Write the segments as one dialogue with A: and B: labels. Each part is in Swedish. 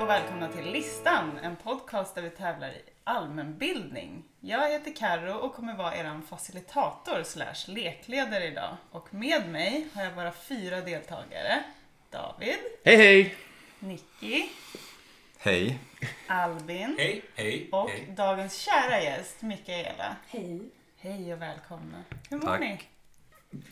A: och välkomna till Listan, en podcast där vi tävlar i allmänbildning. Jag heter Karo och kommer vara er facilitator slash lekledare idag. Och med mig har jag bara fyra deltagare. David,
B: Hej hej!
A: Nicky,
C: Hej.
A: Albin
D: Hej, hej,
A: och
D: hej.
A: dagens kära gäst Mikaela.
E: Hej.
A: Hej och välkomna. Hur mår
C: Tack.
A: ni?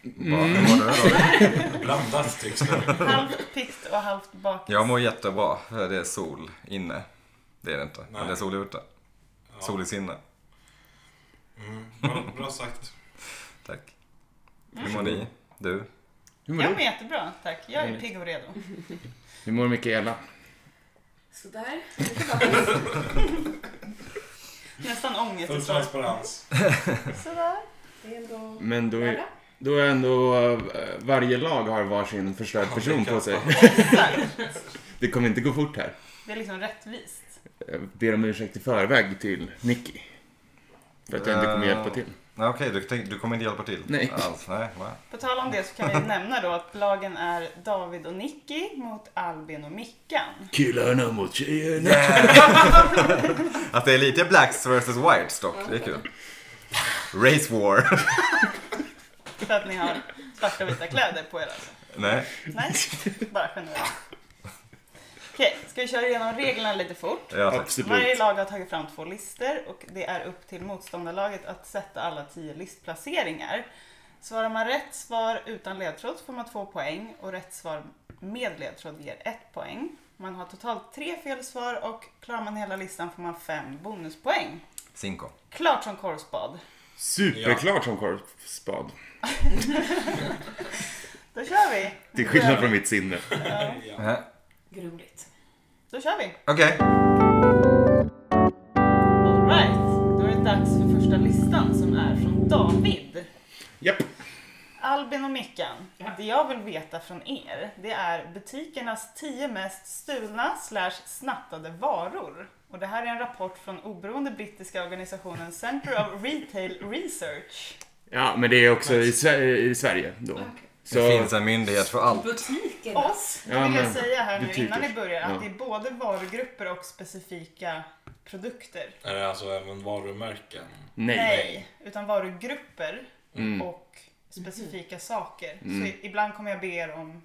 C: Vad hur mår du då?
D: Blandat tycks det.
A: Halvt piggt och halvt bakis.
C: Jag mår jättebra. för Det är sol inne. Det är det inte. Men
D: Nej.
C: det är sol ute. Sol i sinne.
D: Mm, bra, bra sagt.
C: Tack. Hur mår ni? Du?
B: Hur mår
A: Jag mår
B: du?
A: jättebra, tack. Jag är
B: Härligt.
A: pigg och redo.
B: Hur mår Mikaela?
E: Sådär. Nu tillbaka.
A: Nästan ångest. i
D: Full
A: svar.
D: transparens.
E: Sådär. Det är ändå
B: Men då är,
E: lördag.
B: då är ändå eh, varje lag har varsin förstörd person på sig.
A: Exakt.
B: Det kommer inte gå fort här.
A: Det är liksom rättvist.
B: Jag ber om ursäkt i förväg till Nicky. För att jag inte kommer hjälpa till.
C: Nej, okej, du, tänk- du kommer inte hjälpa till?
B: Nej.
C: Alls, nej. va?
A: På tal om det så kan vi nämna då att lagen är David och Nicky mot Albin och Mickan.
B: Killarna mot tjejerna.
C: Att det är lite blacks versus whites dock. Det är kul. Race war.
A: För att ni har svarta och vita kläder på er alltså.
C: Nej.
A: Nej, bara generellt. Okej, ska vi köra igenom reglerna lite fort?
C: Ja, tack.
A: Varje
B: Absolut.
A: lag har tagit fram två listor och det är upp till motståndarlaget att sätta alla tio listplaceringar. Svarar man rätt svar utan ledtråd får man två poäng och rätt svar med ledtråd ger ett poäng. Man har totalt tre fel svar och klarar man hela listan får man fem bonuspoäng.
C: Cinco.
A: Klart som korvspad.
B: Superklart som korvspad.
A: Då kör vi!
B: Till skillnad från mitt sinne.
D: Ja.
C: Nej.
E: Grumligt.
A: Då kör vi!
C: Okej.
A: Alright, då är det dags för första listan som är från David.
B: Japp.
A: Albin och Mickan, det jag vill veta från er, det är butikernas 10 mest stulna slash snattade varor. Och det här är en rapport från oberoende brittiska organisationen Center of Retail Research.
B: Ja, men det är också i, Sve- i Sverige då.
C: Det
B: Så
C: finns en myndighet för allt.
E: Butiken.
A: Och
B: Ja,
A: då vill jag
B: men
A: säga här nu
B: butiker.
A: innan ni börjar att
B: Ja.
A: det är både varugrupper och specifika produkter.
D: Är det alltså även varumärken?
B: nej. Mm.
A: Nej, utan varugrupper och specifika saker. Så ibland kommer jag be er om...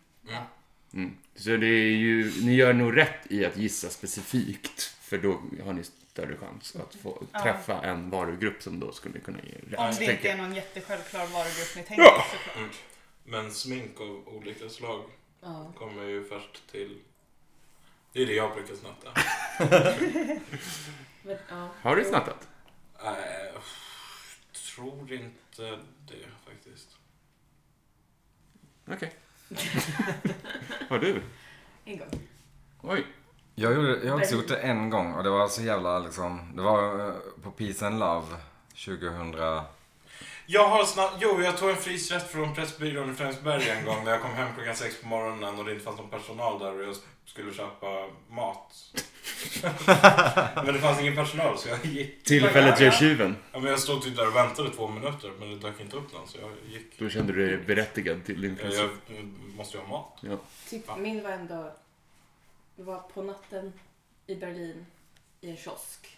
B: Mm. Så det är ju, ni gör nog rätt i att gissa specifikt. För då har ni större chans att få träffa en varugrupp som då skulle kunna ge rätt.
A: Om det inte
B: tänker
A: är
B: jag.
A: någon jättesjälvklar varugrupp ni tänker
B: Ja.
A: såklart.
D: Men smink av olika slag
E: Ja.
D: kommer ju först till... Det är det jag brukar snatta.
E: Men, ja.
B: Har du snattat?
D: Nej, pff, Äh, tror inte det faktiskt.
B: Okej. har du?
E: En gång.
B: Oj.
C: Jag, gjorde, jag har också gjort det en gång och det var så jävla liksom. Det var eh, på Peace and Love 2000.
D: Jag har snabbt... Jo, jag tog en frysrätt från Pressbyrån i Fredriksberg en gång när jag kom hem klockan sex på morgonen och det inte fanns någon personal där och jag skulle köpa mat. men det fanns ingen personal så jag gick.
B: Tillfället gör tjuven.
D: Ja, men jag stod typ där och väntade två minuter men det dök inte upp någon så jag gick.
B: Då kände du dig berättigad till din
D: Jag,
B: princip.
D: jag måste ju ha mat.
B: Ja.
E: Typ
D: Ja.
E: min var ändå... Det var på natten i Berlin i en kiosk.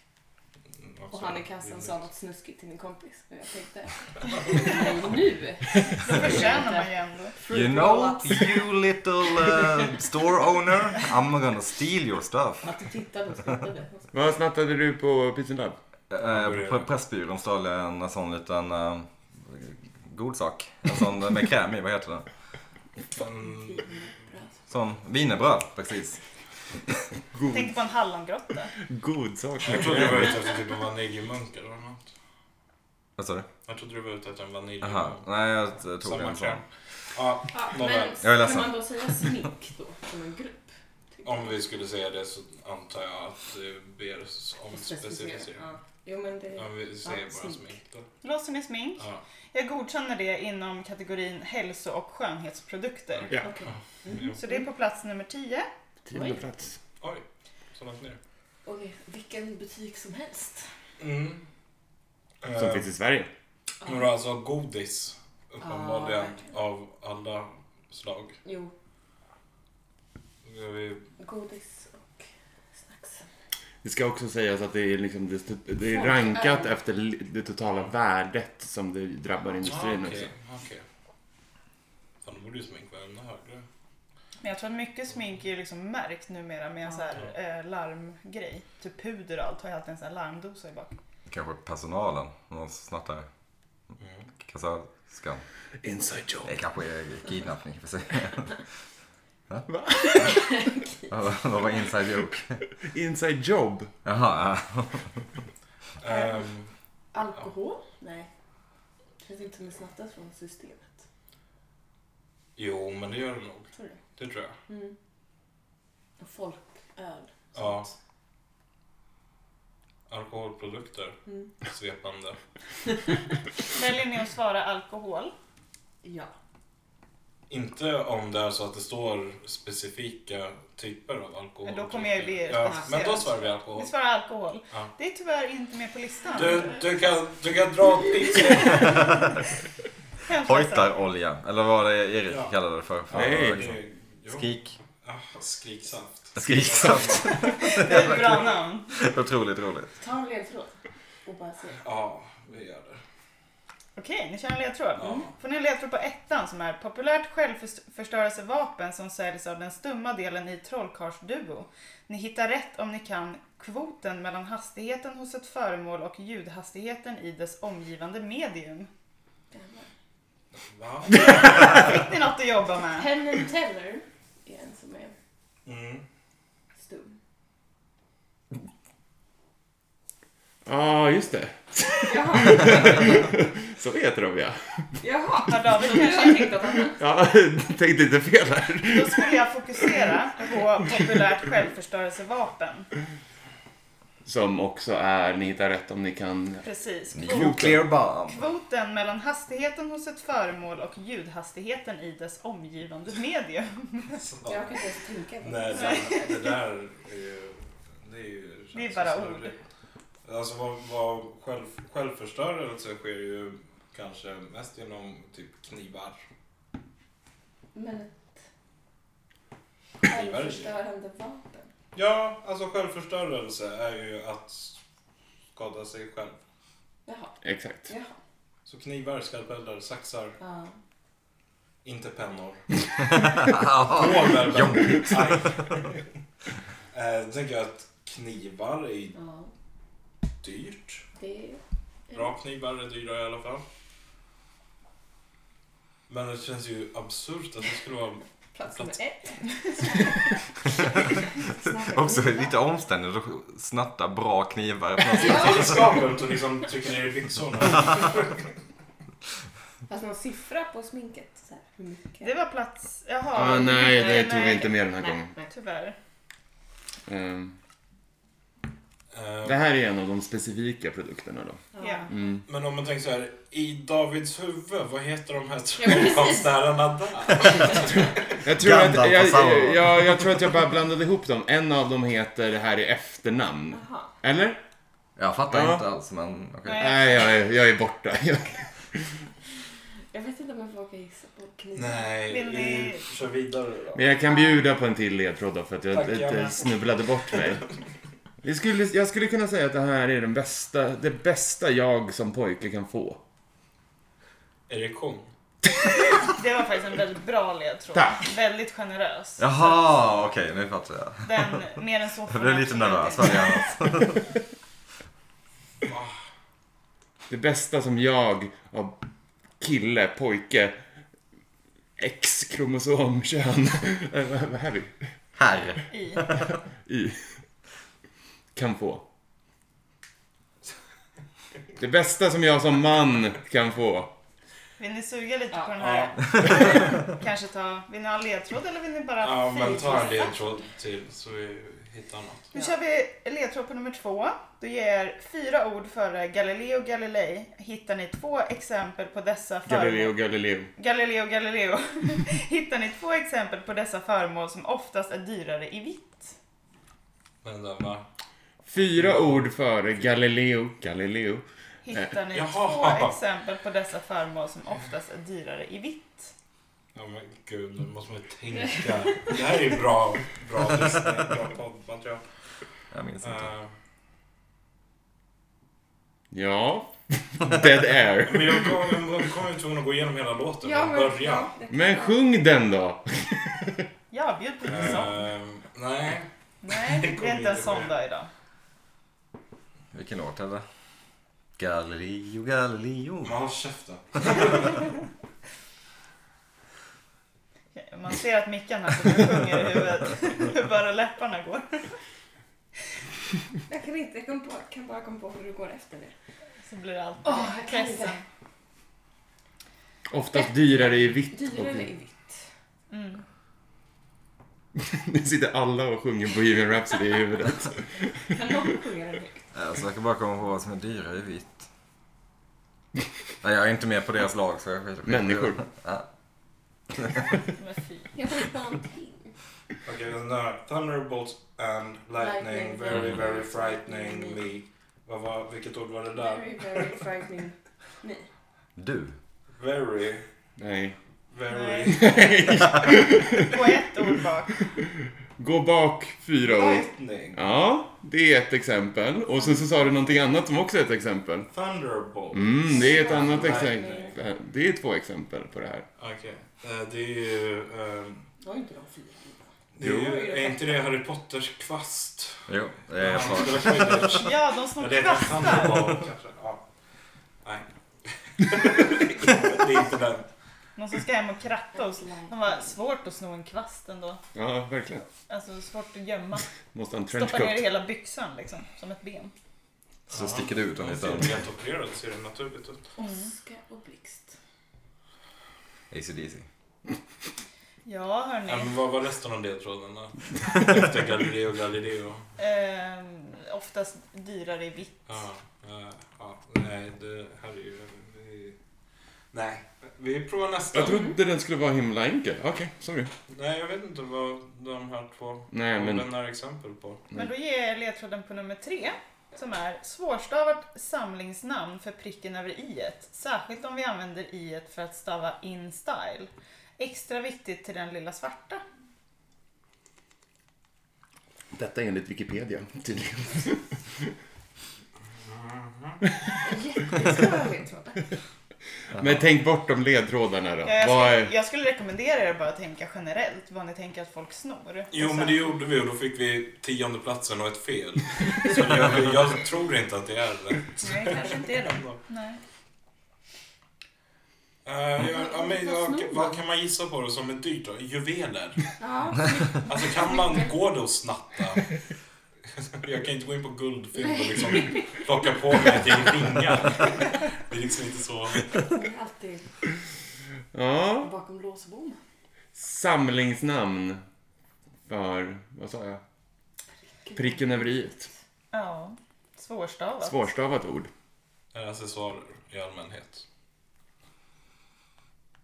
D: Alltså,
E: Och han i kassan
D: rimligt.
E: sa något snuskigt till min kompis. Och jag tänkte... Nej, nu!
A: Det förtjänar man ju ändå.
C: You know, you little uh, store owner, I'm gonna steal your stuff.
E: Att du tittade och skrattade.
B: Vad snattade du på Peace and Love?
C: Eh, På Pressbyrån stal jag en sån liten eh, god sak. En sån med kräm i, vad heter det?
D: Men,
C: Sån wienerbröd, precis.
A: Tänk på en hallongrotta.
B: God sak.
D: jag trodde du var ute efter typ en vaniljmunk eller något.
C: Vad sa du?
D: Jag trodde du var ute efter en
C: Jaha,
D: vaniljmunk.
C: nej jag t- tog
D: Samma
C: en sån.
D: kräm. Ja,
E: Ja,
D: Nåväl.
E: men
C: Jag är
E: kan
C: ledsen.
E: man då säga smink då? Som en grupp? tycker
D: Om vi skulle säga det så antar jag att det ber oss om
E: jag. Specificera.
D: specificering.
E: Ja. Jo, men det...
D: Om vi säger
E: Ja,
D: bara
E: smink.
D: smink då.
A: Låser ni smink?
D: Ja,
A: Jag godkänner det inom kategorin hälso och skönhetsprodukter.
B: Ja.
E: Okej.
D: jo.
A: Så det är på plats nummer 10.
B: Tionde plats.
D: Oj, så långt ner.
E: Okej, vilken butik som helst.
D: Mm.
B: Som
D: Eh,
B: finns i Sverige.
D: men då alltså godis uppenbarligen
E: Ja, verkligen.
D: av alla slag.
E: Jo,
D: Ska vi
E: godis och...
B: Det ska också sägas att det är, liksom, det- det är rankat efter li- det totala värdet som det drabbar industrin
D: ah,
B: också.
D: okej, okej. Fan, då borde ju sminkvärdena högre.
A: Men jag tror att mycket smink är ju liksom märkt numera med en så här eh, larmgrej. Typ puder och allt har ju alltid en sån här larmdosa i bak.
C: Kanske personalen. Någon snattar
D: Mm.
C: kassörskan.
B: Inside job.
C: Det kanske är kidnappning i och för sig. Va?
B: Va?
C: Vad var inside joke?
B: Inside job.
C: Jaha, ja.
D: Ehm,
E: Alkohol? Nej. Känns inte som det snattas från systemet.
D: jo, men det gör det nog.
E: Tror du?
D: Det tror jag.
E: Mm. Och Folköl.
D: Ja.
E: sånt.
D: Alkoholprodukter.
E: Mm.
D: Svepande.
A: Väljer ni att svara alkohol?
E: Ja.
D: Inte om det är så att det står specifika typer av alkohol.
A: Men då kommer jag ju bli
D: ja, Men då
A: specificerad.
D: svarar vi alkohol.
A: Ni svarar alkohol.
D: Ja.
A: Det är tyvärr inte med på listan.
D: Du, du, kan, du kan dra åt ditt håll.
A: Hemskt ledsen.
C: Hojtarolja. Eller vad var det Erik
D: Ja.
C: kallade det för? för
B: Nej.
C: liksom.
D: Jo.
C: Skrik.
D: Ah, Skriksaft.
C: Skriksaft.
A: Det är ett bra namn.
C: Otroligt roligt.
E: Ta en ledtråd och bara se.
D: Ja, vi gör det.
A: Okej, ni kör en ledtråd.
D: Ja.
A: Får ni en ledtråd på ettan som är populärt självförstörelsevapen som säljs av den stumma delen i Trollkarlsduo. Ni hittar rätt om ni kan kvoten mellan hastigheten hos ett föremål och ljudhastigheten i dess omgivande medium.
E: Jävlar.
D: Va?
A: Fick ni något att jobba med?
E: Penn and Teller är en som är
D: Mm.
E: stum.
B: Ja, just det.
E: Jaha.
B: Så heter de ja.
E: Jaha.
A: Har David
E: Jag
A: kanske?
E: tänkte att han...
B: Ja, tänkte inte fel här.
A: Då skulle jag fokusera på populärt självförstörelsevapen.
B: Som också är, ni hittar rätt om ni kan...
A: Precis.
C: Nuclear bomb.
A: Kvoten mellan hastigheten hos ett föremål och ljudhastigheten i dess omgivande medium.
D: Så.
E: Jag kan inte ens tänka på
D: Nej,
E: det.
D: det, det där är ju... Det är, ju,
A: Det är bara
D: känns ju så- Alltså vad, vad själv, självförstörelse sker ju kanske mest genom typ knivar.
E: Men ett
D: Knivar är ju-
E: självförstörande vapen.
D: Ja, alltså självförstörelse är ju att skada sig själv.
E: Jaha.
B: Exakt.
E: Jaha.
D: Så knivar, skalpeller, saxar,
E: Ja.
D: inte pennor.
C: Ja.
D: Påver, jobbigt. eh, tänker jag att knivar är
E: ja.
D: dyrt.
E: Det är...
D: Bra knivar är dyra i alla fall. Men det känns ju absurt att det skulle vara
E: Plats nummer ett.
C: Också lite omständigt att snatta bra knivar. på något sätt.
D: vetenskapligt och liksom trycker ner i byxorna.
E: Fast någon siffra på sminket. Så här. Hur mycket?
A: Det var plats... Jaha.
B: Ah, nej, det tog vi inte med den här gången.
E: nej.
A: Tyvärr.
B: Ehm, Det
D: Eh,
B: här är en av de specifika produkterna då.
A: Ja.
B: Mm.
D: Men om man tänker så här, i Davids huvud, vad heter de här
E: Ja, precis.
D: trollkonstnärerna där?
B: Jag, tror att,
C: Gandalf
B: jag,
C: och
B: jag,
C: Sauron.
B: jag, jag tror att jag bara blandade ihop dem. En av dem heter Det här i efternamn.
E: Jaha.
B: Eller?
C: Jag fattar
B: Ja.
C: inte alls men okej.
A: Nej.
B: Nej, jag, är- jag är borta. Jag,
E: Jag vet inte om jag vågar gissa på knivar.
D: Nej,
A: Vill ni-
D: vi
E: eh,
D: kör vidare då.
B: men jag kan bjuda på en till ledtråd då, för att jag
D: Tack, jag
B: eh,
D: med.
B: snubblade bort mig. Jag skulle, jag skulle kunna säga att det här är den bästa, det bästa jag som pojke kan få.
D: Erektion.
A: Det var faktiskt en väldigt bra ledtråd.
B: Tack.
A: Väldigt generös.
C: Jaha, okej nu fattar jag.
A: Den, mer än så får
C: Jag blev
A: man
C: lite
A: absolut
C: nervös.
A: inte.
C: vad gör jag?
B: Det bästa som jag av kille, pojke, X-kromosomkön, eh, vad vad är vi?
C: Här.
A: I.
B: I. Kan få. Det bästa som jag som man kan få.
A: Vill ni suga lite
E: Ja.
A: på den här? Kanske ta... Vill ni ha en ledtråd eller vill ni bara...
D: Ja, men ta en
A: fejkgissa?
D: ledtråd till så vi hittar något.
A: Nu
E: Ja.
A: kör vi ledtråd på nummer två. Då ger jag er fyra ord före Galileo Galilei. Hittar ni två exempel på dessa
B: Galileo
A: föremål...
B: Galileo.
A: Galileo Galileo. Hittar ni två exempel på dessa föremål som oftast är dyrare i vitt?
D: Men den va?
B: Fyra ord före Galileo Galileo.
A: Hittar ni
D: Eh, jaha.
A: två exempel på dessa föremål som oftast är dyrare i vitt?
D: Ja men gud, nu måste man ju tänka. Det här är ju bra, bra, lyssning, bra poddmaterial.
C: Jag minns minns inte.
D: Eh,
B: Ja, Dead Air.
D: men jag kom- jag kommer ju tvungen att gå igenom hela låten
E: Ja,
D: från
E: men,
D: början.
E: ja, det kan
B: Men
E: jag.
B: sjung den då!
A: Ja, bjud på lite sång.
D: Eh, nej.
A: Nej,
D: det
A: det
D: kommer
A: är inte en
D: inte
A: sån
D: med.
A: dag idag.
C: Vilken låt är det? Galileo, Galileo.
D: Men håll käften.
A: Okej, Man ser att mickarna sitter och sjunger i huvudet. Hur bara läpparna går.
E: Jag kan inte, jag kan bara, kan bara komma på hur det går efter det.
A: Så blir det alltid
E: Åh, jag kan
A: pressen.
E: inte.
B: Oftast dyrare i vitt. och-
E: Dyrare i vitt.
A: Mm.
B: Nu sitter alla och sjunger Bohemian Rhapsody i huvudet.
E: Kan någon sjunga den högt?
C: Alltså, jag kan bara komma på vad som är dyrare i vitt. Nej, jag är inte med på deras lag så jag skiter i det.
B: Människor.
C: Ja.
A: Men fy.
E: Jag kommer inte på någonting.
D: Okej, den där. Thunderbolts and lightning,
E: Lightning,
D: very,
E: very
D: very
E: frightening
D: frighteningly. Vad var, vilket ord var det där?
E: Very, very frightening. Nej.
C: Du.
D: Very,
B: Nej.
D: very...
A: Nej. Gå ett ord bak.
B: Gå bak fyra år.
D: Lightning.
B: Ja, det är ett exempel. Och sen så sa du någonting annat som också är ett exempel.
D: Thunderbolt.
B: Mm, det är ett annat exempel. Det är två exempel på det här.
D: Okej. Eh, det är ju... eh,
E: Det var ju inte de fyra.
D: det är,
E: Jo.
D: ju, är inte det Harry Potters kvast?
C: Jo, det är
D: Ja,
C: svaret.
D: det var Quidditch.
A: Ja, de
D: Ja,
A: som
D: det är ett
A: kvastar.
D: Thunderbolt kanske. Ja. Nej. det är inte den.
A: Någon som ska hem och kratta och så.
E: Lightning.
A: Det var svårt att sno en kvast ändå.
B: Ja, verkligen.
A: Alltså svårt att gömma.
B: Måste ha en
A: Stoppa ner i
B: trenchcoat.
A: hela byxan liksom, som ett ben.
C: Så sticker det ut en
D: Den ser
C: liten
D: helt opererad ser det naturligt ut.
E: Oskar och Blixt.
C: ACDC.
A: Ja,
D: Ja,
A: hörni.
D: men vad var resten av ledtråden då? Efter Galileo Galileo?
A: Ehm, oftast dyrare i vitt.
D: Ja, eh, ja, nej, det här är ju... Vi, nej, vi provar nästa.
B: Jag trodde den skulle vara himla enkel. Okej, sorry.
D: Nej, jag vet inte vad de här två
B: Nej, men...
D: orden är exempel på.
A: Men då ger jag er ledtråden på nummer tre. Som är svårstavat samlingsnamn för pricken över i. Särskilt om vi använder i för att stava in style. Extra viktigt till den lilla svarta.
B: Detta är enligt Wikipedia, tydligen.
E: Jättesvåra ledtrådar.
B: Men tänk bort de ledtrådarna då.
A: Ja, jag,
B: Vad
A: skulle,
B: är...
A: jag skulle rekommendera er bara att tänka generellt vad ni tänker att folk snor.
D: Jo,
A: Och sen-
D: men det gjorde vi och då fick vi tionde platsen och ett fel. Så jag, jag tror inte att det är rätt.
A: Nej, kanske inte är det. Nej.
D: Eh, jag, ja, men jag, vad kan man gissa på då som är dyrt då? Juveler?
E: Ja,
D: Alltså kan man gå det och snatta? Jag kan inte gå in på guldfynd och liksom plocka på mig ett gäng ringar. Det är liksom inte så.
E: det är alltid
B: Ja.
E: bakom lås och bom.
B: Samlingsnamn för... Vad sa jag? Pricken över i.
A: Ja, svårstavat.
B: Svårstavat ord.
D: Är accessoarer eh, i allmänhet.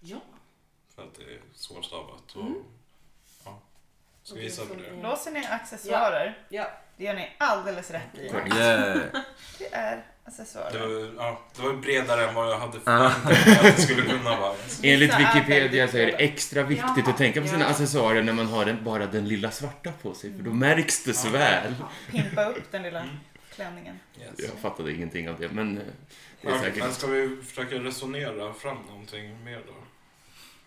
E: Ja.
D: För att det är svårstavat. Och,
E: Mm.
D: ja. Ska vi gissa på det?
A: Låser ni accessoarer?
E: Ja.
A: Det gör ni alldeles rätt i.
B: Korrekt.
C: Yeah.
A: Det är
D: Det
A: accessoarer.
D: var, ja, det var bredare än vad jag
B: Ah.
D: hade förväntat mig att det skulle kunna vara.
B: Enligt
A: Vissa är
B: Wikipedia
A: väldigt
B: så är det
A: dåliga.
B: extra viktigt
E: Jaha,
B: att tänka på sina
E: ja.
B: accessoarer när man har den, bara den lilla svarta på sig, för då
A: Mm.
B: märks det så
D: Ja.
B: väl.
A: Pimpa upp den lilla
D: Mm.
A: klänningen.
D: Yes.
B: Jag fattade ingenting av det, men eh, det är
D: Ja, men
B: säkert...
D: ska vi försöka resonera fram någonting mer då?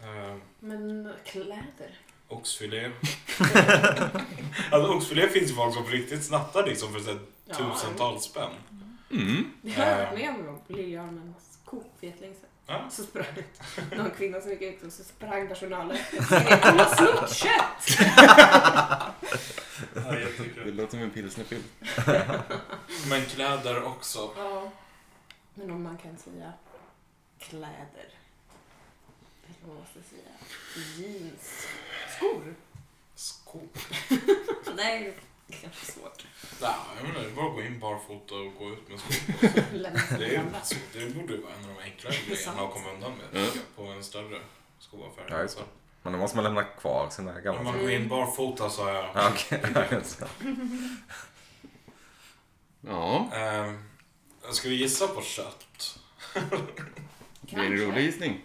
D: Eh,
E: Men kläder.
D: oxfilé. alltså oxfilé finns ju folk som på riktigt snattar liksom för så här
E: Ja,
D: tusentals spänn.
B: Mm.
E: Det har jag
D: Eh.
E: varit med om någon på Liljeholmens Coop för jättelänge sedan.
D: Ja.
E: Så sprang någon kvinna som gick ut och så sprang personalen efter. Så det är, Hon har snott kött!
D: Ja,
B: Det
D: jättekul.
B: låter som en pilsnerfilm.
D: Men kläder också.
E: Ja. Men om man kan säga kläder. Eller vad man ska säga. Jeans. Skor.
D: Skor.
E: Nej, det är kanske svårt.
D: Nej, jag menar, det är bara att gå in barfota och gå ut med skor.
E: Lämna sig
D: Det, är,
E: gamla.
D: så- det borde ju vara en av de enklare
E: Det är sant.
D: grejerna att komma undan med
B: Mm.
D: på en större skoaffär.
C: Ja, just det. Men då måste man lämna kvar sina
D: Om
C: gamla
D: man går in barfota sa jag.
C: Ja, Okej, alltså.
B: Ja,
D: Ehm, ska vi gissa på kött?
B: det är en
E: Kanske.
B: rolig gissning.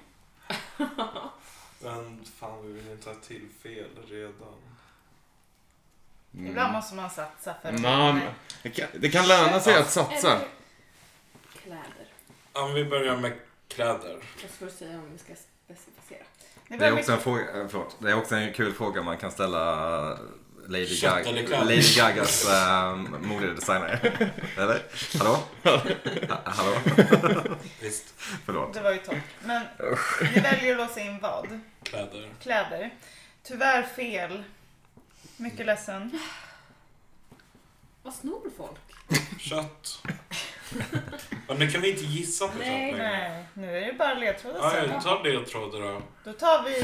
D: Men fan, vi vill inte ha till fel redan.
A: Ibland måste man satsa för
B: Nej, men Mm. det kan, det kan löna sig att satsa.
E: Eller kläder.
D: Ja, men vi börjar med kläder.
E: Jag skulle säga om vi ska specificera.
A: Nu
C: Det
A: börjar
C: är
A: vi-
C: också en fråga, eh, förlåt, det är också en kul fråga man kan ställa eh, Lady,
D: Kött
C: Gaga,
D: eller kläder?
C: Lady Gagas äh, modedesigner. Eller? Hallå? Ha- Hallå?
D: Visst,
C: Förlåt.
A: Det var ju torrt. Men vi väljer att låsa in vad?
D: kläder.
A: Kläder. Tyvärr fel. Mycket ledsen.
E: Vad snor folk?
D: Kött. Men nu kan vi inte gissa på
E: Nej.
D: kött längre.
A: Nej, nu är det bara ledtrådar
D: Ja,
A: sen.
D: jag tar ledtrådar då.
A: Då tar vi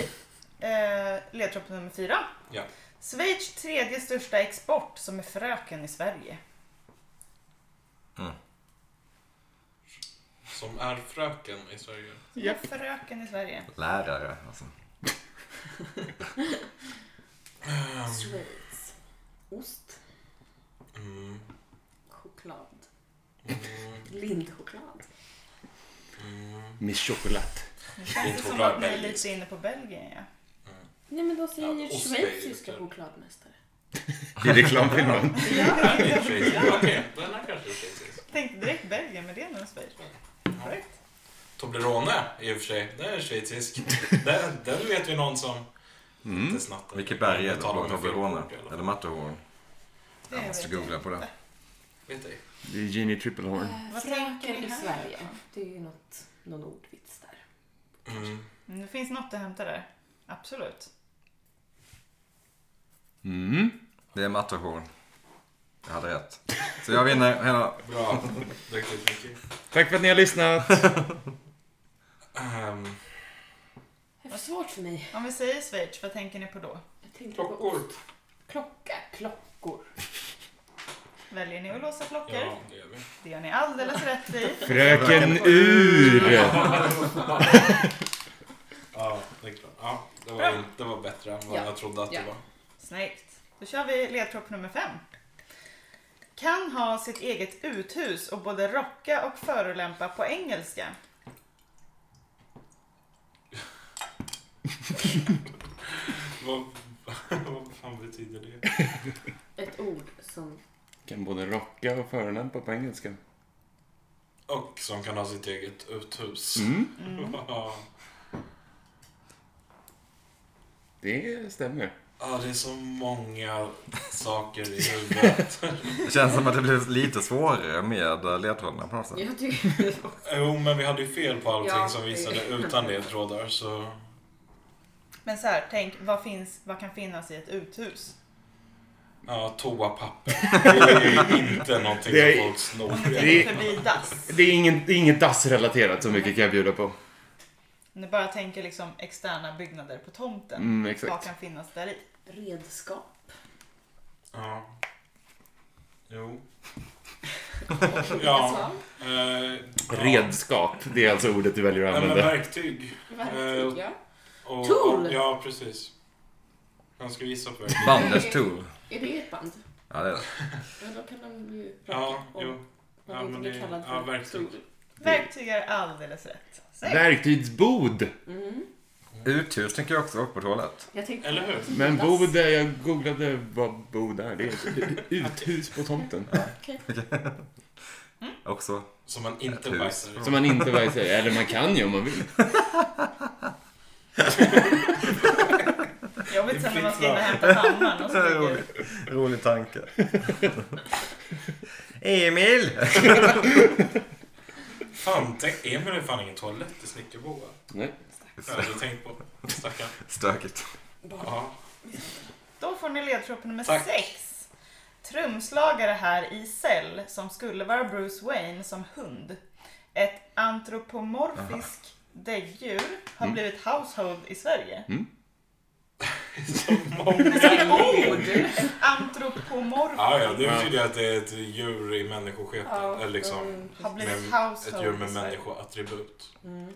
A: eh, ledtråd nummer fyra.
D: Ja.
A: Schweiz tredje största export som är fröken i Sverige.
D: Som är fröken i Sverige.
A: Som är fröken i Sverige.
C: Lärare alltså.
E: Schweiz. Ost.
D: Mm.
E: Choklad.
D: Mm.
E: Lindchoklad.
D: Mm.
B: Miss Chocolat.
A: Det känns
D: Inte
A: som
D: bra
A: att ni är
D: belgisk.
A: lite inne på Belgien ja.
E: Nej men då säger
D: Ja,
E: ju
D: ost är
E: schweiziska
D: ju-
E: chokladmästare.
B: I reklamfilmen.
D: Nej, det är schweizisk. Okej, den här kanske är schweizisk.
A: Tänkte direkt Belgien men det är nog Schweiz. Korrekt.
D: Toblerone i och för sig, den är schweizisk. Den, den vet ju någon som
B: Mm.
D: inte snattar.
C: Vilket berg är det
D: Talar
C: på
D: med fel
C: Toblerone?
D: ord i alla fall.
C: Eller Matterhorn?
A: Det
C: Jag måste
A: vet jag.
C: googla på det.
D: Vet ej.
B: Det är Genie Triplehorn.
A: Vad tänker
E: Fröken
A: ni
E: i
A: Eh, här?
E: Sverige. Det är ju något, någon ordvits där.
D: Mm.
A: Mm, Det finns något att hämta där. Absolut.
B: Mm.
C: Det är Matterhorn. Jag hade rätt. Så jag vinner. Hela.
D: Bra, duktigt Micke.
B: Tack för att ni har lyssnat.
D: Ehm,
E: Det var svårt för mig.
A: Om vi säger Schweiz, vad tänker ni på då?
E: Jag tänkte på
D: Klockor.
E: klocka. Klockor.
A: Väljer ni att låsa klockor?
D: Ja, det gör vi.
A: Det gör ni alldeles rätt i.
B: Fröken Ur.
D: Ja, det är klart. Ja, det, var,
A: Bra.
D: in- det var bättre än vad
E: Ja.
D: jag trodde att
E: Ja.
D: det var.
A: Snyggt. Då kör vi ledtråd nummer fem. Kan ha sitt eget uthus och både rocka och förolämpa på engelska.
D: Vad, vad fan betyder det?
E: Ett ord som...
B: Kan både rocka och förolämpa på engelska.
D: Och som kan ha sitt eget uthus.
B: Mm.
D: Ja,
B: Det stämmer.
D: Ja, det är så många saker i huvudet.
C: Det känns som att det blev lite svårare med eh, ledtrådarna på något sätt.
E: Jag tycker...
D: Jo, men vi hade ju fel på allting
E: Ja,
D: som
E: det-
D: visade utan ledtrådar, så...
A: Men så här, tänk vad, finns, vad kan finnas i ett uthus?
D: Ja, toapapper. Det är ju inte någonting
B: Det är-
D: som folk snor.
B: Det-
A: Förbi dass.
B: Det är inget, det är inget DAS-relaterat så mycket kan jag bjuda på.
A: Om Ni bara tänker liksom externa byggnader på tomten.
B: Mm,
A: Vad
B: exakt.
A: kan finnas där i?
E: Redskap.
D: Ja. Jo.
E: Ja.
D: Ja. Eh, ja.
B: Redskap, det är alltså ordet du väljer att
D: Nej, men
B: använda.
D: verktyg. Eh,
E: Verktyg, ja.
D: Och,
E: Tool.
D: och- Ja, precis. Han ska gissa på verktyg.
C: Banders Tool.
E: Är det ett band?
C: Ja, det är det.
E: Ja, då kan de ju prata
D: Ja,
E: om
D: jo.
E: vad
D: Ja,
E: vi
D: men
E: blir
D: det-
E: kallade för.
D: ja, verktyg.
E: Tror.
A: Verktyg är alldeles rätt. Snyggt.
B: Verktygsbod.
E: Mm.
C: Uthus tänker jag också och på toalett.
E: Jag tänkte
D: Eller hur?
B: Men bod, är- jag googlade vad bod är. Det är uthus på tomten.
C: Också.
D: Som man
C: Ett
D: inte
C: hus.
D: bajsar i.
B: Som man inte vill säga. Eller man kan ju om man vill.
A: Jobbigt sen när man ska in och
D: Det
A: hämta pannan och så ligger...
C: Rolig, rolig tanke. Emil!
D: Fan, tänk, Emil har fan ingen toalett i Snickerboa.
B: Nej.
D: Det har jag aldrig tänkt på. Stackarn.
C: Stökigt.
D: Ja.
A: Då får ni ledtråd nummer
D: Tack.
A: sex. Trumslagare här i cell som skulle vara Bruce Wayne som hund. Ett antropomorfisk däggdjur har
C: Mm.
A: blivit household i Sverige.
D: Så många.
A: Ett antropomorfisk
D: Ja, ja, det betyder ju att det är ett djur i människoskepnad.
E: Ja,
D: Eller liksom
E: mm,
A: har blivit
D: med, ett
A: household
D: djur med
A: i Sverige.
D: människoattribut.
E: Mm.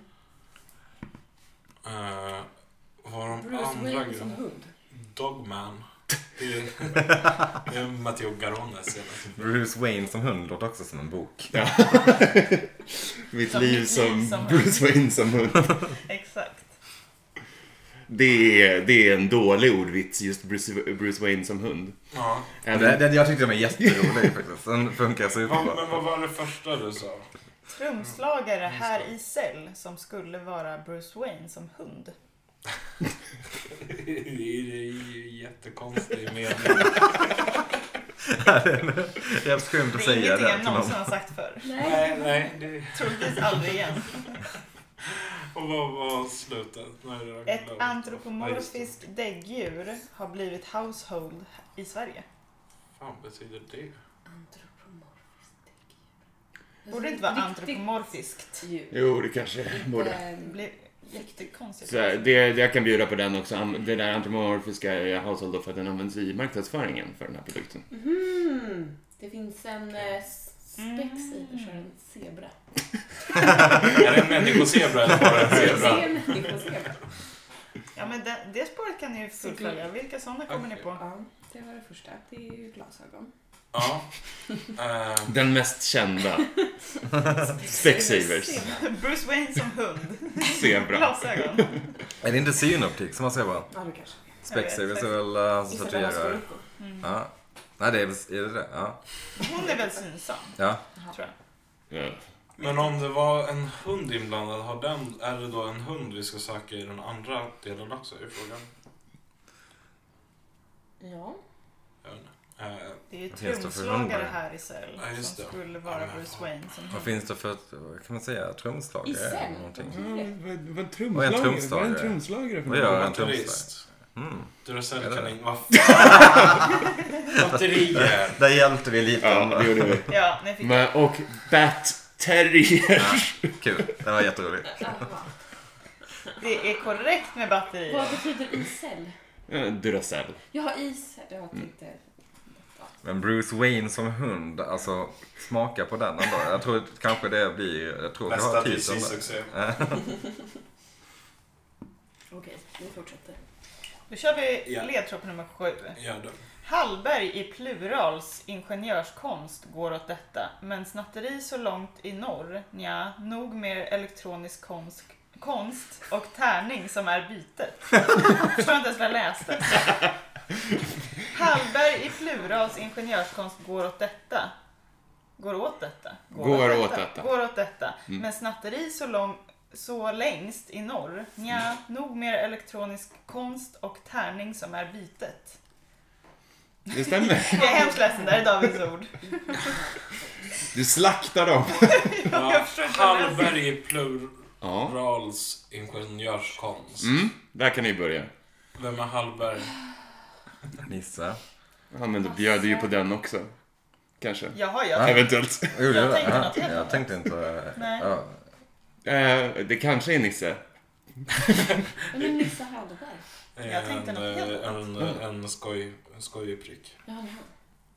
D: Uh, vad har de
E: Bruce
D: andra
E: Wayne som
D: grejerna?
E: hund.
D: Dogman. Det är, det är Matteo Garones senaste.
C: Bruce Wayne som hund låter också som en bok.
B: Mitt
A: Som mitt
B: liv
A: liv
B: som
A: som-
B: Bruce Wayne som hund.
A: Exakt.
B: Det är, det är en dålig ordvits, just Bruce, Bruce Wayne som hund.
D: Ja.
B: Även-
C: Det, det, jag tyckte den var jätterolig faktiskt. Den funkar
D: Vad,
C: superbra.
D: men vad var det första du sa?
A: Trumslagare
D: Mm.
A: här i cell som skulle vara Bruce Wayne som hund.
D: Det är ju jättekonstig mening.
C: Det är skumt att
A: Det är
C: säga
A: ingenting
C: det
A: jag
C: till någon.
A: någonsin har sagt förr.
D: nej, nej. Det...
A: Troligtvis aldrig igen.
D: Och vad var slutet? Nej, det var
A: Ett
D: glömt. Ja, just det.
A: antropomorfiskt däggdjur har blivit household i Sverige.
D: fan betyder det?
E: Antropomorfiskt däggdjur.
A: Borde det inte vara
E: Riktigt
A: antropomorfiskt?
E: djur.
B: Jo, det kanske borde.
E: Inte,
A: Det
E: ehm,
A: blir jättekonstigt.
B: Så här, det, jag kan bjuda på den också. An- Det där antimorfiska Household of, för att den används i marknadsföringen för den här produkten.
E: Mhm. Det finns en eh, spex i det,
A: Mm.
E: så är det en zebra.
D: Är det en människozebra eller bara en
E: Det
D: zebra?
E: är en människozebra.
A: Ja, men det, det spåret kan ni ju fullfölja. Vilka sådana kommer ni på?
E: Ja, det var det första. Det är ju glasögon.
D: Ja. Eh,
B: Den mest kända. Specsavers.
A: Bruce Wayne som hund.
B: Zebra.
A: Glasögon.
C: Är det inte synoptik som man säger bara?
E: Ja, det kanske.
C: Specsavers
B: alltså.
C: är väl eh, han som
E: Isabella
C: tatuerar?
E: Scorupco.
C: Ja. Nej, det är, väl- är det det? Ja.
A: Mm. Hon är väl synsam,
C: ja.
A: tror jag.
B: Ja.
D: men om det var en hund inblandad, har den, är det då en hund vi ska söka i den andra delen också? Är frågan.
E: Ja.
D: Jag vet inte. Eh,
A: Det är ju
C: Vad finns det för
A: trumslagare
C: hundar?
A: här i cell
D: Ja, just
A: som
D: det.
A: skulle
D: Ja,
A: vara
D: men
A: Bruce
D: fan.
A: Wayne som
C: Vad
A: hund.
C: finns det för, vad kan man säga, trumslagare?
E: I cell?
C: eller någonting?
B: Vad en
C: Vad är en trumslagare? Vad är en
B: trumslagare
C: Vad gör en trumslagare?
D: Batterist.
C: Mm. Är det
D: Duracellkanin. Vad fan! Batterier.
C: Där hjälpte vi lite.
B: Ja, det gjorde vi.
A: Ja, ni fick
B: Men, och Bat Terrier.
C: Kul, det var jätteroligt.
E: Aha.
A: Det är korrekt med batterier.
E: Vad betyder isel?
B: Ja, Duracell.
E: Jag har is. Jag
B: Mm.
E: tänkte... Ja.
C: Men Bruce Wayne som hund, alltså smaka på den ändå. Jag tror att kanske det blir, jag tror att jag
D: Nästa
C: har typ titeln där.
D: DC-succé.
E: Okej, vi fortsätter.
A: Då kör vi
D: Ja.
A: ledtråd nummer sju.
D: Ja, då.
A: Hallberg i plurals ingenjörskonst går åt detta, men snatteri så långt i norr, nja, nog mer elektronisk konst, konst och tärning som är bytet. Jag förstår inte ens vad jag läste. Hallberg i plurals ingenjörskonst går åt detta. Går åt detta.
B: Går åt detta. Mm.
A: Går åt detta. Men snatteri så lång, så längst i norr,
B: Mm.
A: nja, nog mer elektronisk konst och tärning som är bytet.
B: Det stämmer.
A: Jag är hemskt ledsen, det här är Davids ord.
B: Du slaktar dem.
D: Ja, Hallberg i plurals
B: Ja.
D: ingenjörskonst.
B: Mm, där kan ni börja.
D: Vem är Hallberg?
C: Nisse.
B: Ja, men då bjöd ju på den också. Kanske.
A: Jaha, jag
B: Eventuellt.
C: Gjorde
A: Jag
C: du det?
A: tänkte
C: Ja,
A: något helt
C: Jag
A: annat.
C: tänkte inte...
A: Nej.
C: Ja.
B: Eh, det kanske är Nisse.
E: Men Nisse Hallberg.
A: Jag tänkte
D: en,
A: något helt
D: eh, en, eh,
C: Mm.
D: en, skoj, en skojig prick.
E: Ja, ja.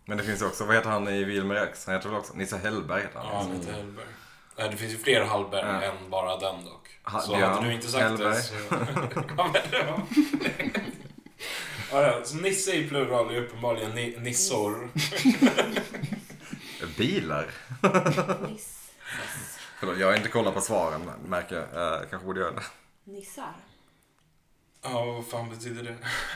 C: Men det finns ju också, vad heter han i Wilmer X? Han heter väl också Nisse Hellberg? Heter
D: Ja,
C: han.
D: han heter Hallberg. Nej, det finns ju fler Hallberg
C: Ja.
D: än bara den dock.
C: Ha-
D: så
C: Björn
D: hade du inte sagt
C: Hellberg.
D: det så... ja, men det var... ja, ja, så Nisse i plural är uppenbarligen ni, nissor.
C: Alltså, Bilar?
E: Niss.
C: Förlåt, jag har inte kollat på svaren märker jag. Eh, kanske borde göra det.
E: Nissar.
D: Ja, vad fan betyder det?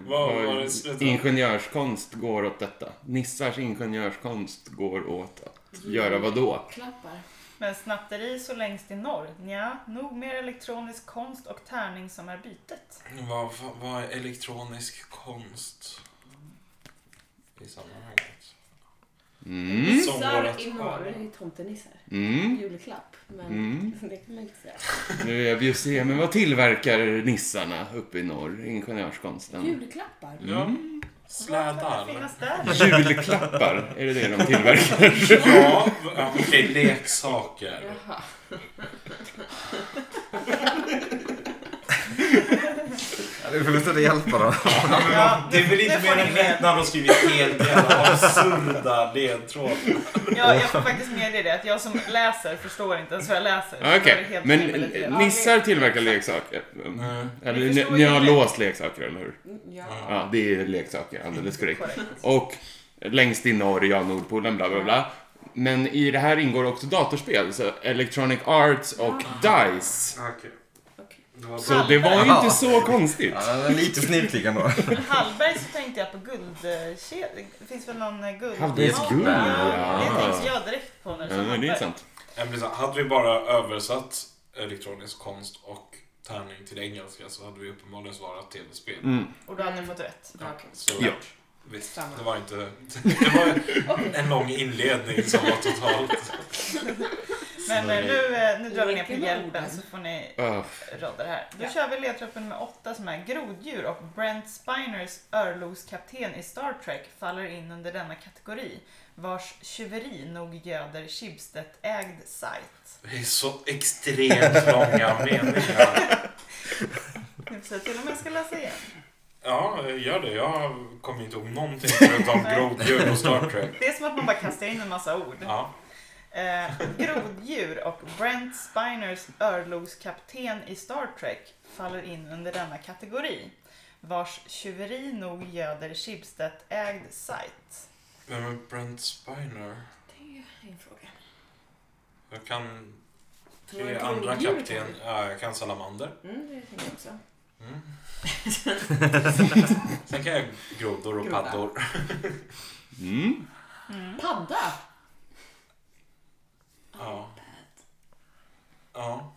D: vad var det slutet?
B: Ingenjörskonst går åt detta. Nissars ingenjörskonst går åt att göra vad då?
E: Klappar.
A: Men snatteri så längst i norr? Nja, nog mer elektronisk konst och tärning som är bytet.
D: Vad, fa- vad är elektronisk konst? I sammanhanget.
B: Mm,
E: Nissar
D: vårat-
E: i norr. Det är ju tomtenissar.
B: mm,
E: Julklapp. Men
B: Mm.
E: det kan man inte säga.
B: nu är vi ju se, men vad tillverkar nissarna uppe i norr? Ingenjörskonsten. Mm.
E: Julklappar.
D: Ja.
A: Vad kan det
D: Slädar.
A: finnas där?
B: Julklappar, är det det de tillverkar?
D: Ja, ja, okej, leksaker.
E: Jaha.
C: Ja, Du får lust att hjälpa då.
A: Ja,
D: Det är väl
A: nu
D: inte
A: får
D: mer
A: ni
D: än
A: med.
D: rätt när de skriver helt jävla absurda ledtrådar.
A: Ja, jag får faktiskt medge det, att jag som läser förstår inte ens vad jag läser. Så
B: Okej,
A: det är helt
B: men
A: rimligt.
B: eh, nissar tillverkar leksaker.
D: Mm.
B: Eller
A: Vi
B: ni,
A: förstår
B: ni har
A: ju det.
B: låst leksaker, eller hur?
E: Mm, Ja.
B: Ja, det är leksaker, alldeles korrekt.
A: Korrekt.
B: Och längst i norr, ja, Nordpolen, bla bla bla. Men i det här ingår också datorspel, så Electronic Arts och DICE.
D: Okej.
E: Okej.
D: Det var
B: Så det var ju inte så konstigt.
C: Ja, den är lite snirklig ändå.
A: Hallberg så tänkte jag på guldkedja. Det finns väl någon eh, guld?
B: Hallbergs
A: Ja,
B: guld,
A: ja.
B: ja.
A: Det tänkte jag direkt på när du
B: Ja,
A: sa
B: men det är
A: Hallberg.
B: sant.
D: Jag blir så här, hade vi bara översatt elektronisk konst och tärning till engelska så hade vi uppenbarligen svarat tv-spel.
B: Mm.
A: Och då hade ni fått rätt.
E: Ja, okej.
D: Så
B: Ja.
D: visst,
E: Samma.
D: det var inte... Det var en lång inledning som var totalt...
A: Men eh, nu, eh, nu drar vi ner på
E: Leken med
A: hjälpen
E: orden.
A: så får ni
B: Ah,
A: rader här. Då
E: Ja.
A: kör vi ledtråd nummer åtta som är groddjur och Brent Spiners örlogskapten i Star Trek faller in under denna kategori vars tjuveri nog göder Schibsted-ägd sajt.
D: Det är så extremt långa meningar.
A: Nu får jag till och med ska läsa igen.
D: Ja, gör det. Jag kommer inte ihåg någonting förutom
A: Nej.
D: groddjur och Star Trek.
A: Det är som att man bara kastar in en massa ord.
D: Ja.
A: Eh, groddjur och Brent Spiners örlogskapten i Star Trek faller in under denna kategori vars tjuveri nog göder Schibsted-ägd sajt.
D: Vem är Brent Spiner?
E: Det är en fråga.
D: Jag kan...
E: Tror du
D: Tre
E: att
D: andra
E: groddjur kan-
D: kapten. Ja, jag kan Salamander.
E: Mm, det tänker jag också.
D: Mm. Sen kan jag grodor och
E: Groda.
D: paddor.
B: Mm.
E: Padda!
D: Ja. Ja.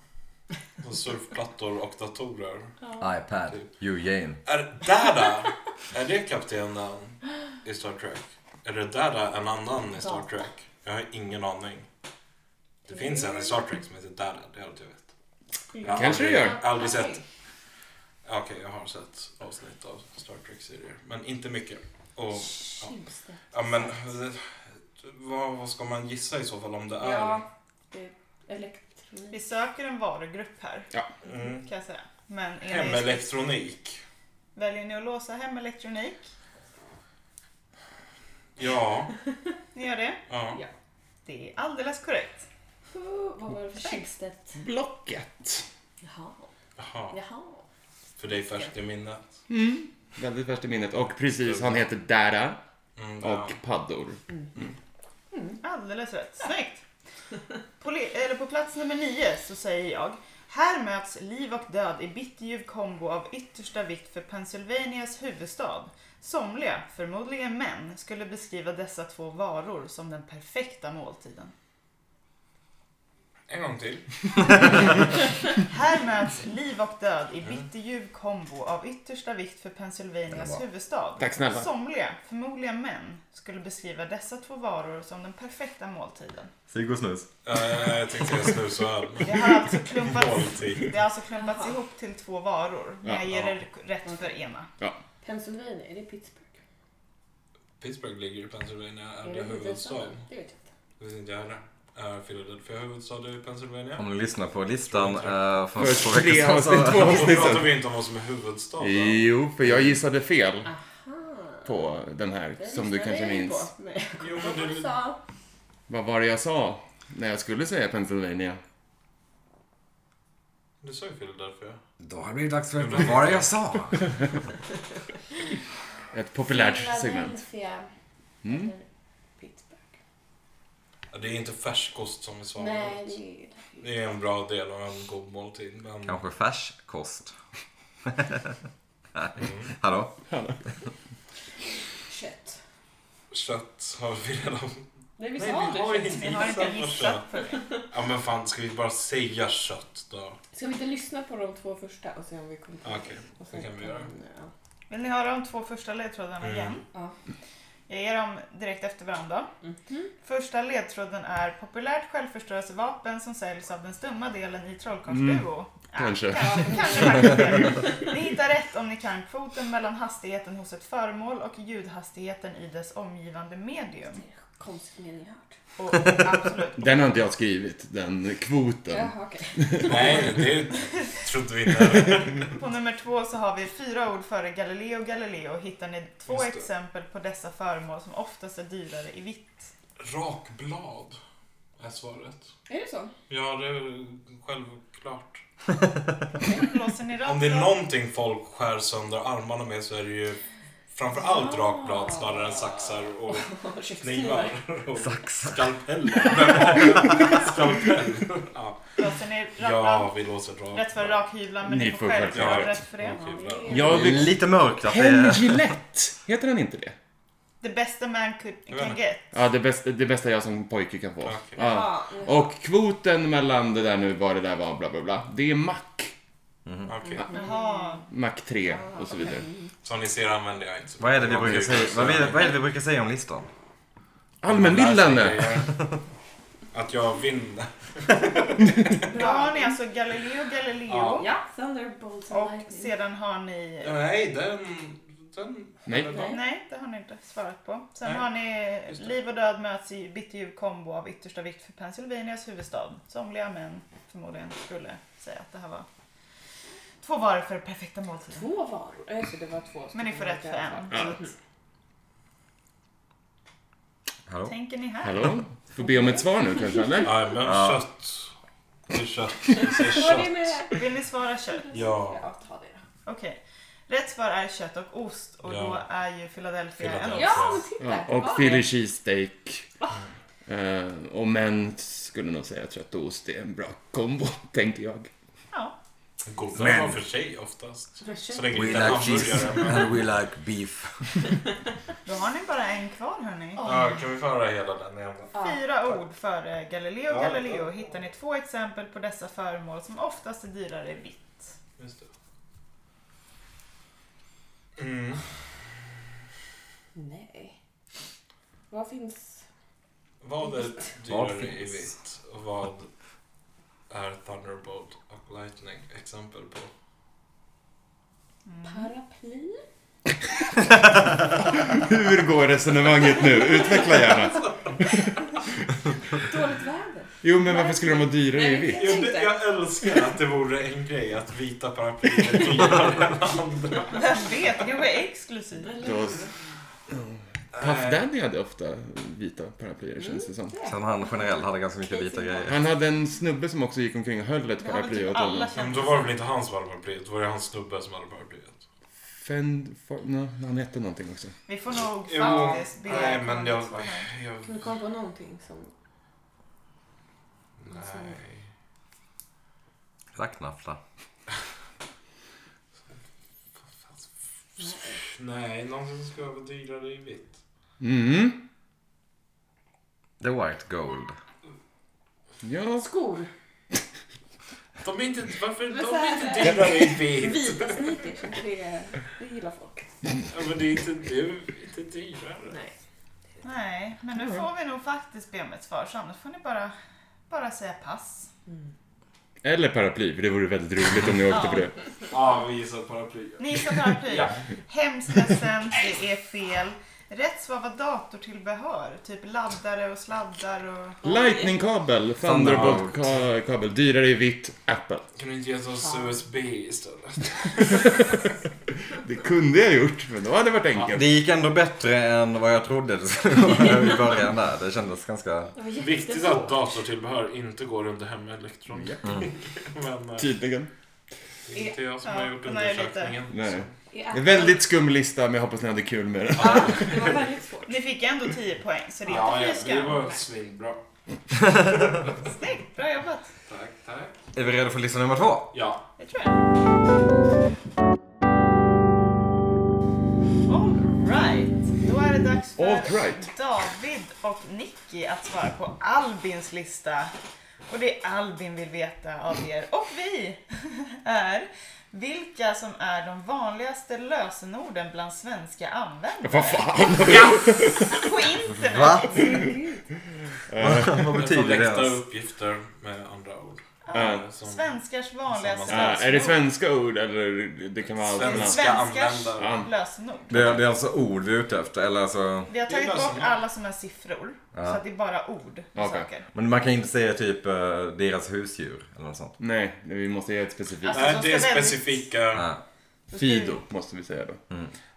D: Och surfplattor och datorer.
C: iPad. Eugene.
D: Är Dada, är det kaptenen i Star Trek? Är det Dada en annan i Star Trek? Jag har ingen aning. Det finns en i Star Trek som heter Dada, det är allt jag vet. Jag har
B: Kanske det
D: aldrig-
B: gör.
D: Aldrig sett. Okej, jag har sett avsnitt av Star Trek-serier, men inte mycket. Och,
E: Schibsted.
D: ja, men, eh, vad, vad ska man gissa i så fall om det är?
E: Ja, det är
A: Vi
E: elektronik.
A: söker en varugrupp här,
D: Mm.
A: kan jag säga. Men är ni,
D: Hemelektronik.
A: väljer ni att låsa hem elektronik?
D: Ja,
A: Ni gör det?
D: ja.
A: Det är alldeles korrekt.
E: Oh, Vad var det för Schibsted?
B: Blocket.
E: Jaha.
D: Jaha.
E: Jaha.
D: För dig färskt i minnet.
B: Väldigt färskt i minnet. Och precis, han heter Dara
D: Mm, ja.
B: och Paddor.
A: Alldeles rätt. Snyggt! På, le- eller på plats nummer nio så säger jag Här möts liv och död i bitterljuv kombo av yttersta vikt för Pennsylvanias huvudstad. Somliga, förmodligen män, skulle beskriva dessa två varor som den perfekta måltiden.
D: En gång till.
A: Här möts liv och död i bitterljuv kombo av yttersta vikt för Pennsylvanias huvudstad.
B: Tack snälla.
A: Somliga, förmodligen män, skulle beskriva dessa två varor som den perfekta måltiden.
C: Sig och snus.
D: Eh, jag tänkte jag snusöl.
A: Det har alltså klumpats
D: Måltid.
A: Det har alltså klumpats
E: Jaha.
A: ihop till två varor. Men jag ger
D: Ja.
A: er rätt för ena.
E: Pennsylvania, är det Pittsburgh?
D: Pittsburgh ligger i Pennsylvania. Är
E: Är
D: det
E: det
D: huvudstad?
E: huvudstaden? Det vet
D: Det
E: jag inte.
D: vet inte jag heller. Är Philadelphia huvudstad i Pennsylvania?
C: Om ni lyssnar på listan eh, från två
B: För tre
C: veckor
B: avsnitt,
C: sedan.
B: två
D: Då
B: avsnitt
D: pratar
B: sedan.
D: vi inte om vad som är huvudstad. va?
B: Jo, för jag gissade fel
E: Aha.
B: på den här,
E: Ah, Det
B: som du
E: lyssnade
B: kanske
E: jag ju
B: minns.
E: på, men jag
D: Jo,
E: kommer
D: men
E: ihåg vad du
D: det,
E: sa.
B: Vad var det jag sa när jag skulle säga Pennsylvania?
D: du sa ju Philadelphia.
C: Då har det blivit dags för Vad var det jag sa?
B: Ett populärt segment.
E: Philadelphia.
B: Mm.
E: Eller Pittsburgh.
D: Ja, Det är inte färskost som är
E: Nej,
D: svaret.
E: det är
D: Det är en bra del av en god måltid. Men...
C: Kanske färskost.
D: Mm.
C: Hallå?
E: kött.
D: Kött har vi redan...
E: Nej, vi
D: Nej, vi
E: sa
D: har
E: det.
D: inte-
E: kött.
A: Ni har inte
D: Gissa på
A: gissat på det.
D: Ja men fan, ska vi bara säga kött då?
E: Ska vi inte lyssna på de två första och se om vi kommer på
D: Okej, det kan vi göra.
A: Vill ni höra de två första ledtrådarna
D: Mm.
A: igen?
E: Ja.
A: Jag ger dem direkt efter varandra. Första ledtråden är populärt självförstörelsevapen som säljs av den stumma delen i trollkarlsduo.
D: Mm.
A: Ja,
B: kanske.
A: kanske, kanske faktiskt det. Ni hittar rätt om ni kan kvoten mellan hastigheten hos ett föremål och ljudhastigheten i dess omgivande medium.
E: Konstigt mening jag hört.
A: Och, absolut.
B: Den har inte jag skrivit, den kvoten.
E: Jaha, okej.
D: Nej, det trodde vi inte heller.
A: På nummer två så har vi fyra ord före Galileo Galileo hittar ni två
D: Just det.
A: exempel på dessa föremål som oftast är dyrare i vitt.
D: Rakblad är svaret.
E: Är det så?
D: Ja, det är självklart.
A: Låser ni rakt
D: Om det är
A: av?
D: någonting folk skär sönder armarna med så är det ju Framförallt
E: Ah.
D: rakblad snarare än saxar och knivar. Och
C: Saxar.
D: skalpeller. Vem har Skalpell. Ja.
A: Låser ni
D: ja,
A: rakblad?
D: vi låser rakblad.
A: Rätt för rakhyvlar, men ni får själv
B: självklart
A: ha
D: rätt.
A: rätt för det.
D: Rakhyvlar.
B: Jag vill...
C: Lite mörkt att det
B: Henry
C: är...
B: Gillette! Heter han inte det?
A: The best a man could,
D: Jag vet
A: can
D: inte.
A: get.
B: Ja, det bästa, det bästa jag som pojke kan få.
D: Okej.
B: Ja. Och kvoten mellan det där nu, vad det där var, bla bla bla. Det är Mac.
D: Okej.
A: Jaha.
B: Mac 3 och så vidare.
D: Som ni ser använder jag inte så
C: Vad är det vi
D: mycket.
C: brukar säga, vad är det, vad är det vi brukar säga om listan?
B: Allmänbildande!
D: Att jag vinner.
A: Då har ni alltså Galileo Galileo.
D: Ja.
E: Ja, Thunderbolts and
A: Och
E: Lightning.
A: sedan har ni...
D: Nej, den... den
B: Nej.
D: den-
E: Nej.
A: Nej, det har ni inte svarat på. Sen
D: Nej.
A: har ni
D: Just det.
A: Liv och död möts i bitterljuv kombo av yttersta vikt för Pennsylvanias huvudstad. Somliga män förmodligen skulle säga att det här var två varor för perfekta måltiden.
E: Två varor. Eh, Så det var två
A: Men ni får rätt för en. Så att-
C: Hallå?
A: Tänker ni här?
B: Hallå? Får be om ett svar nu kanske, eller?
D: Nej, men
C: Ja.
D: kött. Det är kött. Jag säger
E: Var det
D: kött.
E: med?
A: Vill ni svara kött?
D: Ja.
E: Ja, ta det då.
A: Okej. Rätt svar är kött och ost och
D: Ja.
A: då är ju Philadelphia en
D: Philadelphia.
E: Ja, men titta.
B: Ja, och
E: det var
B: Philly cheesesteak. Eh, och män skulle nog säga trött och ost är en bra kombo, tänker jag.
A: Ja.
D: Goda
C: Men-
D: var för sig oftast.
E: För sig.
D: Så länge
C: We
D: det inte
C: like
D: är
C: cheese
D: hamburgare. men-
C: and we like beef.
A: Då har ni bara en kvar hörni.
D: Ja, kan vi få höra hela den igen då?
E: Ja.
A: Fyra ord före Galileo
D: Ja.
A: Galileo hittar ni två exempel på dessa föremål som oftast är dyrare vitt.
D: Just det. Mm.
E: Nej. Vad finns?
D: Vad är
C: Vad
D: dyrare i
C: finns?
D: vitt? Och vad är Thunderbolt och Lightning exempel på?
A: Mm.
E: Paraply?
B: Hur går resonemanget nu? Utveckla gärna.
E: Dåligt väder?
B: Jo, men varför skulle de vara dyrare i vitt?
D: Jag, jag älskar att det vore en grej att vita paraplyer är dyrare än andra.
A: Vem vet, det kanske är exklusivt.
E: Eller
B: Det var-
E: hur?
B: Puff Daddy hade ofta vita paraplyer, känns det som.
C: Som han generellt hade ganska mycket vita grejer.
B: Han hade en snubbe som också gick omkring och höll ett
A: Det har väl
B: paraply
A: typ
B: åt
A: alla
B: honom.
D: Men
A: känt.
D: då var det väl inte han som hade paraplyet, då var det hans snubbe som hade paraplyet.
B: Fend... For, no, han hette någonting också.
A: Vi får nog
D: Jo,
A: faktiskt be
D: nej men jag...
E: Kan du
D: jag
E: komma på någonting som...
D: nej.
C: Lacknaffla.
D: Nej, någonting som skulle vara dyrare i vitt.
B: Mm.
C: The white gold.
B: Ja.
E: Skor?
D: De är inte, varför, de
E: Men så här
D: är
E: är
D: inte
E: det.
D: dyrare i vitt.
E: Vita sneakers? inte Det, det gillar folk.
D: Ja, men det är inte, det är inte dyrare.
E: Nej.
A: Nej, men nu får vi nog faktiskt be om ett svar så annars får ni bara, bara säga pass.
B: Eller paraply, för det vore väldigt roligt om ni åkte på det.
D: Ja, vi gissar paraply.
A: Ni som paraply.
D: Ja.
A: Hemskt ledsen, det är fel. Rätt svar var datortillbehör, typ laddare och sladdar och...
B: Lightning-kabel, Thunderbolt-kabel, dyrare i vitt, Apple.
D: Kan du inte ge oss USB istället?
B: Det kunde jag gjort, men då hade det varit enkelt.
C: Det gick ändå bättre än vad jag trodde det skulle vara i början där. Det kändes ganska...
E: Det var jättesvårt.
D: Viktigt att datortillbehör inte går under hemelektronik. Men eh,
B: Tydligen.
D: det är inte jag som
A: Ja,
D: har gjort
A: den har jag lite.
D: undersökningen.
B: Nej.
E: I
B: Det är
E: Apple-
B: en väldigt skum lista, men jag hoppas ni hade kul med den.
E: Ja, det var väldigt svårt.
A: Ni fick ändå 10 poäng så det är
D: Ja, ja,
A: inte fy
D: det
A: skam.
D: var svinbra.
A: Snyggt, bra jobbat.
D: Tack, tack.
C: Är vi redo för lista nummer två?
D: Ja.
A: Det tror jag. Alright, då är det dags för
B: All right.
A: David och Nicky att svara på Albins lista. Och det Albin vill veta av er och vi är vilka som är de vanligaste lösenorden bland svenska användare
B: Vad fan?
A: på internet.
C: Va? Vad
D: Jag får
C: betyder det
D: läxa
C: ens?
D: uppgifter med andra ord.
B: Ja.
D: Eh, som
A: Svenskars vanligaste
D: Samma
B: Äh,
A: lösenord.
B: är det svenska ord eller det kan vara allt
D: Svenska
B: annat?
A: Svenskars
D: användare.
A: lösenord.
C: Det är, det är alltså ord vi är ute efter, eller alltså...
A: Vi har
D: Det är
A: tagit bort
D: lösenord.
A: alla som är siffror.
C: Ja.
A: Så att det är bara ord och
B: Okej.
A: saker.
C: Men man kan inte säga typ eh, deras husdjur eller något sånt.
B: Nej, vi måste ge ett specifikt.
A: Alltså,
D: Nej,
A: de
D: det är
A: ska väldigt-
D: specifika.
C: Ah.
B: Fido måste vi säga då.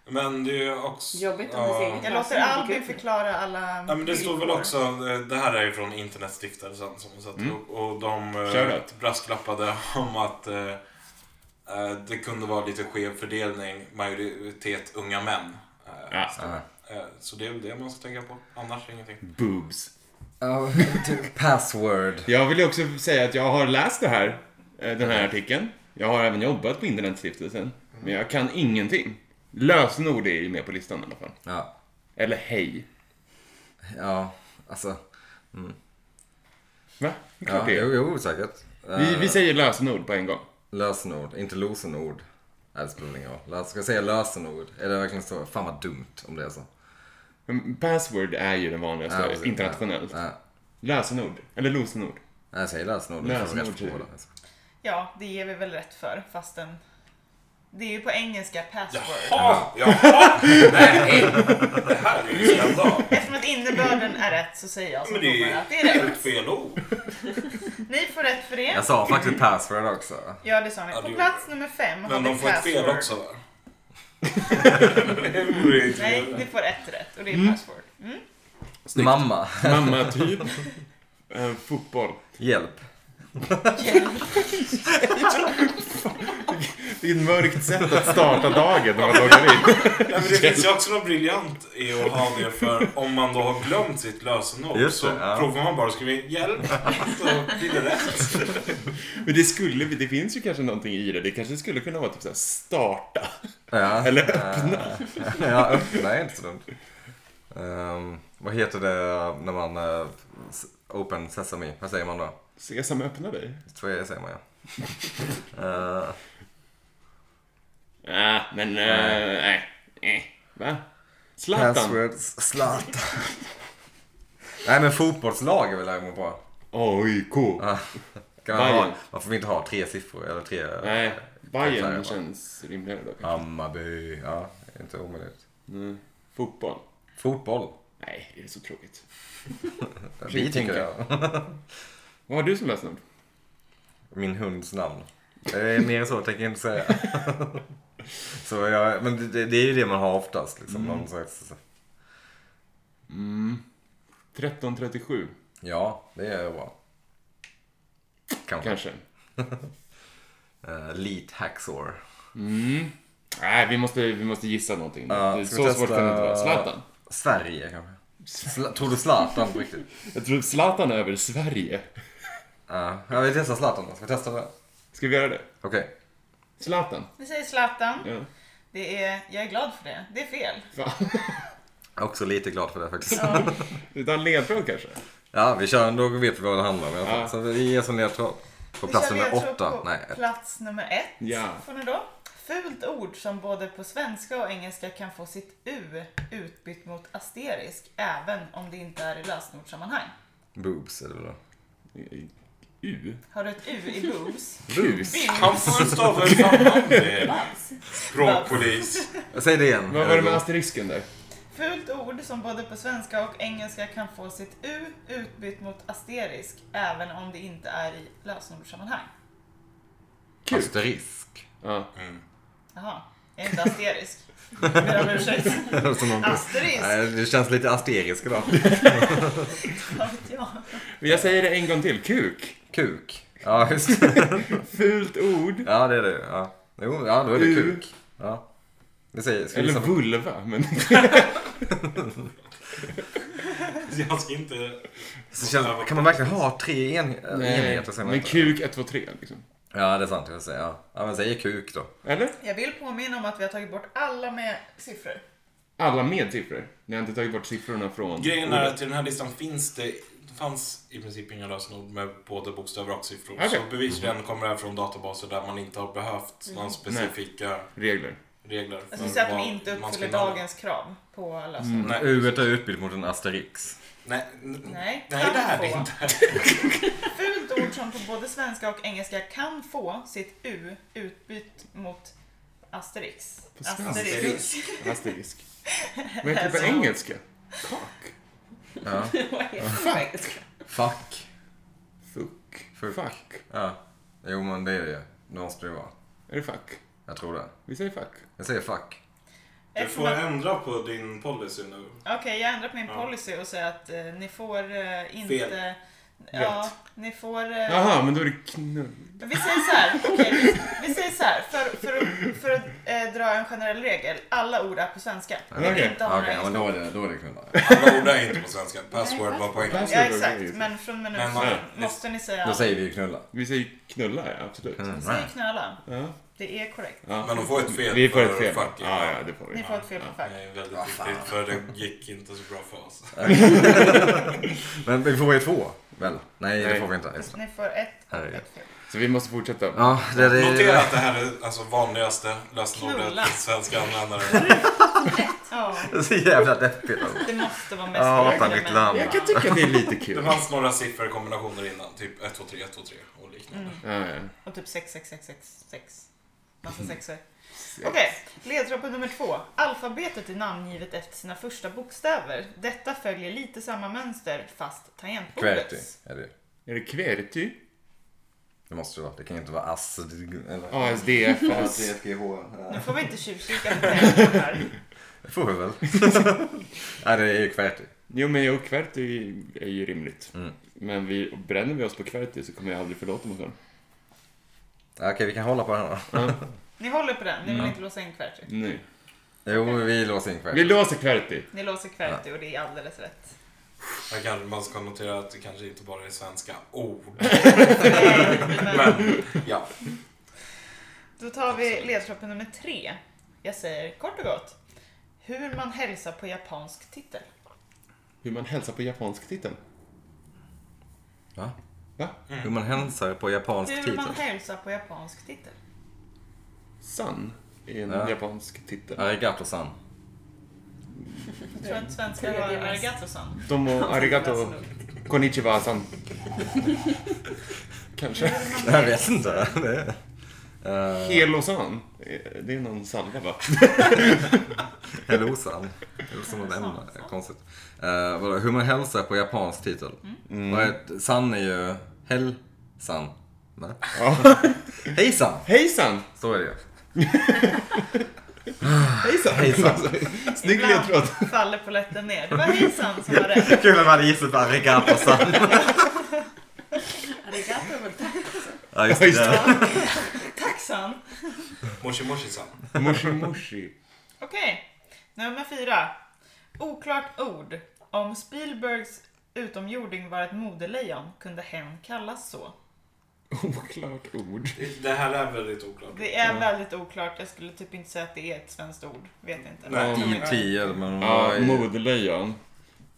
D: Men det är ju också...
E: Jobbigt om vi
D: ja.
E: säger-
A: Jag låter
E: Lösenord,
A: Albin
E: gud.
A: förklara alla...
D: Ja, men det står väl också, eh, det här är ju från internetstiftelsen som har satt
B: Mm.
D: ihop och de eh,
B: Shoutout.
D: brasklappade om att eh, eh, det kunde vara lite skev fördelning, majoritet unga män. Eh,
B: Ja.
C: Ja.
D: eh, Så det är väl det man ska tänka på. Annars ingenting.
B: Boobs.
C: Ja, typ password.
B: Jag vill ju också säga att jag har läst det här, eh, den här artikeln. Jag har även jobbat på Internetstiftelsen. Men jag kan ingenting. Lösenord är ju med på listan i alla fall.
C: Ja,
B: Eller hej.
C: ja alltså.
B: Va? Det är
C: Ja,
B: klart det
C: jo,
B: är.
C: jo, säkert.
B: Vi,
C: Eh,
B: vi säger lösenord på en gång.
C: Lösenord, inte losenord. Nej, det spelar ingen roll. Lös- Ska jag säga lösenord? Är det verkligen så? Fan vad dumt om det är så.
B: Men Password är ju den vanligaste
C: Ja, precis.
B: internationellt.
C: Nej,
B: Lösenord. Eller losenord.
C: nej, jag säger lösenord. Det får vi rätt
B: Lösenord, typ.
C: på då.
A: Ja, det ger vi väl rätt för fastän det är ju på engelska password.
D: Jaha! Jaha! Nej! Det här är ju skandal.
A: Eftersom att innebörden är rätt så säger jag som
D: Men det
A: domare
D: är
A: att det är
D: ju
A: rätt.
D: fel ord.
A: Ni får rätt för det.
C: Jag sa faktiskt password också.
A: Ja, det sa ni.
D: Ja,
A: På
D: det-
A: plats nummer fem har
D: Men
A: vi
D: de får ett fel
A: password.
D: också va? Det vore ju
A: Nej,
D: trevligt.
A: ni får ett rätt och det är password. Mm.
B: Snyggt.
C: Mamma,
B: Mamma, typ. Eh, fotboll.
C: hjälp.
B: Det är ett mörkt sätt att starta dagen när man loggar in.
D: Nej, men det finns ju också något briljant i att ha det för om man då har glömt sitt lösenord
C: Just
D: så
C: det, ja.
D: provar man bara att skriva in hjälp så blir det rätt.
B: Men det skulle, det finns ju kanske någonting i det. Det kanske skulle kunna vara typ såhär starta.
C: Ja.
B: Eller
C: öppna. ja, öppna är inte så dumt. Ehm, vad heter det när man eh, s- open sesame? Vad säger man då?
B: Sesam öppna dig.
C: Tror jag det säger man ja. Eh,
B: Nej, Ah, men eh, nej. Eh, Va? Zlatan.
C: passwords, Zlatan. Nej men fotbollslag är väl däremot bra.
B: AIK.
C: Kan man, ha,
B: Bayern.
C: man får inte ha tre siffror eller tre.
B: Nej,
C: Kanske,
B: Bayern
C: va?
B: känns rimligare då. kanske.
C: Hammarby. Ja, inte omöjligt.
B: Mm. Fotboll.
C: Fotboll.
B: Nej, det är så tråkigt.
C: Vi tycker det.
B: Vad har du som lösenord?
C: Min hunds namn. Det är mer än så tänker jag inte säga. så jag, men det- det, det är ju det man har oftast. Liksom, någon slags,
B: 1337,
C: ja, det är bra. Kanske.
B: kanske.
C: Eh, Leet Haxor.
B: Mm. Nej, vi måste, vi måste gissa någonting.
C: Ja,
B: det är
C: ska
B: så
C: vi
B: svårt
C: testa-
B: kan det inte vara. Zlatan.
C: Sverige kanske. Sla, tror du Zlatan på riktigt?
B: Jag tror Zlatan är över Sverige.
C: Ja, jag vill testa Zlatan då. Ska vi testa det?
B: Ska vi göra det?
C: Okej.
B: Zlatan.
A: Ni säger Zlatan.
B: Ja.
A: Det är, jag är glad för det. Det är fel.
B: Fan.
C: Jag är också lite glad för det faktiskt. Ja,
A: Ja.
B: Utan ledtråd kanske?
C: vi kör ändå och vet vi vad det handlar om i alla fall.
B: Ja.
C: Så vi ger som ledtråd. På
A: Vi
C: plats
A: kör
C: nummer
A: ledtråd
C: åtta.
A: på
C: Nej, ett.
A: Plats nummer ett
B: Ja.
A: får ni då. Fult ord som både på svenska och engelska kan få sitt U utbytt mot asterisk även om det inte är i lösenordssammanhang.
C: boobs är det väl då.
B: U?
A: Har du ett U i boobs?
B: Bus?
D: Han får en stav för fan det är
E: Babs.
D: Språkpolis.
C: Säg det igen.
B: Vad var det med asterisken där?
A: Fult ord som både på svenska och engelska kan få sitt U utbytt mot asterisk även om det inte är i lösenordssammanhang.
B: Kuk.
C: Asterisk.
B: Ja.
C: Mm.
A: Jaha, jag är inte asterisk. Jag ber om ursäkt.
C: Som någon-
A: Asterisk,
C: Nej, det känns lite asterisk idag.
A: vad vet jag.
B: Men jag säger det en gång till. Kuk.
C: Kuk. Ja, just det.
B: Fult ord.
C: Ja, det är det. Ja, jo, ja då är det
B: U.
C: kuk. Ja. Vi säger, ska vi
B: Eller
C: gissa på-
B: vulva. Men
D: Jag ska inte...
C: Så känns, kan man verkligen ha tre en, enheter? säger man
B: Men
C: inte.
B: kuk 1, 2, 3 liksom.
C: Ja, det är sant. Jag säger, ja. ja, men säger kuk då.
B: Eller?
A: Jag vill påminna om att vi har tagit bort alla med siffror.
B: Alla med siffror. Ni har inte tagit bort siffrorna från
D: Grejen är
B: ordet.
D: att i den här listan finns det... det fanns i princip inga lösenord med både bokstäver och siffror.
B: Okej.
D: Så
C: Mm.
D: bevisligen kommer det här från databaser där man inte har behövt några specifika
B: Regler.
D: regler.
A: Jag
D: för
A: skulle säga Mm. Alltså, att
D: Mm, vad
A: de inte
D: man ska
A: uppfyller
D: innehålla.
A: dagens krav på lösenord.
B: Mm.
D: Nej.
C: U är utbild mot en asterix.
D: Nej,
A: Nej,
D: Mm. nej det här är
A: kan
D: inte.
A: Fult ord som på både svenska och engelska kan få sitt U utbytt mot asterix.
B: På svenska?
A: Asterisk.
B: Asterisk. Men jag
D: Alltså-
B: tror på engelska. Cock.
C: Ja.
E: Vad heter det?
C: Fuck.
B: Fuck.
C: Fuck.
B: Fuck.
C: Ja. Jo, men det är det ju. Det måste det ju vara.
B: Är det fuck?
C: Jag tror det.
B: Vi säger fuck.
C: Jag säger fuck.
D: Du
A: Eftersom
D: får
A: att-
D: ändra på din policy nu.
A: Okej, jag ändrar på min
D: Ja.
A: policy och säger att eh, ni får eh, inte...
D: Fel.
A: Ja, ni får... eh,
B: Jaha, men då är det knull.
A: Vi säger så här, okej, vi, vi säger så här för, för, att- för att eh, dra en generell regel. Alla ord är på svenska.
B: Okej.
A: Det är inte
C: Okej,
A: om okay,
C: men då är det, då är det knulla.
D: Alla ord är inte på svenska. Password var på engelska.
A: Ja, exakt. Men från minut
D: Men
A: så
D: man-
A: måste ni säga...
C: Då säger vi ju knulla.
B: Vi säger knulla, ja, absolut.
C: Mm.
A: Säg knöla.
B: Ja,
A: Det är korrekt.
B: ja.
D: Men de får ett fel
B: Vi får ett
D: för
B: fel.
D: fuck you.
B: Ja, ja, det får vi.
A: Ni får ett fel på
D: Det
A: fack.
D: är väldigt viktigt för det gick inte så bra för oss.
C: Men vi får ju två, väl? Nej, det
B: Nej.
C: får vi inte. Just det.
A: Ni får ett och
C: Herregud.
A: ett fel.
B: Så vi måste fortsätta.
C: Ja, det, det,
D: Notera att det här är alltså vanligaste lösenordet
A: Knulla.
D: till svenska användare.
A: Ja,
C: det är så jävla deppigt. alltså.
A: det måste vara mest
C: Ja,
A: korrekt,
C: fan, mitt
A: men-
C: lamm.
B: Jag kan tycka att det är lite kul.
D: Det fanns några sifferkombinationer innan, typ 1, 2, 3, 1, 2, 3 och liknande.
B: Ja, ja.
A: Och typ 66666. Massa sexor. Okej, ledtråd på nummer två. Alfabetet är namngivet efter sina första bokstäver. Detta följer lite samma mönster fast
C: Kväti
A: tangentbordets.
C: är det ju.
B: Är det kverty?
C: Det måste ju vara. Det kan ju inte vara ass. Eller...
A: alltså,
B: ASDFS?
A: Nu får vi inte tjuvkika på tangentbord här.
C: Det får vi väl. Nej, det är ju kväti.
B: Jo, men jo, kverty är ju rimligt.
C: Mm.
B: Men vi, bränner vi oss på kverty så kommer jag aldrig förlåta mig själv.
C: Ja, Okej, vi kan hålla på den här då.
A: Ni håller på den, ni vill inte låsa in kväti.
B: Nej.
C: Jo, vi låser in kväti.
B: Vi låser kverty.
A: Ni låser kväti och det är alldeles rätt.
D: Här kanske man ska notera att det kanske inte bara är svenska ord.
A: Mm. Nej, men
D: Ja.
A: då tar vi ledtråd på nummer tre. Jag säger kort och gott. Hur man hälsar på japansk titel.
B: Hur man hälsar på japansk titeln.
C: Va?
B: Va?
C: Hur man hälsar på japansk
A: Hur man
C: titel.
A: hälsar på japansk titel.
B: San är en
C: Ja.
B: japansk titel.
C: Arigato-san.
A: Jag tror att svenskar har Arigato-san.
B: De och arigato konnichiwa san. Kanske.
C: Jag vet inte. Det är... Eh,
B: Helosan. Eh, Det är någon salva va?
C: Hello-san. Det låter som något ämne. Konstigt. Eh, vadå, hur man hälsar på japansk titel.
A: Mm.
C: Vad är- San är ju... Hell-san. Nej. Hejsan!
B: Hejsan!
C: Så är det ju.
B: Hejsan!
C: Hejsan.
B: Snygg ledtråd.
A: Ibland faller polletten ner. Det var hejsan som var rätt.
C: Kul om man hade gissat på alltså. arigato-san.
E: Arigato är väl tack.
C: Ja, just
B: Ja, just
C: det.
A: Taxan.
D: Moshi Moshi-san.
B: Moshi moshi.
A: Okej, nummer fyra. Oklart ord. Om Spielbergs utomjording var ett modelejon kunde hen kallas så.
B: Oklart ord.
D: Det- Det här är väldigt oklart.
A: Det är väldigt oklart. Jag skulle typ inte säga att det är ett svenskt ord. Vet inte.
D: Nej.
C: Typ IT, eller men
B: Ja,
C: vad är-
B: modelejon.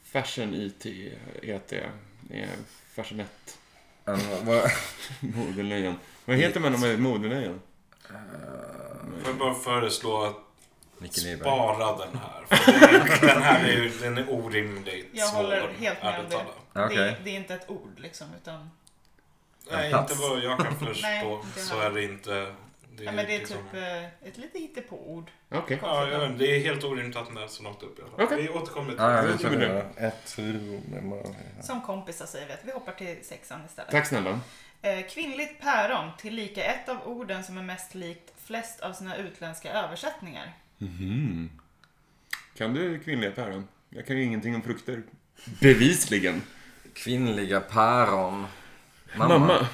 B: Fashion E IT, ET. eh, Fashionette.
C: en- vad-
B: Modelejon. Vad heter man om man är ett modelejon?
C: Eh,
D: Får jag bara föreslå att
C: Micke Nyberg.
D: spara den här. För den- Den här är ju den är orimligt
A: Jag
D: svår.
A: håller helt med om
D: ärligt
A: det.
D: talat.
A: Det,
C: Okej.
A: det är inte ett ord liksom, utan
D: Nej,
C: Plats.
D: inte vad jag kan
A: Nej,
D: förstå
A: inte
D: så
A: heller.
D: är det inte... Det
A: ja, men det är typ eh, ett lite hittepå-ord.
B: Okej.
D: Ja, jag vet, inte. det är helt orimligt att den är så långt upp i alla fall.
B: Okej.
D: Vi återkommer till
C: Ja,
D: det.
C: jag
B: Det
C: vet
B: tycker vi
C: inte. Ett huvudnummer.
A: Som kompisar säger vi att vi hoppar till sexan istället.
B: Tack snälla.
A: Eh, Kvinnligt päron, tillika ett av orden som är mest likt flest av sina utländska översättningar.
B: Kan du kvinnliga päron? Jag kan ju ingenting om frukter. Bevisligen.
C: Kvinnliga päron.
B: Mamma.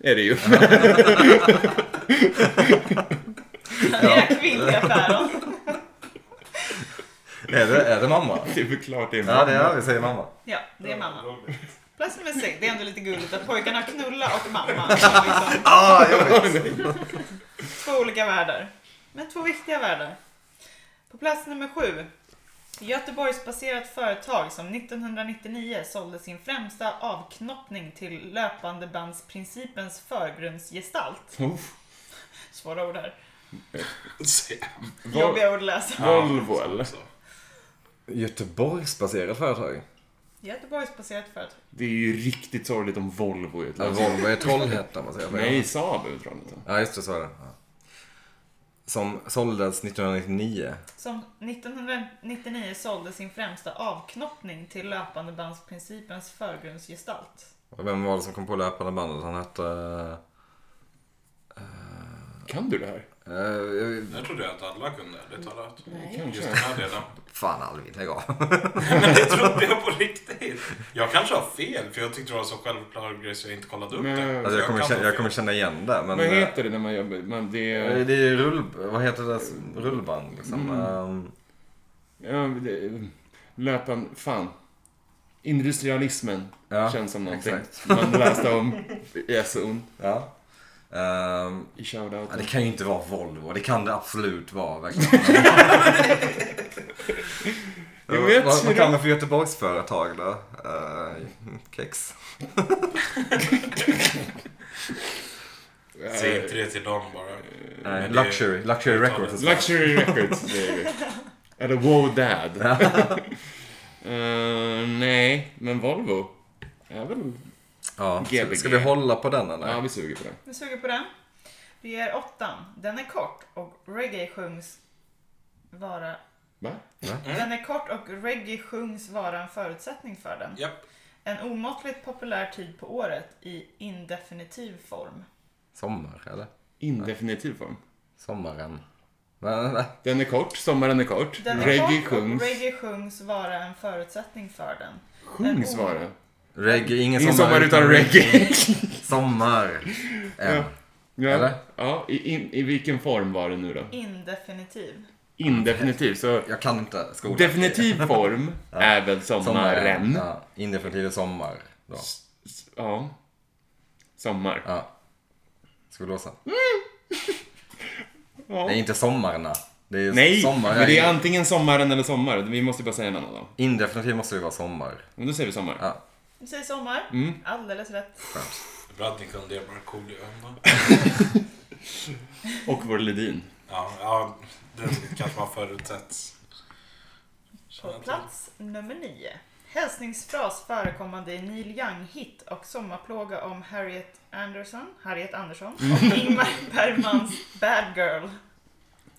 B: Är det ju.
A: Era kvinnliga päron.
C: Är det, är det mamma?
B: Det är väl klart det är
C: Ja,
B: mamma.
C: det är vi säger mamma.
A: Ja, det är mamma. Plats nummer sex, det är ändå lite gulligt att pojkarna knullar och mamma. Liksom.
C: Ah, jag vet.
A: Två olika världar. Men två viktiga världar. På plats nummer sju. Göteborgsbaserat företag som 1999 sålde sin främsta avknoppning till löpandebandsprincipens förgrundsgestalt.
B: Uff.
A: Svåra ord här.
D: Se. alltså.
B: Vol-
A: Jobbiga ord att läsa.
B: Volvo eller?
D: Så.
C: Göteborgsbaserat företag.
A: Göteborgsbaserat företag.
B: Det är ju riktigt sorgligt om Volvo är ett
C: Ja,
B: land.
C: Volvo är Trollhättan baserat på.
B: Nej, Saab är Trollhättan.
C: Ja, just det, så är det. Ja. Som såldes 1999.
A: Som 1999 sålde sin främsta avknoppning till löpandebandsprincipens förgrundsgestalt.
C: Och vem var det som kom på löpande bandet? Han hette...
B: Kan du det här?
C: Eh, jag-
D: Jag trodde att alla kunde, det talar ut.
E: Nej.
D: Just den här delen.
C: fan Alvin, lägg av.
D: Men det trodde jag på riktigt. Jag kanske har fel, för jag tyckte det var så självklar grej så jag inte kollade upp
B: Nej.
D: det.
C: Alltså, jag, kommer
D: kan
C: känna,
D: ha
C: jag
D: fel.
C: kommer känna igen det. Men,
B: Vad heter det när man jobbar? Man, det Mm.
C: eh,
B: är...
C: Det är ju rull... Vad heter det? Rullband liksom. Ehm,
B: Ja, det är löpan... Fan. Industrialismen
C: Ja,
B: känns som någonting
C: exakt.
B: man läste om i SO'n.
C: ja. Ehm,
B: I
C: ja, det
B: shoutouten.
C: kan ju inte vara Volvo. Det kan det absolut vara. Verkligen.
B: Jo, jag
C: vad,
B: tror
C: vad kan man för Göteborgsföretag då? Uh, kex.
B: Eh,
D: Säg inte det till dem bara.
C: Nej,
D: Men det-
C: Eh, luxury, luxury records. och sånt.
B: Luxury Records. det är det. Eller Wow Dad. Eh, nej, men Volvo är väl...
C: Ja, ska,
B: GBG.
C: ska vi hålla på den eller?
B: Ja, vi suger på det.
A: Vi suger på den. Det ger åttan. Den är kort och reggae sjungs vara...
B: Va?
A: Den är kort och reggae sjungs vara en förutsättning för den.
D: Japp.
A: En omåttligt populär tid på året i indefinitiv form.
C: Sommar eller?
B: Indefinitiv form.
C: Sommaren. Va, va?
B: Den är kort, sommaren är kort.
A: Den är
B: reggae
A: kort
B: sjungs.
A: och reggae sjungs vara en förutsättning för den.
B: Sjungs var det.
C: Reggae, ingen,
B: Ingen sommar utan reggae.
C: Sommar. Ehm, En.
B: ja.
C: Eller?
B: Ja, i, in, i vilken form var det nu då?
A: Indefinitiv.
B: Indefinitiv. Så
C: Jag kan inte skolan.
B: definitiv form är väl sommaren. Ja.
C: Ja, indefinitiv sommar. Då.
B: Sommar.
C: Ja. Ska vi låsa?
B: Mm.
C: Nej, inte sommarna. Det är
B: Nej,
C: sommar.
B: men det är antingen sommaren eller sommar. Vi måste bara säga en annan då.
C: Indefinitiv måste ju vara sommar.
B: Men då säger vi sommar.
C: Ja.
A: Du säger sommar.
B: Mm.
A: Alldeles rätt.
D: Bra att ni kunde det, Markoolio ändå.
B: Och vår Ledin.
D: Ja, ja, den kanske man förutsett.
A: På plats nummer nio. Hälsningsfras förekommande i Neil Young-hit och sommarplåga om Harriet Anderson, Harriet Andersson och Ingmar Bergmans Bad Girl.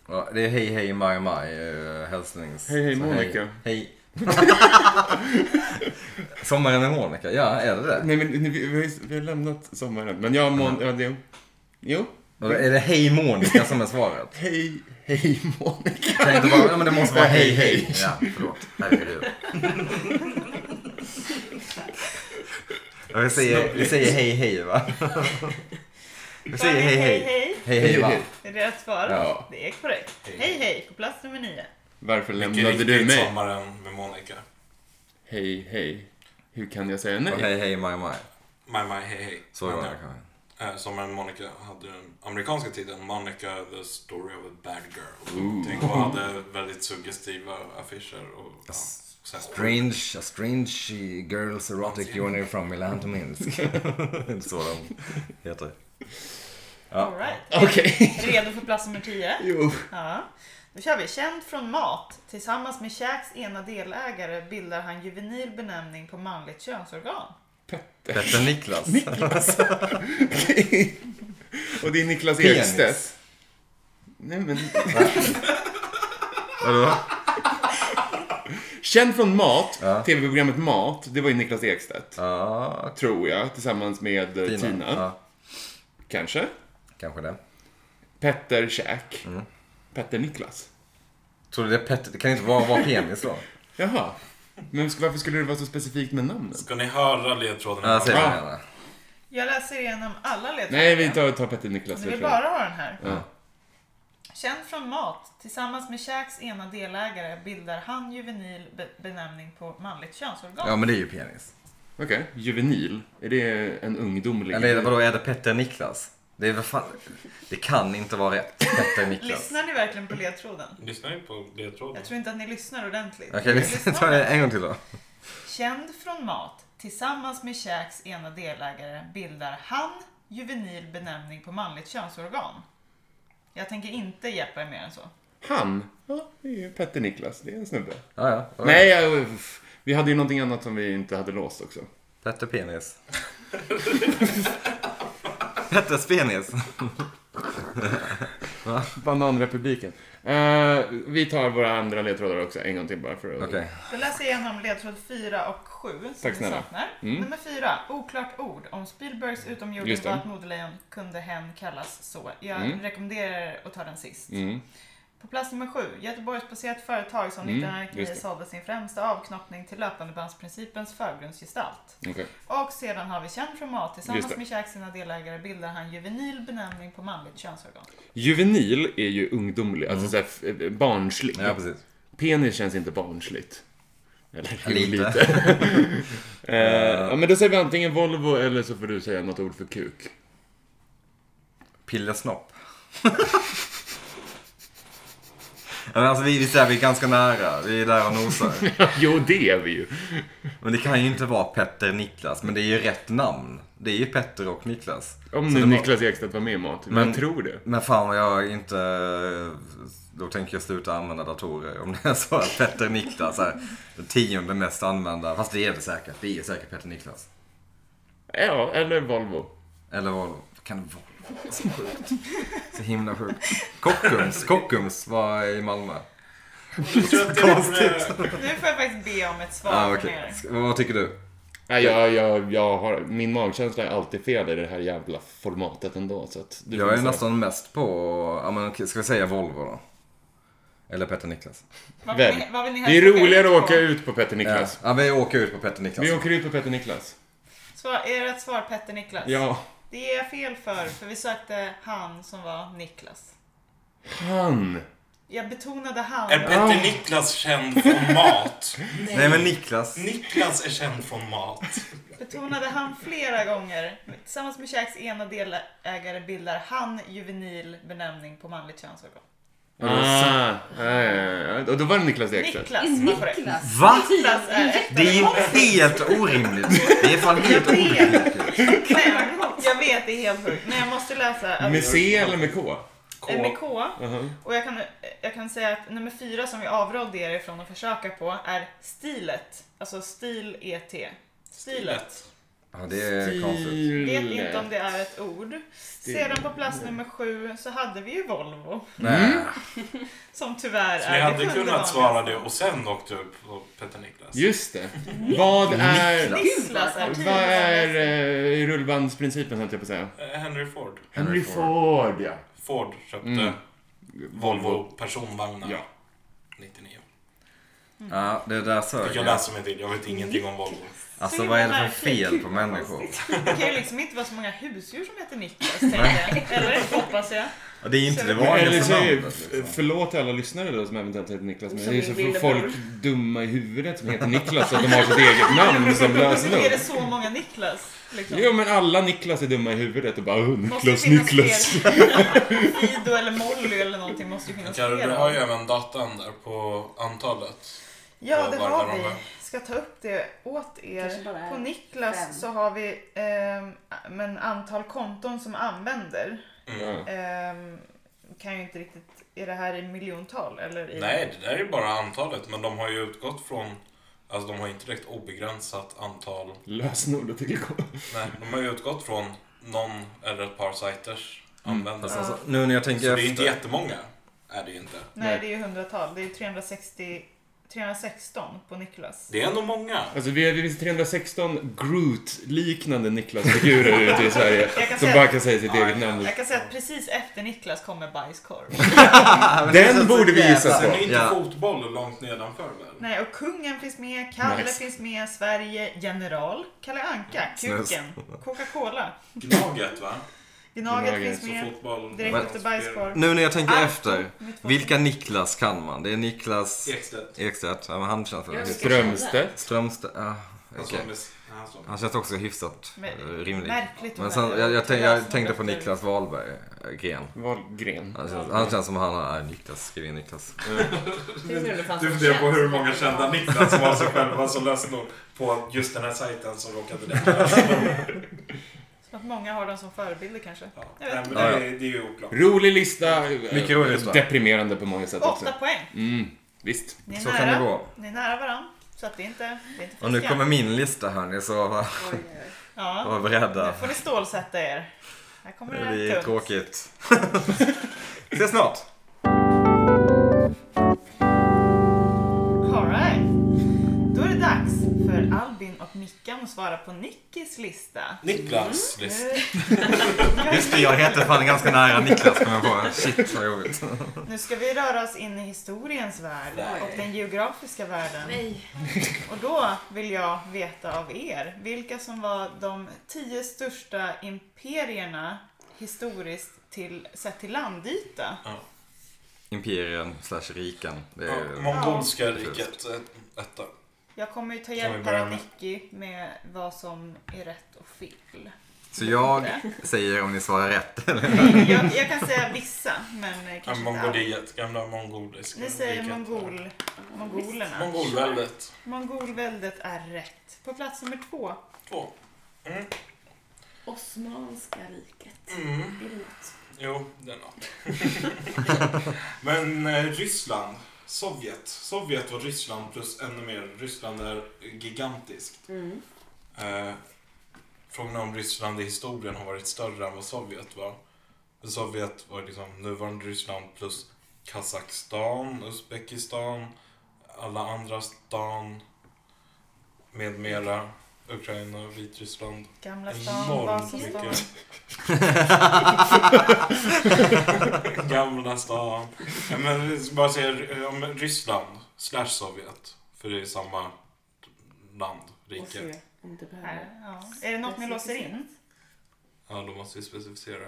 C: Ja, det är hej hej maj maj eh, hälsnings...
B: Hej, hej,
C: så
B: Monica.
C: Hej. Sommaren med Monica, ja är det det?
B: Nej men nu, vi, vi, har ju- vi har lämnat sommaren. Men jag mån... Ja, det, jo.
C: Och Är det hej Monica som är svaret?
B: Hej, hej Monica.
C: Kan inte bara, ja men det måste vara
B: Nej,
C: hej
B: hej,
C: hej. Ja, förlåt. Herregud. Ja, vi, säger, vi säger hej hej va? Vi säger hej hej.
A: hej.
C: Hej hej va?
B: Hej,
A: Är det rätt svar?
B: Ja.
A: Det är korrekt. Hej hej på plats nummer nio.
B: Varför lämnade
D: Mycket
B: du
D: riktigt
B: mig?
D: sommaren med Monica.
B: Hej, hej. Hur kan jag säga
C: Och
B: nej?
C: hej hej maj maj.
D: My, my, hej, hej.
C: Så var det
D: Men, eh, Sommaren med Monica hade den amerikanska titeln Monica the story of a bad girl. Tänk och hade väldigt suggestiva affischer och ja, sen-
C: Strange, a strange girls erotic journey from Milan to Minsk. Det är så de heter. Ja.
A: All right.
B: Okej.
A: Redo för plats nummer tio?
B: Jo.
A: Ja. Då kör vi. Känd från mat. Tillsammans med Käks ena delägare bildar han juvenil benämning på manligt könsorgan.
C: Petter Niklas.
B: Och det är Niklas
C: Penis.
B: Ekstedt. Nej men.
C: Vadå?
B: Känd från Mat,
C: Ja.
B: tv-programmet Mat, det var ju Niklas Ekstedt.
C: Ja,
B: Tror jag, tillsammans med eh, Tina.
C: Ja,
B: Kanske.
C: kanske det.
B: Petter Käk.
C: Mm.
B: Petter Niklas.
C: Tror du det är Petter? Det kan inte vara, vara penis då?
B: Jaha. Men sk- varför skulle det vara så specifikt med namnen?
D: Ska ni höra ledtråden?
C: Ja, säg det
B: Ja.
C: gärna.
A: Jag läser igenom alla ledtrådar.
B: Nej, vi tar, tar Petter Niklas
A: Du vill
B: först.
A: bara ha den här.
B: Ja.
A: Känd från mat. Tillsammans med Käks ena delägare bildar han juvenil be- benämning på manligt könsorgan.
C: Ja, men det är ju penis.
B: Okej, juvenil. Är det en ungdomlig?
C: Eller är det- vadå, är det Petter Niklas? Det är väl fan... Det kan inte vara rätt. Petter Niklas.
A: Lyssnar ni verkligen på ledtråden?
D: Lyssnar ni på ledtråden?
A: Jag tror inte att ni lyssnar ordentligt.
C: Okej, vi tar det en gång till då.
A: Känd från mat. Tillsammans med Käks ena delägare bildar han juvenil benämning på manligt könsorgan. Jag tänker inte hjälpa er mer än så.
B: Han? Ja, det är ju Petter Niklas. Det är en snubbe.
C: Ja, ja. ja.
B: Nej, jag, uff. vi hade ju någonting annat som vi inte hade låst också.
C: Petter Penis. Petters penis.
B: Bananrepubliken. Eh, Eh, vi tar våra andra ledtrådar också en gång till bara för att...
C: Okej.
A: Då läser jag igenom ledtråd 4 och 7 som
B: Tack
A: vi
B: snälla.
A: saknar.
B: Mm.
A: Nummer 4. Oklart ord. Om Spielbergs utomjording
B: Just det.
A: var ett modelejon kunde hen kallas så. Jag
B: Mm.
A: rekommenderar att ta den sist.
B: Mm.
A: På plats nummer 7. Göteborgsbaserat företag som
B: Mm,
A: 1999
B: just det.
A: sålde sin främsta avknoppning till löpandebandsprincipens förgrundsgestalt.
B: Okej.
A: Och sedan har vi känd från mat.
B: Just
A: Tillsammans
B: det.
A: med Jack sina delägare bildar han juvenil benämning på manligt könsorgan.
B: Juvenil är ju ungdomlig, alltså såhär f- eh, barnslig.
C: Mm. Ja, precis.
B: Penis känns inte barnsligt. Eller jo,
C: Lite.
B: lite. Eh, ja, men då säger vi antingen Volvo eller så får du säga något ord för kuk.
C: Pillesnopp. Ja, men alltså vi, vi, säger, vi är ganska nära, vi är där och nosar.
B: jo, det är vi ju.
C: Men det kan ju inte vara Petter Niklas, men det är ju rätt namn. Det är ju Petter och Niklas.
B: Om
C: Så
B: nu
C: det var-
B: Niklas Ekstedt var med i Mat. Mm. Men
C: Men-
B: jag tror det.
C: Men fan vad jag inte... Då tänker jag sluta använda datorer om det är så att Petter Niklas är den tionde mest använda. Fast det är det säkert. Det är säkert Petter Niklas.
B: Ja, eller Volvo.
C: Eller vad kan det vara? Så sjukt. Så himla sjukt. Kockums, Kockums var i Malmö.
D: Jag tror att det vore...
A: Nu får jag faktiskt be om ett svar
B: Ah,
C: Ja,
A: från
C: Ah, okej.
A: er.
C: Ska- Vad tycker du?
B: Nej, jag, jag, jag har, min magkänsla är alltid fel i det här jävla formatet ändå. Så att du får
C: Jag är
B: säga.
C: nästan mest på... Ja, men, okej, ska vi säga Volvo då? Eller Petter Niklas?
A: Vad vill
B: Välj.
A: ni, vad vill ni
B: Det är
A: helst
B: roligare att åka
A: på?
B: ut på Petter Niklas.
C: Ja, vi åker ut på Petter Niklas.
B: Vi åker ut på Petter Niklas.
A: Svar, är rätt svar Petter Niklas?
B: Ja.
A: Det är jag fel för, för vi sökte han som var Niklas.
B: Han.
A: Jag betonade han.
D: Är Petter Niklas känd från mat?
C: Nej, men Niklas.
D: Niklas är känd från mat.
A: Betonade han flera gånger. Tillsammans med Shacks ena delägare bildar han juvenil benämning på manligt könsorgan.
B: Ah, ja, ja, ja. Och då var det Niklas Ekstedt.
A: Niklas var korrekt.
E: Niklas.
C: Va?
A: Niklas är rätt.
C: Det är ju helt orimligt. Det är fan helt orimligt.
A: Men jag vet, det är helt sjukt. Men jag måste läsa. att-
B: Med C eller med K?
A: Eh, Med K. Och jag kan, jag kan säga att nummer fyra som vi avrådde er ifrån att försöka på är stilet. Alltså stil ET. Stilet.
C: Ja, det är konstigt.
A: Vet inte om det är ett ord. Sedan på plats nummer sju så hade vi ju Volvo.
C: Nej.
A: Som tyvärr
D: Ni
A: är
D: hade
A: sjunde
D: kunnat
A: vanligaste.
D: svara det och sen åkte du på Petter Niklas.
B: Just det. Vad är...
A: Niklas är
B: Vad är
A: tydligen
B: eh, rullbandsprincipen, höll jag på att säga?
D: Eh, Henry Ford.
B: Henry Ford, ja.
D: Ford köpte
B: Mm.
D: Volvo personvagnar
B: Ja.
D: 99.
C: Ja, det där sög
D: Jag
C: jag.
D: läser mig till, jag vet ingenting om Volvo.
C: Alltså vad är det för fel på människor?
A: Det kan ju liksom inte vara så många husdjur som heter Niklas, tänker jag. Eller hoppas jag.
C: Ja, Det är inte det
B: Eller
C: vanligaste
B: så
D: typ
B: är,
C: namnet.
B: f-
C: liksom.
B: förlåt alla lyssnare då som eventuellt heter Niklas, men
E: Som
B: det är så
E: min
B: för
E: lillebror.
B: folk dumma i huvudet som heter Niklas att de har sitt eget namn som
A: Hur är det
B: lösenord.
A: så många Niklas? Liksom?
B: Jo men alla Niklas är dumma i huvudet och bara "Åh,
A: Måste
B: Niklas,
A: finnas
B: Niklas.
A: fler. Fido eller Molly eller någonting måste ju finnas
D: Karo, du har ju
A: fler.
D: även datan där på antalet.
A: Ja, det
D: Vad
A: har
D: var det
A: vi.
D: de var?
A: Ska ta upp det åt
E: Kanske bara
A: er.
E: är
A: På Niklas
E: fem.
A: så har vi eh, men antal konton som använder.
D: Mm.
B: Ja.
A: Ehm, kan ju inte riktigt... Är det här i miljontal eller? I,
D: Nej, det där är ju bara antalet, men de har ju utgått från Alltså de har inte direkt obegränsat antal.
B: Lösenord och tillgång.
D: Nej, de har ju utgått från någon eller ett par sajters användare.
C: Fast alltså, nu när jag
D: Så det
C: tänker
D: är ju inte
C: efter.
D: jättemånga. Är det ju inte.
A: Nej, det är ju hundratal. Det är 360, 316 på Niklas.
D: Det är ändå många.
B: Alltså vi har vi finns 316 Groot-liknande Niklas-figurer ute i Sverige
A: Jag kan
B: som
A: säga-
B: bara kan säga sitt
D: Ja,
B: eget
D: ja.
B: namn.
A: Jag kan säga att precis efter Niklas kommer bajskorv.
B: Den borde vi gissa
D: Sen är
B: på.
D: ju inte
C: Ja.
D: fotboll långt nedanför väl?
A: Nej, och kungen finns med, Kalle
B: Nice.
A: finns med, Sverige, General, Kalle Anka,
C: Snus.
A: Kuken, Coca-Cola,
D: Gnaget va?
A: Gnaget
B: Gnaget,
A: finns
D: Så
A: med,
D: fotboll...
A: direkt
C: Men-
A: efter bajskorv.
C: Nu när jag tänker
A: Ah.
C: efter. Vilka Niklas kan man? Det är Niklas
D: Ekstedt.
C: Ekstedt. Ja, men han känns väl...
E: Jag-
B: Strömstedt.
C: Strömstedt. Ja,
D: Han
C: okej.
D: som är s- han som-
C: Han känns också hyfsat eh,
A: Men-
C: rimlig.
A: märkligt
C: Men
A: att
C: sen,
A: välja
C: jag, jag, tänk, jag
A: Niklas
C: tänkte på
A: som heter-
C: Niklas Wahlberg, eh, Gren.
B: Wahlgren.
C: Han känns, han känns som han är Niklas, skriv in Niklas.
A: Alltså,
D: Du funderar på hur många kända Niklas som har sig själva som lösenord på just den här sajten som råkade det.
A: Så att många har dem som förebilder kanske.
D: Ja.
A: Jag vet
D: Nej, men det,
C: Ja, ja.
D: är, det är ju oklart.
B: Rolig lista. eh,
C: Mycket rolig lista.
B: Deprimerande på många sätt också.
A: Åtta poäng.
B: Mm, visst.
A: Ni är,
C: Så kan det
A: nära.
C: gå.
A: Ni är nära varandra. Så att det är inte... Det är inte
C: Och nu
A: fiskar.
C: kommer min lista hörni, så var,
A: Ja,
C: var
A: nu
C: beredda.
A: får ni stålsätta er. Här kommer
C: Det är
A: det tungt.
C: tråkigt. Ses snart!
A: dags för Albin och Mickan att svara på Nickis lista.
D: Niklas
A: Mm.
D: list.
C: Just det, jag heter fan ganska nära Niklas kom jag på. Shit vad jobbigt.
A: Nu ska vi röra oss in i historiens värld
E: Nej.
A: och den geografiska världen.
E: Nej.
A: Och då vill jag veta av er vilka som var de tio största imperierna historiskt till, sett till landyta.
C: Imperien slash riken. Det är
D: Ja, Mongolska riket. ett- Etta.
A: Jag kommer ju ta
D: Kan vi
A: hjälp här
D: börja
A: av
D: med-
A: Nicky med vad som är rätt och fel.
C: Så jag säger om ni svarar rätt.
A: Nej, jag, jag kan säga vissa, men eh,
D: Ja,
A: kanske inte alla.
D: Mongoliet. Gamla mongoliska
A: Ni säger
D: riket.
A: mongol, mongolerna.
D: Mongolväldet.
A: Mongolväldet är rätt. På plats nummer två.
D: Två.
E: Osmanska riket.
D: Mm.
E: Det är något.
D: Jo, det är något. Men eh, Ryssland, Sovjet. Sovjet var Ryssland plus ännu mer. Ryssland är gigantiskt.
E: Mm.
D: Eh, frågan är om Ryssland i historien har varit större än vad Sovjet var. För Sovjet var liksom nuvarande Ryssland plus Kazakstan, Uzbekistan, alla andra stan med mera. Ukraina, Vitryssland.
A: Gamla stan,
D: Enormt
A: Vasastan.
D: mycket. Gamla stan. Ja, men bara säger om Ryssland slash Sovjet. För det är samma land,
E: Och
D: rike.
E: se om det behöver.
A: Här, ja. Är det något ni låser in?
D: Ja, då måste vi specificera.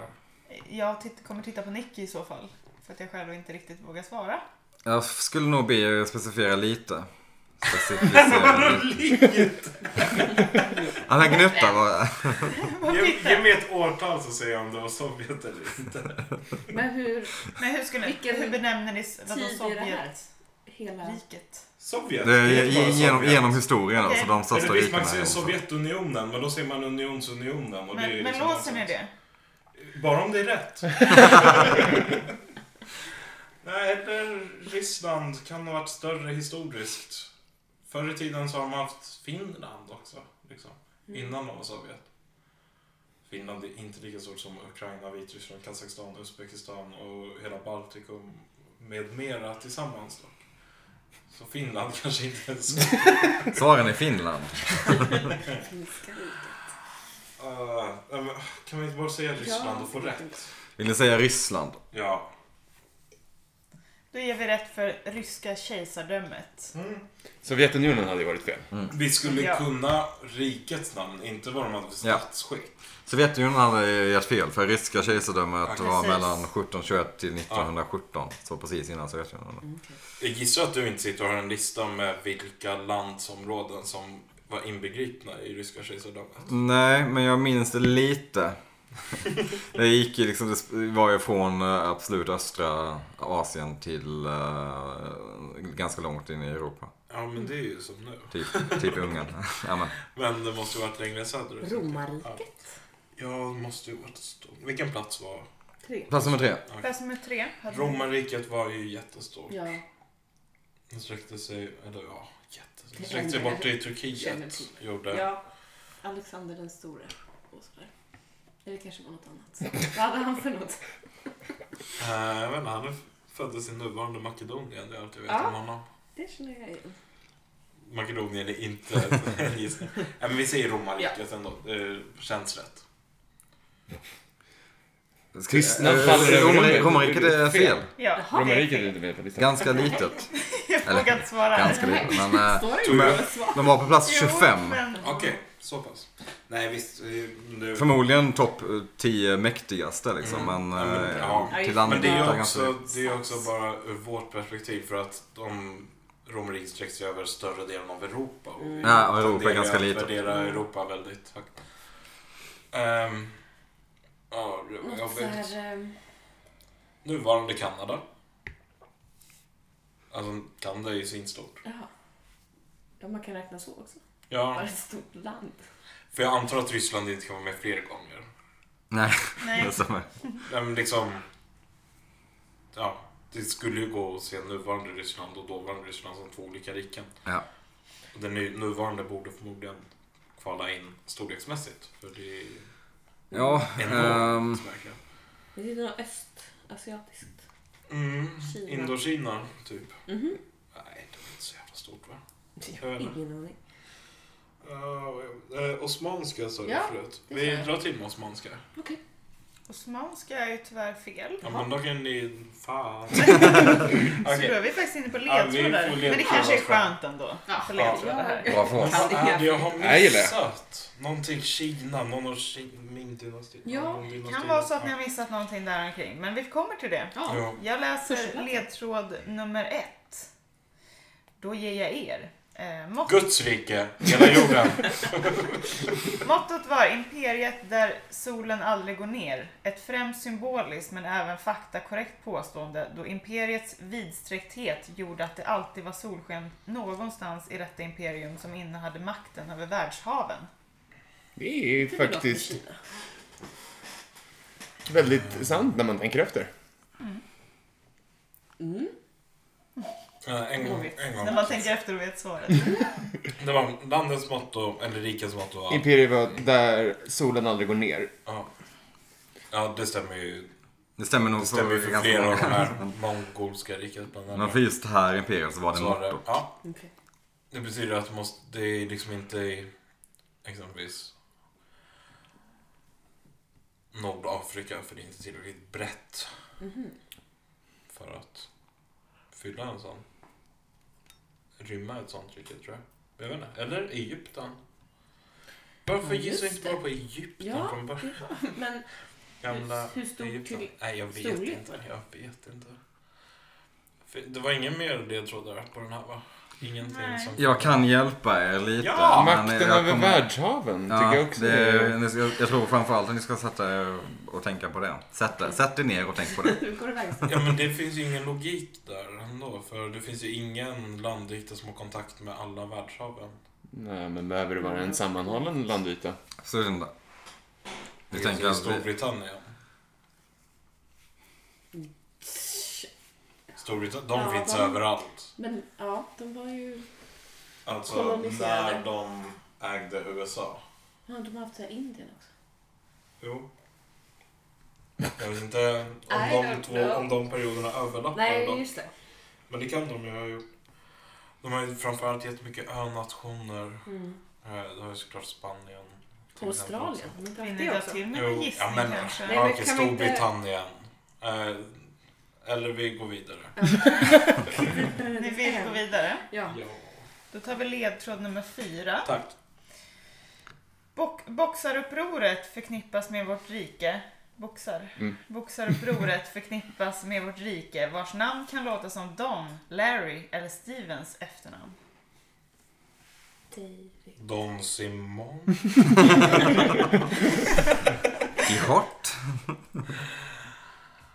A: Jag titt- kommer titta på Nicky i så fall. För att jag själv inte riktigt vågar svara.
C: Jag skulle nog be er specificera lite. Specificera lite. Han kan gnutta bara.
D: Ge, ge mig ett årtal så säger jag om det var Sovjet eller inte.
E: Men hur
A: Men hur, skulle,
E: Vilken
A: hur benämner ni vadå,
E: tid är det här? hela...
A: Sovjetriket?
D: Sovjet?
C: Det är
D: helt bara
C: ge- genom,
D: Sovjet.
C: genom historien alltså, de största
D: Eller visst, man
C: rikena.
D: säger
C: är-
D: Sovjetunionen, men då säger man Unionsunionen. Och det är
A: Men, men
D: liksom
A: låser ni
D: nonsens.
A: det?
D: Bara om det är rätt. Nej, eller Ryssland kan ha varit större historiskt. Förr i tiden så har man haft Finland också. Liksom. Innan de var Sovjet. Finland är inte lika stort som Ukraina, Vitryssland, Kazakstan, Uzbekistan och hela Baltikum med mera tillsammans dock. Så Finland kanske inte är så...
C: Svaren är Finland.
E: Finska riket.
D: Ah, nej, men kan vi inte bara säga Ryssland och få rätt?
C: Vill ni säga Ryssland?
D: Ja.
A: Då ger vi rätt för ryska kejsardömet.
D: Mm.
B: Sovjetunionen hade ju varit fel.
D: Vi skulle
A: Ja.
D: kunna rikets namn, inte vad de hade för
C: Ja.
D: statsskick.
C: Sovjetunionen hade gett fel för ryska kejsardömet
D: Ja,
C: var
A: precis.
C: mellan 1721 till 1917. Så precis innan Sovjetunionen.
D: Jag gissar att du inte sitter och har en lista med vilka landsområden som var inbegripna i ryska kejsardömet.
C: Nej, men jag minns det lite. det gick ju liksom, det var ju från eh, absolut östra Asien till eh, ganska långt in i Europa.
D: Ja, men det är ju som nu.
C: Typ, typ Ungern. ja, men.
D: Men det måste ju varit längre söderut.
E: Romarriket.
D: Ja, det måste ju varit stort. Vilken plats var?
E: Tre.
C: Plats nummer tre.
A: Plats nummer tre. hade ni.
D: Romarriket var ju jättestort.
E: Ja,
D: Det sträckte sig, eller ja, jättestort. Det
E: Det
D: sträckte sig
E: enda
D: bort till
E: känner
D: Turkiet.
E: till.
D: Gjorde.
E: ja. Alexander den store och sådär. Eller kanske var något annat. Vad hade han för något?
D: Eh, jag vet inte, han föddes i nuvarande Makedonien. Det är allt jag vet
E: Ja.
D: om honom.
E: Det känner jag igen.
D: Makedonien är inte en gissning. Nej, men vi säger romarriket ändå. Det känns rätt.
C: Ska-
B: Tystnad
C: eh,
B: faller över
C: Romarri-
B: rummet.
C: Romarriket är fel.
A: Ja, det är
B: Romarriket är
A: fel.
B: inte med på listan.
C: Ganska litet.
A: Jag vågar inte svara.
C: Ganska litet. Men eh,
E: Står
D: Tog jag-
E: det svar?
C: de var på plats
A: Jo,
C: 25.
A: men-
D: Okej, så pass. Nej, visst. eh, Nu...
C: Förmodligen topp eh, 10 mäktigaste liksom. Men
D: Ja, men,
C: eh,
D: ja. Men det är
C: till landyta
D: ju
C: ganska...
D: också, det är också bara ur vårt perspektiv för att de romarriket sträckte sig över större delen av Europa. Och vi
C: Ja, och Europa är
D: tenderar
C: ganska
D: att
C: litet.
D: värdera Europa väldigt högt. Ehm, ja, det var
E: Något eh,
D: jobbigt.
E: såhär...
D: Nuvarande Kanada. Alltså, Kanada är ju svinstort.
E: Jaha. Ja, man kan räkna så också. Var
D: Ja,
E: det ett stort land?
D: för jag antar att Ryssland inte kan vara med fler gånger.
C: Nej,
A: Nej,
C: det stämmer.
D: Nej, men liksom... Ja, det skulle ju gå att se nuvarande Ryssland och dåvarande Ryssland som två olika riken.
C: Ja.
D: Och Den nu- nuvarande borde förmodligen kvala in storleksmässigt. För det är
C: Ja, ehm,
D: enormt verkligen.
E: Det är något östasiatiskt.
D: Mm,
E: Kina.
D: Indokina, typ.
E: Mhm.
D: Nej, det var inte så jävla stort va?
E: Jag har Mm-hmm. ingen aning.
D: Uh, osmanska sa du
E: Ja,
D: förut.
E: det
D: Vi
E: sa jag.
D: drar till med osmanska.
E: Okej.
A: Osmanska är ju tyvärr fel.
D: Ja, men då kan ni... Fan.
A: Så då
D: Okej.
A: är vi faktiskt inne på
D: Ja, vi får
A: ledtrådar. Men det
D: ledtrådar
A: kanske är
D: fram.
A: skönt ändå.
E: Ja.
A: För ledtrådar här.
C: Bra för oss.
E: Kan
D: Hade jag har
B: Jag gillar det.
D: missat någonting Kina, någon av Ki- Ming-dynastin.
E: Ja,
A: Det kan vara så att ni har missat någonting där omkring. Men vi kommer till det.
E: Ja.
D: Ja.
A: Jag läser
E: Första.
A: ledtråd nummer ett. Då ger jag er. Eh, motto,
D: Guds rike, hela jorden.
A: mottot var Imperiet där solen aldrig går ner. Ett främst symboliskt men även faktakorrekt påstående då Imperiets vidsträckthet gjorde att det alltid var solsken någonstans i detta imperium som innehade makten över världshaven.
B: Det är
E: Det är bra för
B: faktiskt
E: Kina.
B: väldigt sant när man tänker efter.
D: Eh, en, gång, en
A: När
D: gång.
A: man tänker efter och vet svaret.
D: Det var landets motto, eller rikets motto. Ja,
B: Imperiet var där solen aldrig går ner.
D: ja. ja det stämmer ju.
C: Det stämmer nog
D: Det stämmer ju för flera av de
C: många.
D: här mongolska riket bland
C: Men
D: annat.
C: för just här imperiet så var det
D: Så var det-
C: mottot.
D: Ja,
E: Okej.
D: det betyder att det, måste, det är liksom inte i exempelvis Nordafrika för det är inte tillräckligt brett
E: Mhm.
D: för att fylla en sån. Rymma ett sånt rike tror jag. Jag vet inte. Eller Egypten. Varför
E: Ja,
D: gissar vi
E: just
D: inte bara på Egypten
E: Ja,
D: från början?
E: Men
D: Gamla
E: Hur- hur stor
D: Egypten.
E: till-
D: Nej, jag vet
E: storlek
D: inte.
E: var det?
D: Jag vet inte. För Det var ingen mer ledtrådar på den här va? Ingenting
A: Nej.
D: som...
C: Jag kan hjälpa er lite.
D: Ja,
C: men
B: Makten
C: jag
B: över
C: kommer-
B: världshaven tycker jag också.
C: det,
B: är-
C: ni ska- Jag tror framförallt att ni ska sätta er och tänka på det. Sätt er, sätt er ner och tänk på det.
E: nu går det iväg.
D: Ja men det finns ju ingen logik där ändå. För det finns ju ingen landdikter som har kontakt med alla världshaven.
B: Nej, men behöver det vara en sammanhållen landyta?
C: Så är det inte.
D: Det
C: Vi
D: finns
C: tänker
D: ju
C: att vi,
D: Storbritannien. Storbritannien, de
E: Ja,
D: finns
E: de-
D: överallt.
E: Men ja, de var ju...
D: Alltså
E: Koloniserade.
D: när de ägde USA.
E: Ja, de har haft så här Indien också.
D: Jo. Jag vet inte om
E: I
D: de,
E: don't
D: två,
E: know.
D: om de perioderna överlappar.
E: Nej,
D: då.
E: just det.
D: Men det kan de ju ha gjort. De har ju framförallt jättemycket önationer.
E: Mm.
D: Eh, Det har ju såklart Spanien. till exempel också.
E: Australien, har de
A: Vill
E: inte haft
A: ni
E: det
A: dra
E: också?
A: till med en
D: Jo,
A: gissning
D: ja, men,
A: kanske?
E: Nej,
D: ja,
E: men
D: okej,
E: kan vi inte-
D: Storbritannien. Eh, eller vi går vidare.
A: Ni vill gå vidare.
E: Ja.
A: Då tar vi ledtråd nummer fyra.
D: Tack.
A: Bok- boxarupproret förknippas med vårt rike. Boxar.
B: Mm.
A: Boxarupproret förknippas med vårt rike vars namn kan låta som Don, Larry eller Stevens efternamn.
E: David.
D: Don Simon.
C: i short.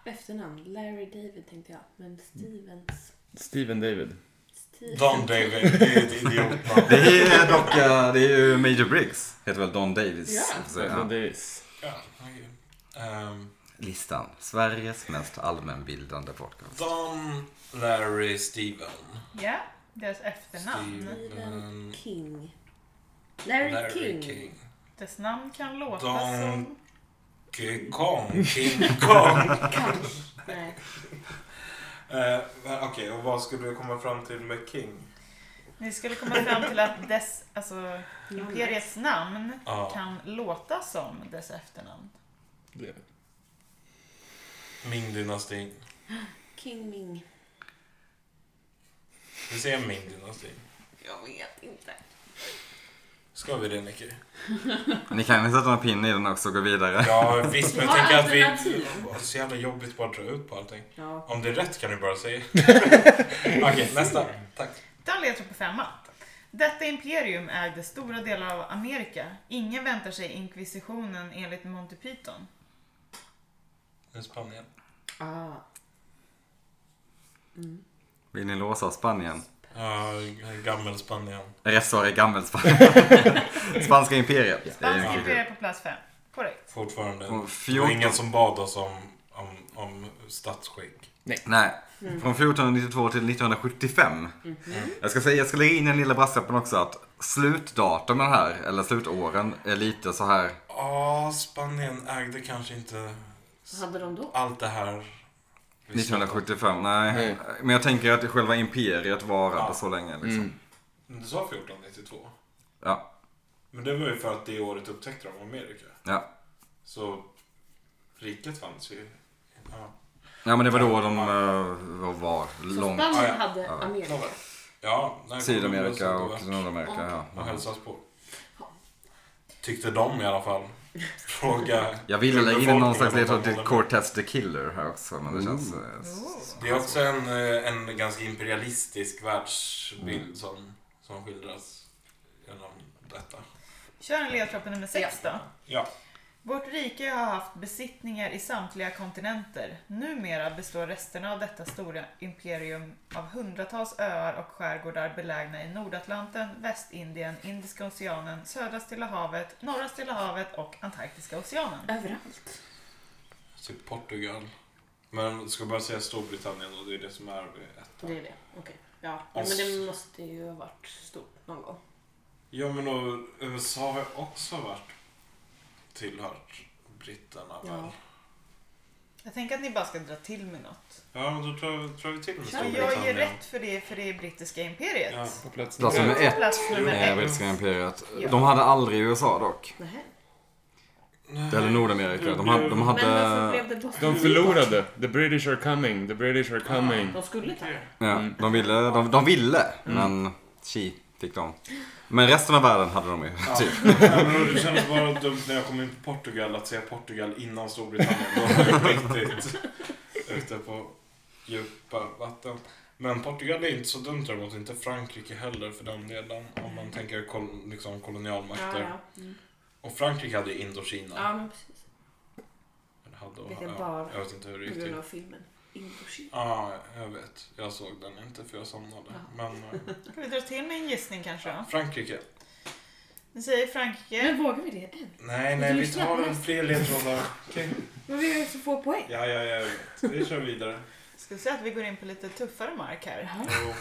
E: Efternamn, Larry David tänkte jag. Men Stevens...
B: Stephen David.
E: Stevens.
D: Don David. Det är ett idiotnamn.
C: Det är dock, eh, det är ju Major Briggs. Heter väl Don Davis.
E: Ja.
C: Så,
B: Alltså,
C: ja.
B: Davis.
D: Ja, okej. Ehm,
C: Listan. Sveriges mest allmänbildande podcast.
D: Don Larry Steven.
A: Ja, deras efternamn.
D: Steven.
E: King. Larry, King.
A: Dess namn kan låta
D: Don-
A: som...
D: King Kong. King Kong.
E: Nej.
D: Eh, men Okej, och vad skulle du komma fram till med King?
A: Ni skulle komma fram till att dess, alltså, imperiets namn
D: Ja.
A: kan låta som dess efternamn.
D: Ming-dynastin.
E: King Ming.
D: Vi säger Ming-dynastin.
E: Jag vet inte.
D: Ska vi det, Nicky?
C: Ni kan ju sätta en pinne i den också och gå vidare.
D: Ja, visst, men
E: Ja,
D: tänk att vi...
E: alternativ.
D: Det är Alltså, så jävla jobbigt bara att dra ut på allting.
E: Ja.
D: Om det är rätt kan du bara säga. Okej, nästa. Tack.
A: Den ledtråd på femma. Detta imperium ägde stora delar av Amerika. Ingen väntar sig inkvisitionen enligt Monty Python.
D: Nu Spanien.
E: Ah.
C: Vill ni låsa Spanien?
D: Ja, Gammelspanien.
C: Rätt svar är Gammelspanien. Spanska imperiet. Det är
A: Spanska
C: ju kul.
A: imperiet på plats fem. Korrekt.
D: Fortfarande.
C: Och
D: Det var
C: 14.
D: ingen som bad oss om, om, om statsskick.
C: Nej. Från 1492 till 1975. Jag ska säga, jag ska lägga in en lilla brasklappen också att slutdatumen här, eller slutåren, är lite så här.
D: Ja, Spanien ägde kanske inte
E: Vad hade de då?
D: allt det här. vi snackade om.
C: 1975, nej.
B: Nej.
C: Men jag tänker att själva imperiet varade
D: Ja.
C: så länge liksom.
B: Mm.
D: Du sa 1492?
C: Ja.
D: Men det var ju för att det året upptäckte de Amerika.
C: Ja.
D: Så riket fanns ju. Ja,
C: Ja, men det var då de eh, var, var
E: Så
C: långt.
E: Spanien
D: Ja, ja.
E: hade
C: Ja, ja.
E: Amerika.
D: Nåväl. ja när
C: Sydamerika och
D: Nordamerika.
C: Nordamerika,
D: Och
C: ja.
D: hälsas på. Tyckte de i alla fall. Fråga.
C: Jag ville lägga in någon slags ledtråd till
D: befolkningen om
C: Cortez the Killer här också, men det känns... eh, s-
D: de- Det är också en, eh, en ganska imperialistisk världsbild
C: Mm.
D: som, som skildras genom detta.
A: Kör en ledtråd på nummer sex då.
D: Ja.
A: Vårt rike har haft besittningar i samtliga kontinenter. Numera består resterna av detta stora imperium av hundratals öar och skärgårdar belägna i Nordatlanten, Västindien, Indiska oceanen, södra Stilla havet, norra Stilla havet och Antarktiska oceanen.
E: Överallt.
D: Typ Portugal. Men ska bara säga Storbritannien och det är det som är ett.
E: Det är det. Okej. Ja. ja, men det måste ju ha varit stort någon gång.
D: Ja men och USA har ju också varit tillhört britterna
E: Ja.
D: väl?
A: Jag tänker att ni bara ska dra till med något.
D: Ja men då drar, drar vi till med
A: Ja,
D: Storbritannien.
A: jag ger rätt för det, för det brittiska imperiet.
D: Ja.
B: På plats
C: Plats nummer ett
A: Plats nummer
C: är
A: ett.
C: brittiska imperiet. De hade aldrig USA dock.
E: Nähä.
C: Eller Nordamerika. De hade... De hade
E: Men alltså, varför blev det Boston?
B: De förlorade. The British are coming, the British are coming.
E: De skulle ta
C: ja, de ville, de, de ville men chi fick de. Men resten av världen hade de ju, typ.
D: Ja, men det kändes bara dumt när jag kom in på Portugal att säga Portugal innan Storbritannien. Då var jag riktigt ute på djupa vatten. Men Portugal är inte så dumt däremot. Inte Frankrike heller för den delen. Om man tänker kol- liksom
E: Ja,
D: kolonialmakter.
E: ja. Mm.
D: Och Frankrike hade ju Indokina.
E: ja, men precis.
D: Eller hade, och-
E: Vilken
D: ja,
E: bar.
D: Jag vet inte hur det
E: På
D: gick till.
E: grund av filmen. Indochina.
D: Ja, jag vet. Jag såg den inte för jag somnade. Men eh,
A: Ska vi dra till med en gissning kanske då?
D: Frankrike.
A: Ni säger Frankrike.
E: Men vågar vi det än?
D: Nej,
E: Men
D: nej,
E: du
D: vi
E: släpper
D: tar en
E: nästa.
D: fler ledtrådar. Okej.
E: Men vi har ju så få poäng.
D: Ja, ja, ja, jag vet. Vi kör vidare.
A: Ska vi säga att vi går in på lite tuffare mark här?
D: Jo.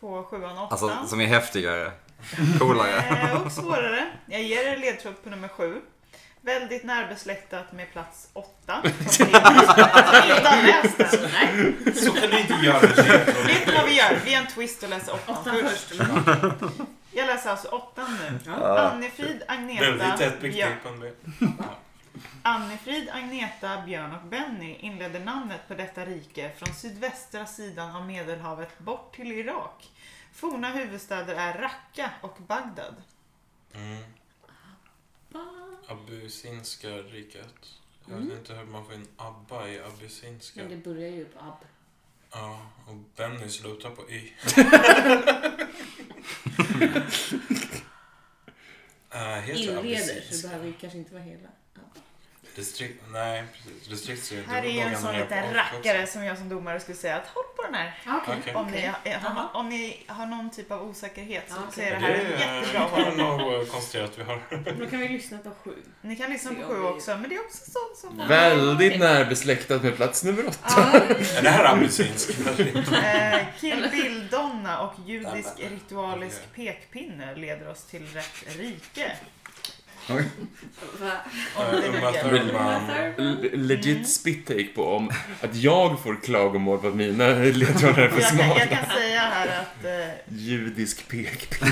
A: På sjuan och åttan.
C: Alltså, som är häftigare. Coolare.
A: Eh, och svårare. Jag ger er ledtråd på nummer sju. Väldigt närbesläktat med plats åtta. Som ni inte har läst den.
E: Nej,
D: Så kan du inte göra med ledtrådar.
A: Vet ni vad vi gör? Vi är en twist och läser åttan
E: åttan
A: först.
E: först.
A: Jag läser alltså åttan nu.
E: Ja.
A: Annefrid,
D: Väldigt
A: Agneta,
D: tätt
A: Björn,
D: begripande.
A: Annefrid, Agneta, Björn och Benny inleder namnet på detta rike från sydvästra sidan av Medelhavet bort till Irak. Forna huvudstäder är Raqqa och Bagdad.
D: Mm. Abyssinska riket. Jag
A: Mm.
D: vet inte hur man får in ABBA i abyssinska.
E: Men det börjar ju på ab.
D: Ja, och Benny slutar på Y. Äh, heter det
E: Inleder, så det
D: abyssinska?
E: behöver ju kanske inte vara hela. Ja.
D: Distrikt, nej precis. Distrikt ser inte
A: Här är ju en
D: många
A: sån
D: namn
A: liten
D: på också.
A: rackare som jag som domare skulle säga att håll på den här.
E: Ah, Okej.
D: Okej.
A: Om ni,
E: Okej.
A: eh, har,
E: Aha.
A: om ni har någon typ av osäkerhet så,
E: Ja, okej.
A: så är det
D: Men
A: här en jättebra
D: Det kan
A: håll.
D: man nog konstatera att vi har.
E: Då kan vi lyssna på sju.
A: Ni kan lyssna
E: Se
A: på
E: om
A: sju
E: vi-
A: också, men det är också sånt som...
B: Väldigt närbesläktat med plats nummer åtta.
D: Är det här abyssinsk?
A: Eh, Kill Bill-donna och judisk
D: Nej, men-
A: ritualisk pekpinne leder oss till rätt rike.
E: Va?
A: Om det nu
D: Uma
A: gäller.
D: Thurman.
B: L-
E: Mm.
B: legit spit take på om att jag får klagomål på att mina ledtrådar är för
A: Jag kan, jag
B: smala.
A: kan säga här att eh,
B: Judisk pekpinne.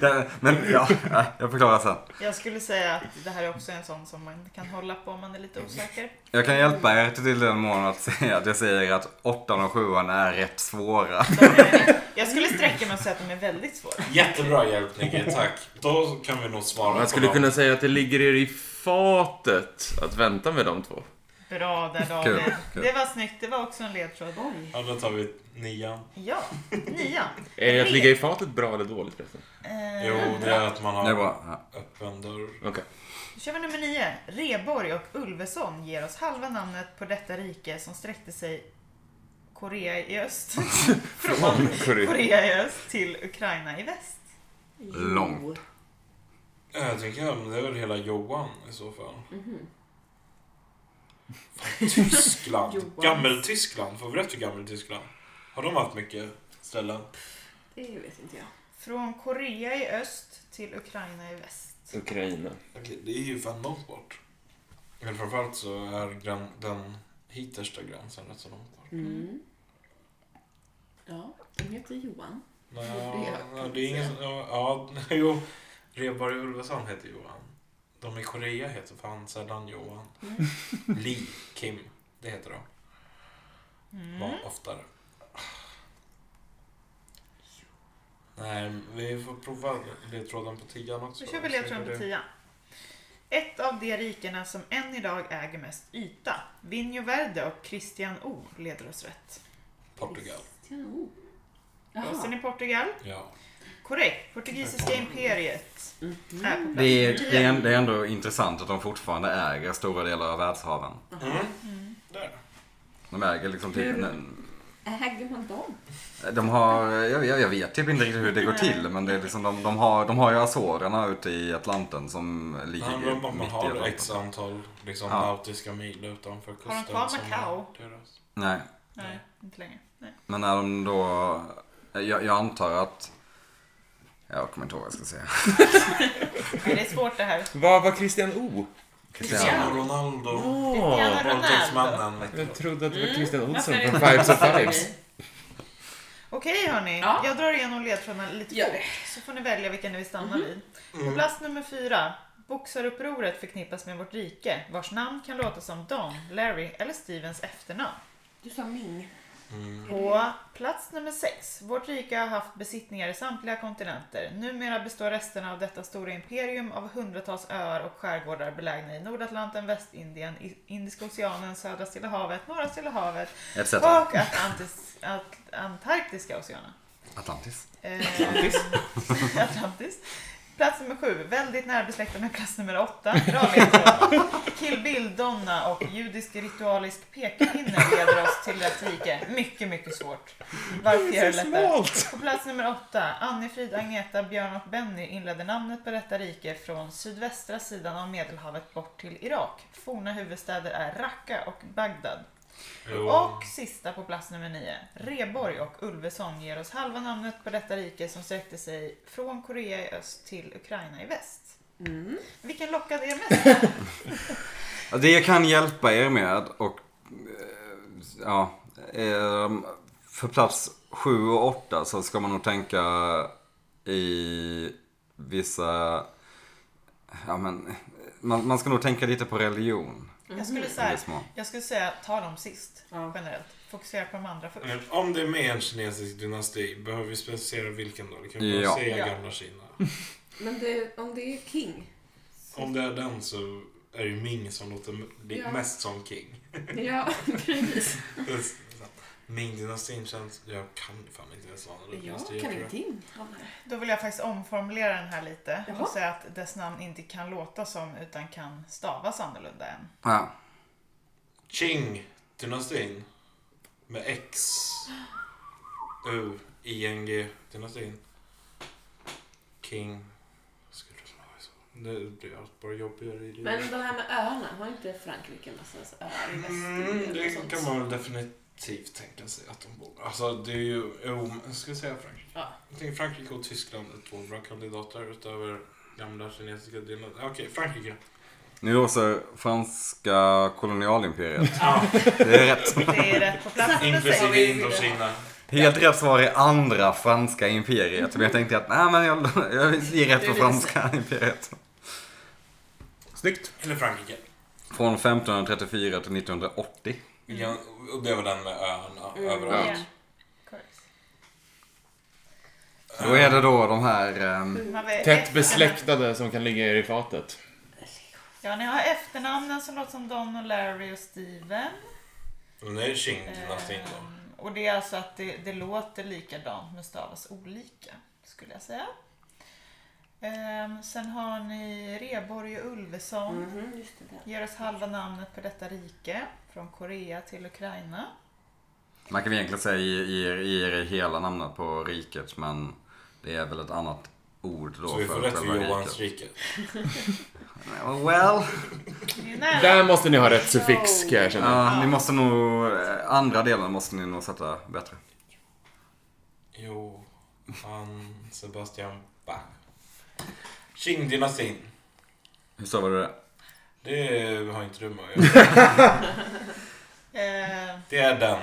C: Det- Men ja, ja, jag förklarar sen.
A: jag skulle säga att det här är också en sån som man kan hålla på om man är lite osäker.
C: Jag kan hjälpa er till den mån att säga att jag säger att åttan och sjuan är rätt svåra.
A: De är- Jag skulle sträcka mig och säga att de är väldigt svåra.
D: Jättebra hjälp Nicky, tack. Då kan vi nog svara
B: Man
D: på
B: skulle
D: dem.
B: kunna säga att det ligger er i fatet att vänta med de två.
A: Bra där David.
C: Kul, kul.
A: Det var snyggt, det var också en ledtråd.
E: Oj.
D: Ja, då tar vi nian.
A: Ja, nian.
B: Är att ligga i fatet bra eller dåligt förresten?
A: Eh,
D: Jo,
E: Mm.
D: det är att man
C: Det
D: har
C: är bra. Ja.
D: öppen dörr.
B: Okej.
A: Då kör vi nummer nio. Reborg och Ulveson ger oss halva namnet på detta rike som sträckte sig Korea i öst,
B: Från Korea.
A: Korea i öst till Ukraina i väst.
E: Jo.
C: Långt.
D: Ja, Eh, Jag tänker att det är väl hela Johan i så fall.
E: Mhm.
D: Tyskland.
E: Johan.
D: Gammeltyskland. Får vi rätt för Gammeltyskland? Har de haft mycket ställen?
E: Det vet inte jag.
A: Från Korea i öst till Ukraina i väst.
B: Ukraina.
D: Okej, det är ju fan långt bort. Men framförallt så är gran, den hittersta gränsen rätt så långt bort.
E: Mm. Ja, de heter Johan.
D: Nej,
E: Det är
D: ja,
E: jag
D: det är ingen som... Ja, ja, jo. Rheborg Ulveson heter Johan. De i Korea heter fan sällan Johan.
A: Mm.
D: Lee Kim, det heter de.
A: Mm.
D: Var oftare. Nej, vi får prova ledtråden på tian också.
A: Då kör vi
D: Se hur
A: ledtråden på
D: det-
A: tian. Ett av de rikena som än idag äger mest yta. Vinjo Verde och Christian O leder oss rätt.
D: Portugal.
E: Oh.
A: Basen i Portugal.
D: Ja.
A: Korrekt. Portugisiska imperiet
E: Mhm.
A: är på
C: Det
A: plats
C: är, det, är,
A: tio.
C: det är ändå intressant att de fortfarande äger stora delar av världshaven.
D: Mm. Där.
C: De äger liksom typ...
E: Äger man dem?
C: De har... Jag, jag, jag vet typ inte riktigt hur det går till men det är liksom de, de, har, de har ju Azorerna ute i Atlanten som
D: Det
C: ligger
D: handlar om att
C: mitt
D: man
C: i
D: har
C: Atlanten.
D: x antal liksom,
C: Ja.
D: nautiska mil utanför kusten.
A: kvar
D: som
A: Macau?
D: är deras.
C: Nej.
A: Nej, inte längre. Nej.
C: Men när de då... Jag, jag antar att... Jag kommer inte ihåg vad jag ska säga.
A: Nej, det är svårt det här.
B: Vad var Christian O?
D: Cristiano Ronaldo.
A: Cristiano Ronaldo.
D: Våldtäktsmannen. vet du.
B: Jag trodde att det var Christian Olsson
E: Mm. Varför är
B: från
E: det-
B: Fives of Fives.
A: Okej hörni,
E: Ja.
A: jag drar igenom ledtrådarna lite
E: Gör Mhm.
A: fort så får ni välja vilken ni vill stanna vid. På plats nummer fyra. Boxarupproret förknippas med vårt rike vars namn kan låta som Don, Larry eller Stevens efternamn.
E: Du sa Ming.
D: Mm.
A: På plats nummer sex. Vårt rike har haft besittningar i samtliga kontinenter. Numera består resterna av detta stora imperium av hundratals öar och skärgårdar belägna i Nordatlanten, Västindien, I- Indiska oceanen, Södra Stilla havet, Norra Stilla havet
C: Etc.
A: och Atlantis, At- Antarktiska oceanen.
C: Atlantis.
A: Eh, Atlantis. Plats nummer sju, väldigt närbesläktad med plats nummer åtta. Bra ledtråd. Kill Bill, Donna och judisk ritualisk pekpinne leder oss till rätt rike. Mycket, mycket svårt. Varför gör det lättare? På plats nummer åtta, Anni-Frid, Agneta, Björn och Benny inledde namnet på detta rike från sydvästra sidan av Medelhavet bort till Irak. Forna huvudstäder är Raqqa och Bagdad. Och sista på plats nummer nio. Reborg och Ulveson ger oss halva namnet på detta rike som sträckte sig från Korea i öst till Ukraina i väst.
E: Mm.
A: Vilken lockade er mest?
C: Alltså, Det jag kan hjälpa er med och eh, ja, eh, för plats 7 och 8 så ska man nog tänka i vissa, ja men, man, man ska nog tänka lite på religion.
A: Jag skulle
C: i
D: Mm.
A: säga,
C: viss mån.
A: jag skulle säga ta dem sist
E: Ja.
A: generellt. Fokusera på de andra först.
D: Eh, Om det är med en kinesisk dynasti, behöver vi specificera vilken då? Det kan vi bara
C: Ja.
D: säga
A: Ja.
D: gamla Kina.
E: Men det, om det är King.
D: Om det är den så är det Ming som låter m- li-
E: Ja.
D: mest som King.
E: Ja, precis.
D: Det är så- Ming-dynastin känns... Jag kan fan inte ens vad den
E: Jag
D: dynastier,
E: kan
D: tror jag.
E: ingenting om det.
A: Då vill jag faktiskt omformulera den här lite
E: Jaha.
A: och säga att dess namn inte kan låta som utan kan stavas annorlunda än.
C: Ja.
D: Qing-dynastin. Med X. U. ING-dynastin. King. Skulle det vara så? Nu blir allt bara jobbigare i det.
E: Men de här med öarna, har inte Frankrike en massa öar i
D: Mm,
E: Västindien? och
D: det
E: sånt?
D: kan man väl definitivt tänka sig att de borde. Alltså det är ju, jo, jag ska säga Frankrike.
E: Ja.
D: Jag tänker Frankrike och Tyskland är två bra kandidater utöver gamla kinesiska delen. Okej, Frankrike.
C: Nu låser franska kolonialimperiet.
D: Ja,
C: Det är rätt.
A: Det är rätt på plats nummer sex.
D: inklusive Indokina.
C: Helt rätt svar är andra franska imperiet. Men jag tänkte att, nej men jag, jag ger rätt för
E: Du
C: franska imperiet.
B: Snyggt.
D: Eller Frankrike.
C: Från 1534 till 1980.
D: Ja, och det var den med öarna
E: Mm.
D: överallt.
A: Ja. Korrekt.
C: Då är det då de här... ehm,
A: Man vet-
B: Tätt besläktade som kan ligga er i fatet.
A: Ja, ni har efternamnen som låter som Don och Larry och Steven.
D: Men det är Qing-dynastin då.
A: Ehm, och det är alltså att det, det låter likadant men stavas olika, skulle jag säga. Ehm, sen har ni Reborg och Ulveson.
E: Mhm, just det. där.
A: Ger oss halva namnet på detta rike. Från Korea till Ukraina.
C: Man kan väl egentligen säga ge ge- ge er hela namnet på riket men det är väl ett annat ord då
D: Så vi får rätt för
C: själva
D: Johans rike.
C: Well,
A: Ni är nära.
B: Där måste ni ha rätt suffix kan jag känna.
C: ja, ni måste nog... eh, Andra delen måste ni nog sätta bättre.
D: Jo, han Sebastian Bach. Qing-dynastin.
C: Hur stavar du det?
D: Det har inte du med att göra.
A: Ehm,
D: Det är den.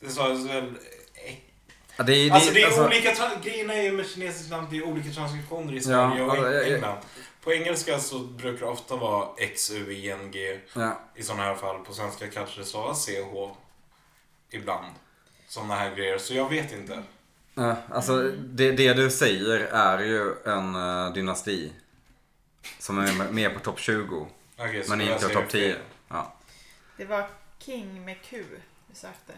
D: Det sades väl
C: Ja, Det är,
D: Alltså det är
C: alltså-
D: olika, tra- grejerna är ju med kinesiskt namn, det är olika transkriptioner i
C: Ja,
D: Sverige och
C: alltså, jag- jag-
D: England. På engelska så brukar det ofta vara XUING
C: Ja,
D: i sådana här fall. På svenska kanske det stavas CH ibland. Sådana här grejer, så jag vet inte.
C: ja, alltså det, det du säger är ju en eh, dynasti. Som är med på topp 20.
D: Okej, så
C: Men
D: jag
C: inte
D: säger
C: topp 10.
D: fel.
C: Ja.
A: Det var King med Q vi sökte.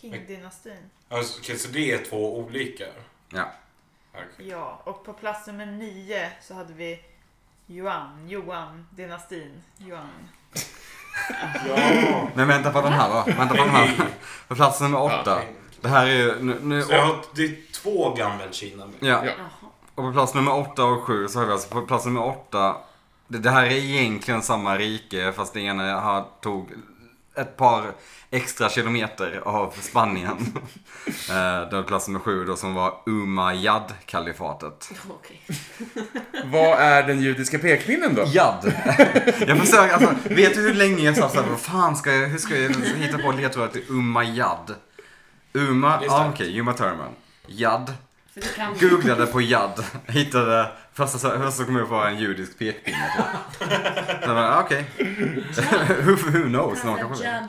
A: King-dynastin.
D: Alltså, Okej, så det är två olika.
C: ja.
D: Okej.
A: Ja, och på plats nummer nio så hade vi Yuan, Johan, dynastin, Yuan.
D: Ja.
C: Men vänta på den här då. Vänta på den här. På plats nummer 8. Det här är ju... Nu, nu,
D: Så jag har, det är två Gammelkina med.
C: ja.
B: Ja.
A: Jaha.
C: Och på plats nummer 8 och 7 så har vi alltså på plats nummer 8 det, det här är egentligen samma rike fast det ena har, tog ett par extra kilometer av Spanien. eh, då plats nummer 7 då som var Umayyad-kalifatet.
E: Okej.
B: Vad är den judiska pekpinnen då?
C: Jad! jag försöker, alltså vet du hur länge jag satt såhär, vad fan ska jag, hur ska jag hitta på ledtrådar till Umayyad? Uma,
D: Det är
C: ja
D: starkt.
C: okej, Uma Thurman. Jad.
E: Så det kan
C: Googlade på Jad, hittade, första så- första som kom upp var en judisk pekpinne. typ. Så jag bara, okej. who, who knows? Någon kanske vet.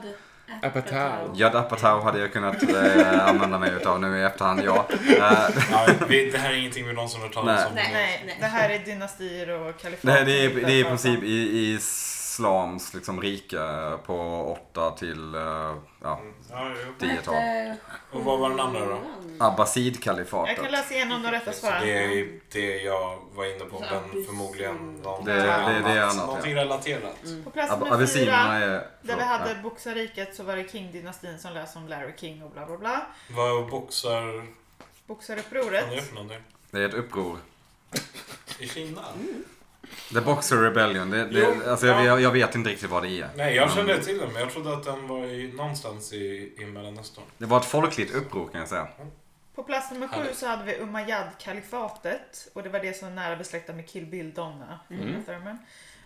E: Judd
B: Apatow.
C: Judd Apatow hade jag kunnat eh, använda mig utav nu i efterhand, ja. Eh,
D: Ja, vi, det här är ingenting vi någonsin har hört talas
C: Nej.
D: om.
E: Nej.
A: Nej, det här är dynastier och kalifat.
C: det, här- det, är, det är i princip i, i islams liksom rike på 8 till eh, ja,
D: Ja, jo.
C: 10-tal.
D: Och vad var den andra då?
A: Jag kan
C: Abbasid-kalifatet.
A: läsa igenom de rätta
D: Så
A: svaren.
D: det är det jag var inne på,
E: Så
D: men
E: abys-
D: förmodligen någonting
C: Det- det- det är annat, ja.
D: Någonting relaterat.
A: På plats
C: Ab-
A: nummer
C: Abessinerna
A: fyra,
C: är...
A: där vi
C: förlåt,
A: hade boxarriket, så var det King-dynastin som lös om Larry King och bla bla bla.
D: Vad boxar... Vad är det
A: Boxarupproret.
D: för någonting?
C: ja. Det är ett uppror.
D: I Kina?
C: The Boxer Rebellion. Det, det,
D: Jo,
C: alltså,
D: ja.
C: jag, jag vet inte riktigt vad det är.
D: Nej, jag kände till den, men jag trodde att den var i, någonstans i, i Mellanöstern.
C: Det var ett folkligt uppror kan jag säga.
A: På plats nummer sju
D: Härligt.
A: så hade vi Umayyad-kalifatet. Och det var det som var nära besläktat med Kill Bill-donna. Uma Thurman.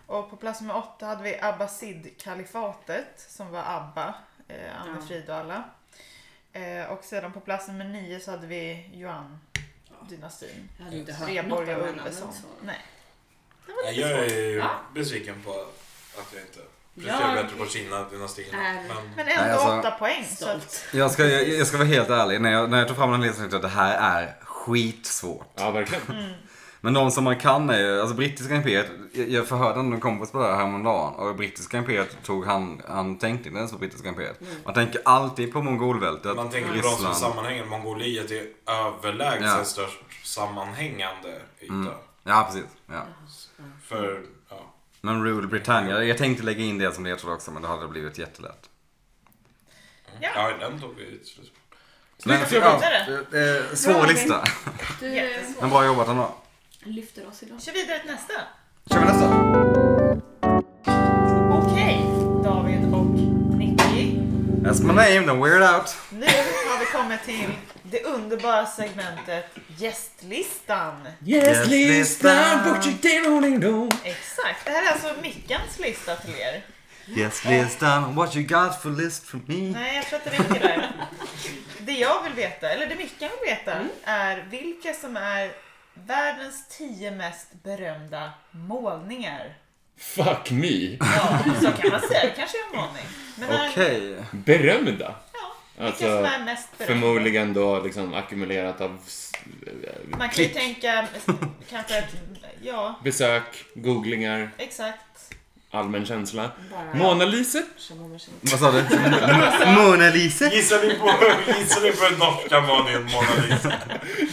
A: Och på plats nummer åtta hade vi Abbasid-kalifatet. Som var Abba, eh, Anne
E: Ja.
A: Frid och alla. Eh, och sedan på plats nummer nio så hade vi Yuan-dynastin.
E: Jag hade inte hört något av
A: Sveborg och
E: den
A: Ulveson.
E: namnen, så.
A: Nej.
D: Nej, jag är
E: Ja.
D: besviken på att jag inte presterar
E: Jag
D: bättre på Kina-dynastin.
E: är-
D: Men
A: Men ändå
C: Nej, alltså-
A: åtta poäng. Så att,
E: stolt.
C: Jag ska, jag, jag ska vara helt ärlig. När jag, när jag tog fram den här listan tänkte jag att det här är skitsvårt.
B: Ja, verkligen.
C: Mm. Men de som man kan är ju, alltså brittiska imperiet. Jag, jag förhörde en kompis på det här häromdagen. Och brittiska imperiet tog han, han tänkte inte ens på brittiska imperiet. Man tänker alltid på mongolvältet,
D: man tänker på de som
C: Ryssland.
D: sammanhänger. Mongoliet är överlägset
C: Ja. Mm.
D: störst sammanhängande yta.
C: Ja, precis. Ja.
D: För, ja.
C: Men Rule Britannia, jag tänkte lägga in det som ledtråd också men det hade blivit jättelätt.
A: ja.
D: ja, den tog vi ett slut på.
C: Men,
B: Snyggt
C: ja,
B: jobbat!
C: eh, eh,
A: Bra,
C: svår
A: Robin.
C: lista.
E: Du
A: Jättesvårt.
C: Men bra jobbat ändå.
E: lyfter oss idag.
A: Kör vidare till nästa.
C: Kör vi nästa?
A: Okej, David och Nicky.
C: That's my name, don't wear it out.
A: Nu har vi kommit till det underbara segmentet Gästlistan.
C: Yes, listan, put your
A: Exakt, det här är alltså Mickans lista till er.
C: Yes, listan, what you got for list for me?
A: Nej, jag tror att det räcker där. Det jag vill veta, eller det Mickan vill veta,
E: Mm.
A: är vilka som är världens tio mest berömda målningar.
B: Fuck me!
A: Ja, så kan man säga. Det kanske är en målning. Men här-
C: Okej.
B: Berömda!
A: ja, vilka
B: Alltså,
A: som är mest berömda.
B: Förmodligen då liksom ackumulerat av s- eh,
A: Man kan ju
B: klick,
A: tänka, kanske, att- ja,
B: besök, googlingar,
A: exakt.
B: allmän känsla.
E: Bara
B: Mona Lisa?
E: som om jag känner-
C: Vad sa du? Mona Lisa?
D: Gissar ni på, gissar ni på den norska Malin Mona Lisa?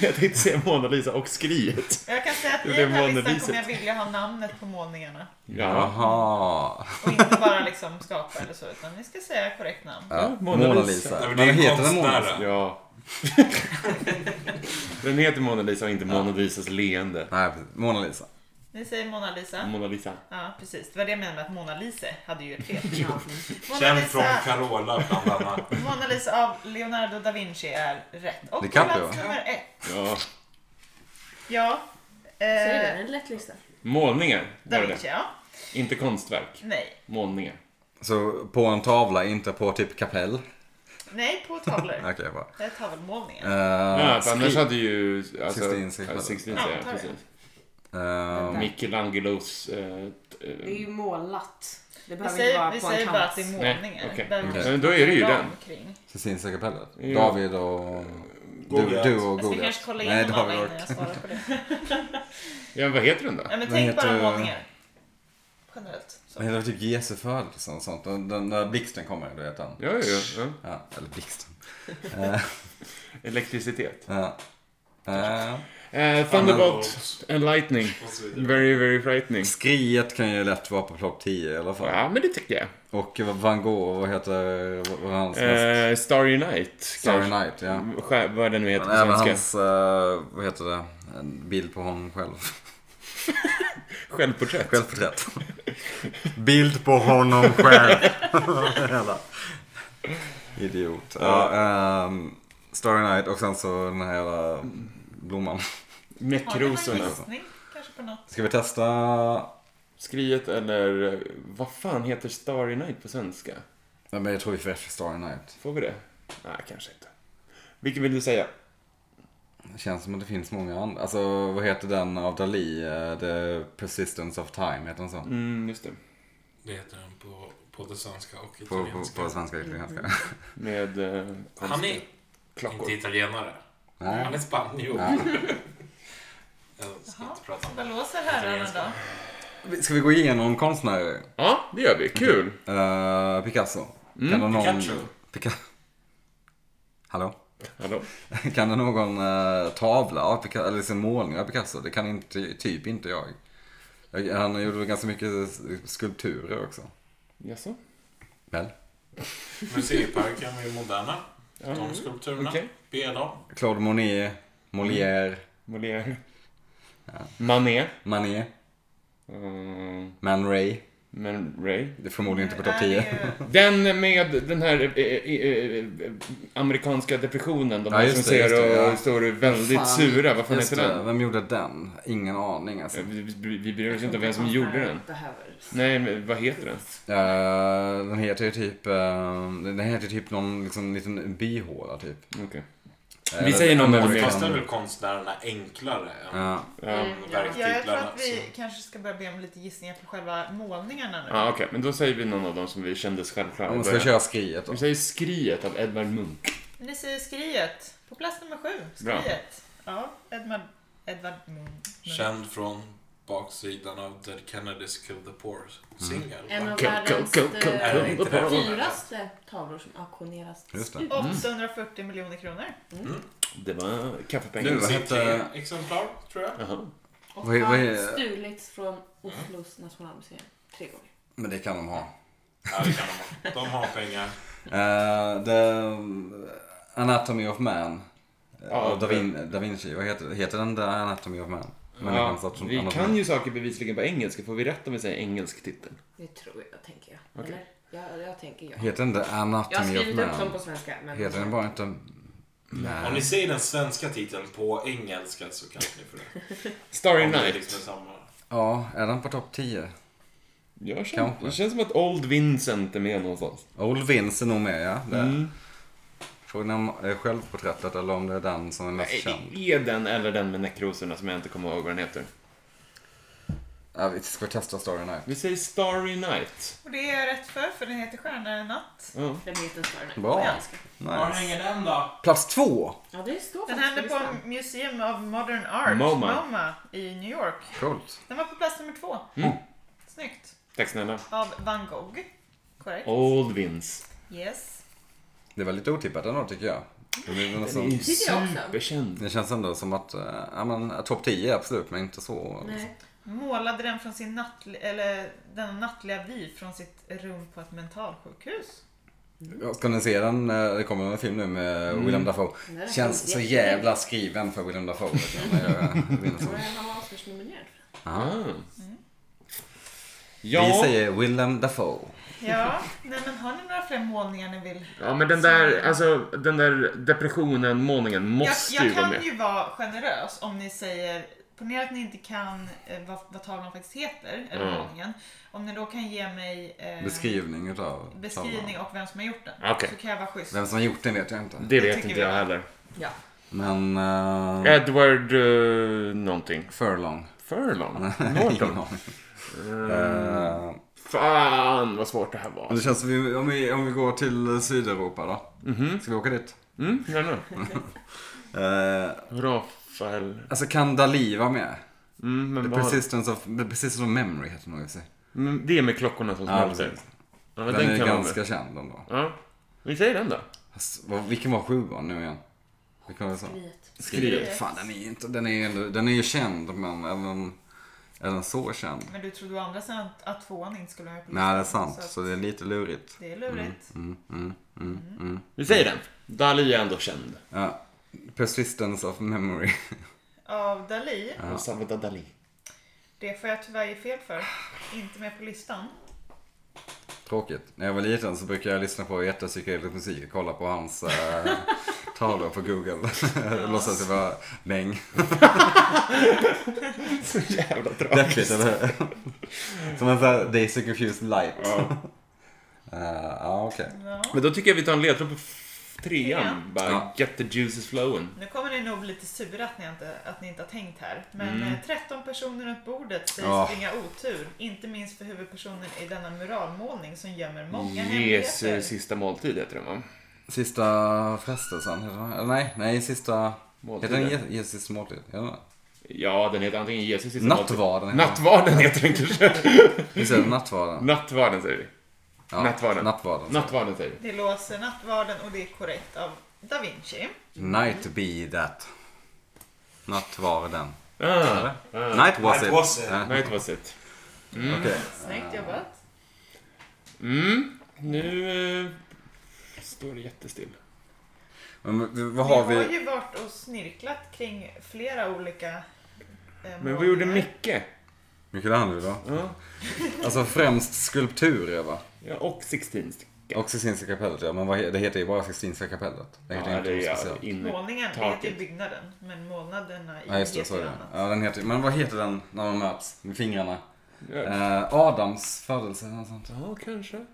B: Jag tänkte säga Mona Lisa och skriet.
A: Jag kan säga att i
B: Det är
A: den här
B: Mona
A: listan
B: Lisa.
A: kommer jag vilja ha namnet på målningarna.
B: Ja,
C: Jaha.
A: Och inte bara liksom skapa eller så, utan ni ska säga korrekt namn.
C: Ja,
B: Mona
C: Mona
B: Lisa.
C: Lisa.
D: Nej, men det
C: Men
D: är en
C: heter den Mona Lisa?
D: konstnär.
B: ja. Den heter Mona Lisa och inte Mona Lisas leende.
C: Nej, precis. Mona Lisa.
A: Ni säger Mona Lisa.
B: Mona Lisa.
A: Ja, precis. Det var det jag menade med att Mona Lisa hade ju ett fel.
E: Ja.
A: Mona
D: Känd från
A: Lisa,
D: Carola bland annat.
A: Mona Lisa av Leonardo da Vinci är rätt. Och
C: Det
A: på
C: kan det
A: plats
C: vara.
A: nummer ett.
B: Ja.
A: Ja.
E: Så är det
A: Eh,
E: en lätt lista.
B: Målningar
A: da
B: var det
A: Vinci,
B: det.
A: ja.
B: Inte konstverk.
A: Nej.
B: Målningar.
C: Så på en tavla, inte på typ kapell.
A: Nej, på tavlor.
C: Okej, bra.
A: Det är tavelmålningen.
B: Ja,
C: Uh,
B: för annars hade ju... Alltså,
C: Sistine Chapel.
B: ja, Sistine Chapel,
A: Ja,
B: precis.
C: uh,
B: Michelangelos... eh, t- eh,
E: Det är ju målat. Det
A: Vi
E: behöver inte
A: säger,
E: vara
A: vi
E: på en
A: säger bara att
E: kant.
A: det är
B: Nej,
A: målningar.
B: okej.
A: Där
B: Mm.
A: måste
B: Men då är det ju
A: vara
B: den.
A: ram Kring.
C: Sestinska kapellet.
B: Ja.
C: David och... Du,
D: Goliat.
C: du och
A: Jag ska
C: Goliat.
A: kanske kolla
C: Nej,
A: igenom alla innan
C: David och...
A: jag svarar på det.
B: Ja, vad heter den då?
A: Ja, men
C: Den
A: tänk bara
C: heter-
A: målningar. Generellt. Så.
C: Det heter typ Jesu födelse och sånt. Den, den där blixten kommer, du vet den.
B: Ja, ja, ja.
C: Ja, eller blixten. Eh,
B: Elektricitet.
C: Ja. Eh,
B: Eh, Thunderbolt and lightning.
D: Och så vidare.
B: Very, very frightening.
C: skriet kan ju lätt vara på plopp 10 i alla fall.
B: Ja, men det tycker jag.
C: Och Van Gogh, vad heter vad var hans nästa?
B: Eh, Starry Night.
C: Starry
B: kanske.
C: Night, ja.
B: Skär, vad den nu heter
C: Men
B: på
C: även
B: svenska.
C: hans, eh, vad heter det, en bild på honom själv.
B: Självporträtt.
C: Självporträtt. bild på honom själv. Jävla Idiot. Ja, ehm, Starry Night och sen så den här jävla blomman.
A: Har ni någon
B: Näckrosorna.
A: gissning? Kanske på något?
C: Ska vi testa?
B: Skriet eller... eh, Vad fan heter Starry Night på svenska?
C: Ja, men jag tror vi får efter Starry Night.
B: Får vi det? Nej, kanske inte. Vilken vill du säga?
C: Det känns som att det finns många andra. Alltså vad heter den av Dali? Eh, The Persistence of Time, heter den så?
B: Mm, just det.
D: Det heter han på både svenska och
C: På, på,
D: italienska.
C: på svenska och italienska.
A: Mm.
B: Med eh,
D: Han
B: konstiga
D: är inte
B: klockor.
D: italienare.
C: Nej.
D: Han är spanjor.
C: Ja.
D: Jag ska
A: Jaha,
D: inte prata om
A: vad
D: det.
A: låser herrarna då?
C: Ska vi gå igenom konstnärer?
B: Ja, det gör vi. Kul.
C: Eh, Picasso. Kan det någon...
D: Pikachu.
C: Pica... Hallå?
B: Hallå?
C: Kan det någon eh, tavla av Picasso, eller liksom målning av Picasso? Det kan inte, typ inte jag. jag. Han gjorde ganska mycket skulpturer också.
B: Jaså?
C: Väl?
D: Museiparken är ju moderna.
B: Ja.
D: De skulpturerna.
B: Mm. Okej.
D: Be dem.
C: Claude Monet, Molière,
B: Molière. Manet.
C: Manet,
B: Mm,
C: Man Ray.
B: men Ray.
C: Det är förmodligen inte på
A: Nu
C: topp
A: är det
C: 10.
A: ju-
B: Den med den här eh, eh, eh, amerikanska depressionen. De
C: Ja,
B: här
C: just
B: som
C: det,
B: ser
C: just det,
B: och
C: ja.
B: står väldigt
C: Fan,
B: sura. Vad fan
C: just
B: heter
C: det,
B: den?
C: Vem gjorde den? Ingen aning alltså.
B: Eh, Vi, vi, vi bryr oss inte om vem som
E: Konstnären
B: gjorde den.
E: Behöver.
B: Nej, men vad heter den?
C: Eh, den heter ju typ, eh, den heter typ någon liksom, liten byhåla typ. Eh,
B: Okej.
C: Eller-
B: säger någon
C: eller-
B: av dem.
D: Fast är väl konstnärerna enklare än
C: Ja.
B: Ja,
A: Ja,
E: Mm, ja.
A: jag tror
D: verktyglarna.
A: att vi kanske ska börja be om lite gissningar på själva målningarna nu.
B: Ja, okej. Men då säger vi någon av dem som vi kände självklara.
C: Om
B: i
C: man ska
B: början.
C: köra skriet då.
B: Vi säger Skriet av Edvard Munch.
A: Ni säger skriet. På plats nummer sju.
B: Bra.
A: Skriet. Ja, Edvard... Edvard... Mm.
D: Känd från baksidan av Dead Kennedys Kill the Poor singel.
E: En av
B: Go, go,
E: världens
B: go, go,
E: eh,
D: go. Nej, inte det.
E: dyraste tavlor som auktioneras
C: Just det.
E: ut.
A: 840 miljoner kronor.
B: Det var
C: Nu,
B: kaffepengar.
C: vad
D: Sitt tre
C: hette-
D: eh, exemplar, tror jag.
B: Jaha.
E: Och
C: Vad är- vad är-
E: har stulits från Oslos nationalmuseum tre gånger.
C: Men det kan de ha.
D: Ja, det kan de ha. De har pengar.
C: Eh, the Anatomy of Man.
B: Ja,
C: Av da, Vin, da Vinci. Vad heter, heter den? The Anatomy of Man? Människans
B: Ja,
C: art-
B: vi
C: anatomi.
B: kan ju saker bevisligen på engelska. Får vi rätt om vi säger engelsk titel?
E: Det tror jag, tänker jag. Eller? Jag, jag tänker jag.
C: Heter den The
E: Jag har
C: Anatomy of
E: skrivit upp dem
C: Man?
E: på svenska. Men
C: Heter den bara inte...
D: Om ni säger den svenska titeln på engelska så kanske ni får det.
B: Starry
D: Om det
B: Night.
D: liksom är samma.
C: Ja, är den på topp 10?
B: Jag känner,
C: Kanske.
B: det känns som att Old Vincent är med någonstans.
C: Old Vince är nog med ja. Det.
B: Mm.
C: Frågan är om det är eh, självporträttet eller om det är den som är mest känd.
B: Är den eller den med näckrosorna som jag inte kommer ihåg vad den heter?
C: Ja, vi ska testa Starry Night.
B: Vi säger Starry Night.
A: Och det är jag rätt för, för den heter Stjärna i natt.
B: Ja.
E: Den heter Stjärnan.
C: Bra.
E: Jag älskar.
D: Var
C: Nice.
D: hänger den då?
C: Plats två.
E: Ja, det står
A: Den
E: faktiskt
A: hände på
E: listan.
A: Museum of Modern Art,
B: MoMA.
A: i New York.
C: Coolt.
A: Den var på plats nummer två.
B: Mm.
A: Snyggt.
B: Tack snälla.
A: Av van Gogh. Korrekt.
B: Old Vince.
A: Yes.
C: Det var lite otippat ändå tycker jag. Det blev nästan...
E: Tycker jag också.
B: superkänd.
C: Det känns ändå som att, eh, ja men topp 10 absolut, men inte så.
E: Nej.
A: Målade den från sin nattli- eller den nattliga vy från sitt rum på ett mentalsjukhus.
C: Jag Ska ni se den, eh, det kommer en film nu med
D: Mm.
C: William Dafoe.
E: Den är
C: Känns så
E: jätterolig.
C: jävla skriven för William Dafoe. liksom. Jag gör-
E: Men Han var Oscarsnominerad.
B: Ah.
E: Mm.
C: Vi
B: Ja.
C: säger William Dafoe.
A: Ja, nej men har ni några fler målningar ni vill?
B: ja, men den där, alltså, den där depressionen, målningen
A: Jag,
B: måste ju
A: jag
B: vara
A: kan
B: med.
A: ju vara generös om ni säger ponera att ni inte kan eh, vad, vad tavlan faktiskt heter, eller
B: Mm.
A: målningen. Om ni då kan ge mig eh,
C: Beskrivning utav
A: beskrivning
C: tavlan.
A: och vem som har gjort den.
B: Okej.
A: Så kan jag vara schysst.
C: Vem som har gjort den vet jag inte.
B: Det
A: Det
B: vet
A: tycker
B: inte
A: vi
B: jag
A: då.
B: heller.
A: Ja.
C: Men... eh,
B: Edward uh, någonting.
C: Furlong.
B: Furlong? Norton? Eh,
C: Eh,
B: Fan vad svårt det här
C: men
B: var.
C: det känns som vi, om, vi, om vi går till Sydeuropa då. Ska vi åka dit?
B: Mm, gärna.
C: Eh,
B: Rafael.
C: alltså kan Dalí vara med?
B: Mm, men
C: The
B: vad...
C: Persistence of, the Persistence of Memory heter den nog i och för sig.
B: Men det är med klockorna som
C: Ja,
B: smälter.
C: precis.
B: Ja, men
C: Den är
B: den
C: ju
B: kan man väl.
C: ganska känd ändå.
B: Ja. Vi säger den då.
C: Fast, vad- Vilken var sjuan nu igen? Vilken var det så?
E: Skriet.
B: Skriet.
C: Fan, den är ju inte, den är ju ändå, den är ju känd men även, även så känd.
A: Men du trodde å andra sidan att, att tvåan inte skulle vara på
C: Nej, det är
A: listan,
C: sant.
A: att
C: Så det är lite lurigt.
A: det är lurigt.
C: Mm, mm, mm, mm.
B: Vi säger den. Dali är ändå känd.
C: Ja. Persistence of memory.
A: Av Dali,
B: Ja. Salvador Dali.
A: det får jag tyvärr ge fel för. Inte med på listan.
C: Tråkigt. När jag var liten så brukade jag lyssna på jättepsykedelisk musik och kolla på hans eh, tavlor på google. Låtsas det var Meng.
B: Jävla
C: Deppigt eller hur? Som en sån här Daisy Confused Light.
B: Ja.
C: Eh, Ja, okej.
A: Ja.
B: Men då tycker jag vi tar en ledtråd på f- trean.
A: Trean.
B: Bara
C: Ja.
B: get the juices flowing.
A: Nu kommer ni nog bli lite sura att ni inte, att ni inte har tänkt här. Men
C: Mm.
A: eh, 13 personer runt bordet sägs
C: Ah.
A: springa otur. Inte minst för huvudpersonen i denna muralmålning som gömmer många
B: Jesu
A: hemligheter.
B: sista måltid heter den va?
C: Sista frestelsen, heter den? Eller Nej, nej, sista... Heter den
B: Måltiden.
C: Je- Jesus sista måltid? Gör den det?
B: Ja, den heter antingen Jesus sista
C: Nattvarden
B: måltid.
C: heter den.
B: Nattvarden heter den kanske.
C: Visst är det nattvarden?
B: Nattvarden säger vi.
C: Ja,
B: Nattvarden.
C: Nattvarden.
B: Nattvarden säger vi.
A: Det låser nattvarden och det är korrekt av Da Vinci.
C: Night be that. Nattvarden.
B: Ah,
C: Night was
D: Night
C: it.
D: was it.
C: Ja,
B: night was it.
C: Okej.
A: Snyggt jobbat.
B: Mm, nu eh, står det jättestill.
C: Men vad
A: Vi
C: har
A: har
C: vi?
A: ju varit och snirklat kring flera olika eh,
B: Men vad gjorde
A: målningar.
B: Micke?
C: Michelangelo då?
B: Ja,
C: Alltså främst skulpturer va?
B: ja och Sixteenst.
C: Och Sixtinska kapellet ja, men vad, he- det heter ju bara Sixtinska kapellet. Det heter
B: Ja,
C: inte
B: det
C: något
B: är
C: speciellt.
B: inne.
A: Målningen
B: Mm. Taket.
A: heter ju byggnaden, men målnaderna i
C: Ja just det, så är
A: heter
C: det.
A: annat.
C: Ja, den heter, men vad heter den när man möts med fingrarna?
B: Ja,
C: Eh, Adams födelse eller något sånt.
B: ja, kanske.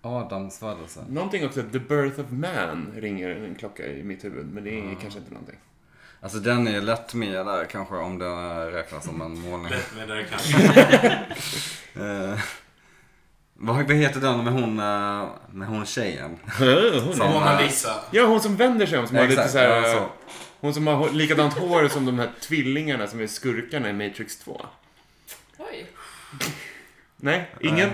C: Adams födelse.
B: Någonting också, The Birth of Man ringer en klocka i mitt huvud, men det är
C: Ah.
B: kanske inte någonting.
C: Alltså den är lätt med där kanske om den räknas som en målning.
D: Lätt med det kanske.
C: Eh, vad vad heter den med hon, eh, med hon tjejen?
D: Som eh, Mona Lisa.
B: Ja, hon som vänder sig om, som har lite
C: Exakt,
B: så här,
C: ja, så.
B: Hon som har hå- likadant hår som de här tvillingarna som är skurkarna i Matrix 2.
E: Oj.
B: Nej, ingen.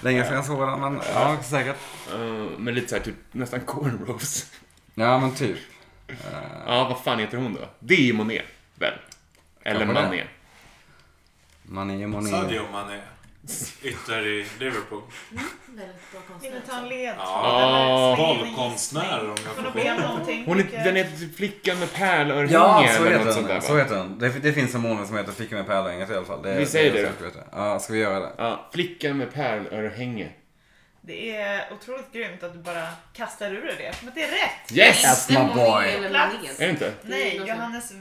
C: Länge sedan jag såg den men ja säkert.
B: Eh, men lite så här, typ nästan cornrows.
C: Ja men typ.
B: Ja, vad fan heter hon då? Det är ju Monet, väl? Eller
C: Kanske det.
B: Manet.
C: Mané, mané.
D: Sadio Mané. Ytter i Liverpool.
E: Mm, Väldigt bra konstnär.
A: Vill ni ta en
E: också.
A: ledtråd?
B: Ja. Ah,
A: eller slänga in en
D: Bollkonstnär om
A: gissning? Får
D: jag
A: nog
D: får
A: be om någonting.
B: Hon
A: tycker
B: är,
A: jag.
B: den heter typ Flickan med pärlörhänge
C: Ja, så
B: eller något
C: heter
B: sånt där
C: den.
B: va?
C: Så heter den. Det, det finns en månad som heter Flicka med pärlänget i alla fall. Det,
B: Vi säger
C: är
B: det.
C: säkert, vet jag. Ja, ska vi göra det?
B: Ja, Flickan med pärlörhänge.
A: Det är otroligt grymt att du bara kastar ur dig det. Men det är rätt!
B: Yes!
C: Yes, my
E: Stämmer
C: boy.
E: det eller
A: Plats.
E: meningen?
B: Är det inte?
A: Nej,
E: något
A: Johannes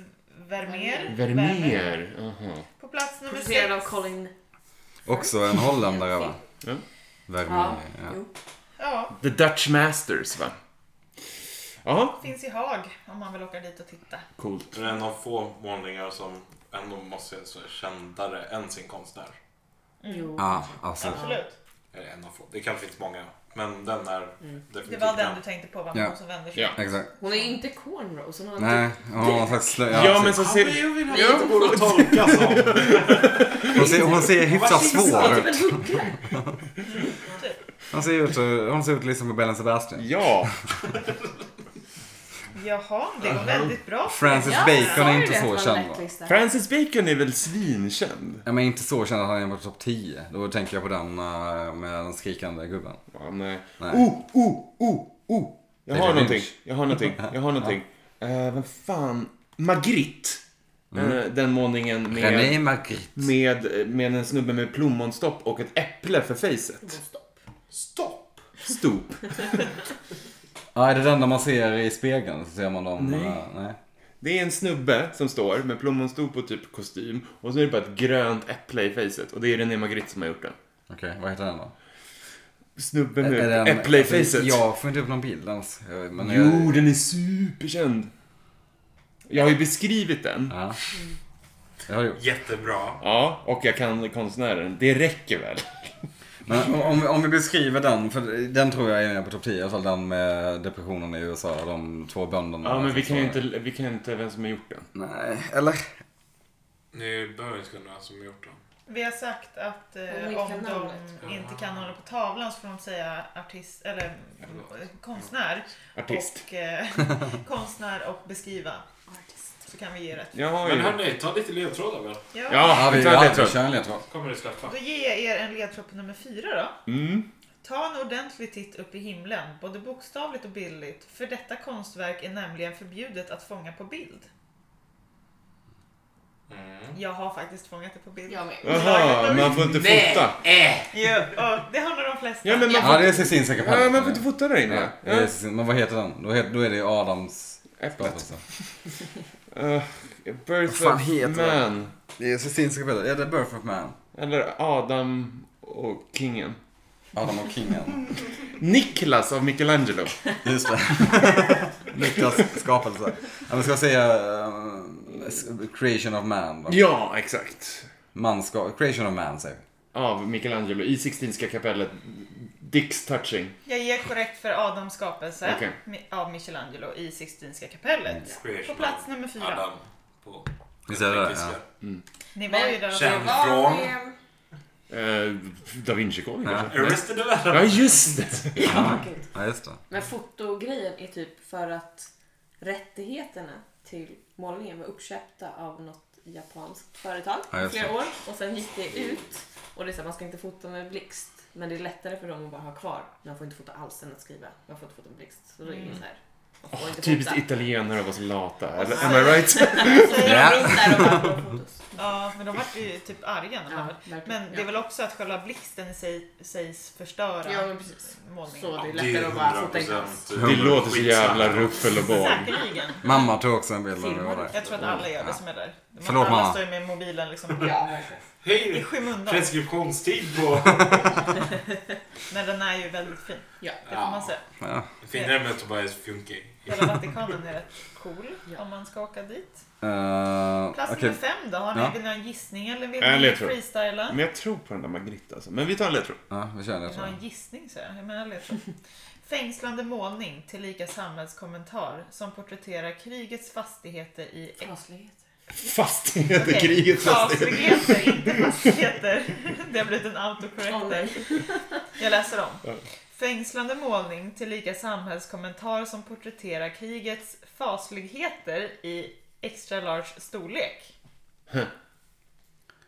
A: Vermeer.
B: Vermeer. Aha.
A: På plats nummer
E: Porträtterad av
A: sex.
E: Colin.
C: Också en holländare va?
B: Ja.
C: Vermeer.
E: Ja.
C: Ja.
E: Jo.
A: Ja,
B: The Dutch Masters, va? Ja,
A: finns i Haag om man vill åka dit och titta.
B: coolt.
D: Det är en av få målningar som ändå måste jag säga är kändare än sin konstnär.
E: Jo.
C: Ja, absolut.
A: Absolut.
D: Eller en av få. Det kanske finns många. Men den är definitivt
A: Mm. Det var den
D: den.
A: du tänkte på, va?
C: Ja.
A: Hon som vänder sig.
B: Ja.
C: Exakt.
E: Hon är inte cornrows. Hon har en
C: Nej, hon har någon slags slö...
B: Ja, men så ser...
D: Jag vill
E: Ja.
D: inte går att tolka som.
C: hon, ser, hon ser hyfsat svår
E: Hon
C: ut.
E: är typ en huggare.
C: Hon ser ut, eh, hon ser ut liksom på Bellen Sebastian.
B: Ja,
A: Jaha, det var väldigt bra.
C: Francis
E: typ- Ja,
C: Bacon
E: sa
C: är
E: du
C: inte
E: det
C: så
E: att det var en
C: känd va?
E: lättlista?
B: Francis Bacon är väl svinkänd?
C: Ja, men inte så känd att han är på topp 10. Då tänker jag på den eh, med den skrikande gubben.
B: Ja, nej.
C: Nej.
B: Oh, oh, oh, oh. Jag
C: David
B: har någonting.
C: Lynch.
B: Jag har någonting. Jag har någonting. Eh, vem fan? Magritte. Eh, den målningen
C: Mm. René
B: med,
C: Magritte.
B: med, med en snubbe med plommonstopp och ett äpple för facet.
E: Stopp.
D: Stopp!
B: Stop.
C: Ja, är det den där man ser i spegeln? Så ser man dem?
B: Nej.
C: eh, nej.
B: Det är en snubbe som står med plommonstop och typ kostym och så är det bara ett grönt äpple i facet och det är René Magritte som har gjort den.
C: Okej, vad heter den då?
B: Snubben
C: Är- är
B: med
C: den-
B: äpple i
C: alltså,
B: facet.
C: Jag får inte upp någon bild ens. Jag- Men
B: Jo,
C: jag,
B: den är superkänd. Jag har ju beskrivit den.
C: ja. Jag har gjort.
D: Jättebra.
B: Ja, och jag kan konstnären. Det räcker väl?
C: Men om- om, om vi beskriver den, för den tror jag är med på topp 10 i alla fall. Den med depressionen i USA, de två bönderna.
B: Ja, men vi kan ju
C: Så-
B: inte, vi kan ju inte vem som har gjort den.
C: Nej, eller?
D: Ni behöver inte kunna han som gjort dem.
A: Vi har sagt att eh,
E: Om de inte
A: om
E: kan
A: de
E: namnet.
A: inte kan hålla på tavlan så får de säga artist, eller mm, konstnär.
B: Artist.
A: Och, eh, konstnär och beskriva. Så kan vi ge rätt.
B: Jag har ju...
D: Men hörni, ta lite ledtrådar väl.
A: Ja.
B: Ja,
C: Ja, vi,
B: vi tar
C: ja, vi
B: ledtråd.
C: kör en ledtråd.
D: kommer det släppa.
A: Då ger jag er en ledtråd på nummer fyra då.
B: Mm.
A: Ta en ordentlig titt upp i himlen, både bokstavligt och bildligt. För detta konstverk är nämligen förbjudet att fånga på bild.
D: Mm.
A: Jag har faktiskt fångat det på bild.
E: Jag med.
B: Jaha, man får inte fota.
A: Jo, och det har nog de flesta.
B: Ja, men man
C: Ja, det är Cecilien säkert.
B: Ja, man får inte fota där
C: Ja,
B: inne.
C: det är
B: Ja.
C: Cecilien. Men vad heter den? Då, heter, då är det Adams
B: Äpplet.
C: skapelse.
B: Uh,
C: Vad
B: birth
C: fan
B: of
C: heter den?
B: Man.
C: Det är Ceciliens skapelse. Ja, det är Birth of Man.
B: Eller Adam och kingen.
C: Adam och kingen.
B: Niklas av Michelangelo.
C: Just det. Niklas skapelse. Ja, men ska jag säga eh, Creation of Man då?
B: Ja, exakt.
C: Man ska, creation of Man säger vi.
B: Av Michelangelo i Sixtinska kapellet. Dicks touching.
A: Jag ger korrekt för Adams skapelse
B: Okej. Mm.
A: mi- av Michelangelo i Sixtinska kapellet. På plats nummer fyra.
D: Adam. På
C: Visst är det det? Ja.
A: Ni var ju där och
D: Känd
E: Vad
D: från
E: är-
B: Eh, da Vinci-koden kanske?
D: Arrested Development.
B: Ja, just det.
E: Ja, gud.
C: ja, just det.
E: Men fotogrejen är typ för att rättigheterna till målningen var uppköpta av något japanskt företag
C: Ja,
E: i
C: just
E: flera
C: det.
E: år och sen gick det ut och det är så här, man ska inte fota med blixt men det är lättare för dem att bara ha kvar. Man får inte fota alls än att skriva. Man får inte fota med blixt. Så då är
C: Mm.
E: det så här. Man får inte
B: Typiskt
E: fota.
B: italienare att vara så lata. Eller, am I right?
E: Så
C: Ja.
E: jag runt där och bara, "Våra fotos."
A: Ja, men de vart ju typ arga när
E: Ja,
A: man var
E: verkligen.
A: Men det är
E: Ja.
A: väl också att själva blixten i sig sägs förstöra
E: Ja, men precis.
A: målningen.
E: Så
D: Ja,
E: det är
D: det
E: lättare att bara fota en alls.
B: Det låter så jävla ruffel och båg.
A: Säkerligen.
C: Mamma tog också en bild när vi var där.
A: Jag tror att alla gör det som är där. Man
C: Förlåt,
A: alla
C: mamma.
A: står ju med mobilen liksom
E: Ja, verkligen.
A: i
D: Hej!
A: skymundan.
D: Preskriptionstid på...
A: Men den är ju väldigt fin.
E: Ja.
A: Det får man säga.
C: Ja.
D: Finare med Tobias Funke.
A: Hela Vatikanen är rätt cool om man ska åka dit.
C: Eh,
A: Plats
C: Okej,
A: nummer fem då. Har ni
C: Ja.
A: vill ni ha en gissning eller vill
B: Äh,
A: ni
B: ledtråd.
A: freestyla?
B: Men jag tror på den där Magritte alltså. Men vi tar en ledtråd.
C: ja, vi kör
A: Vill ni ha
C: en ledtråd.
A: en gissning så jag. jag menar ledtråd. Fängslande målning tillika samhällskommentar som porträtterar krigets fastigheter i
E: Fasligheter.
B: Fastigheter,
A: Okej,
B: krigets fastigheter.
A: Fasligheter, inte fastigheter. Det har blivit en autocorrect där. Jag läser om. Fängslande målning tillika samhällskommentar som porträtterar krigets fasligheter i extra large storlek.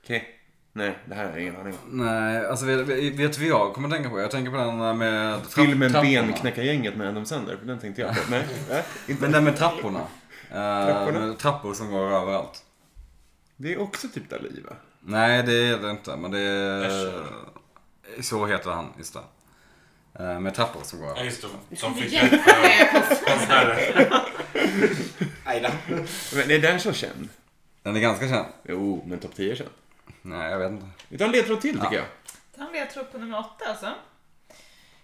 B: Okej. Nej, det här har jag ingen aning om.
C: Nej, alltså vet, vet vi jag kommer tänka på? Jag tänker på den med trapp-
B: Filmen
C: trapporna.
B: Benknäckargänget med Adam Sandler. Den tänkte jag på. Nej, nej, inte.
C: Men den med trapporna. Eh,
B: Trapporna?
C: Med trappor som går överallt.
B: Det är också typ Dalí va?
C: Nej, det är det inte. Men det är...
D: Escher.
C: Så heter han, just det. Eh, Med trappor som går
D: Ja,
C: överallt.
D: just det. Som fick rätt för konstnärer. Ajda.
B: Men är den så känd?
C: Den är ganska känd.
B: Jo, men topp 10 är känd.
C: Nej, jag vet inte.
B: Vi tar en ledtråd till tycker jag.
A: Den vill jag tro på nummer åtta alltså.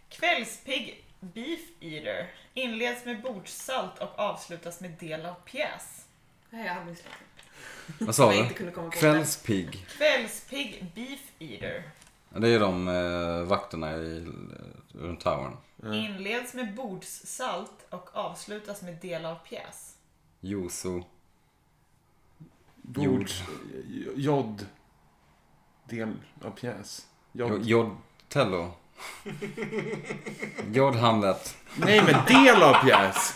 A: Kvällspigg Beef Eater inleds med bordssalt och avslutas med del av pjäs.
E: Nej, jag hade misslyckats.
C: Vad sa
E: Som jag
C: du?
E: inte kunde komma på.
C: Kvällspigg.
A: Kvällspigg Beef Eater
C: Ja, Det är de eh, vakterna i, eh, runt towern.
A: inleds med bordssalt och avslutas med del av pjäs.
C: Joso.
B: Bord. J- Jod. Del av pjäs.
C: Jo-
B: Jod.
C: Jodtello. Jodhamlet.
B: Nej, men del av pjäs.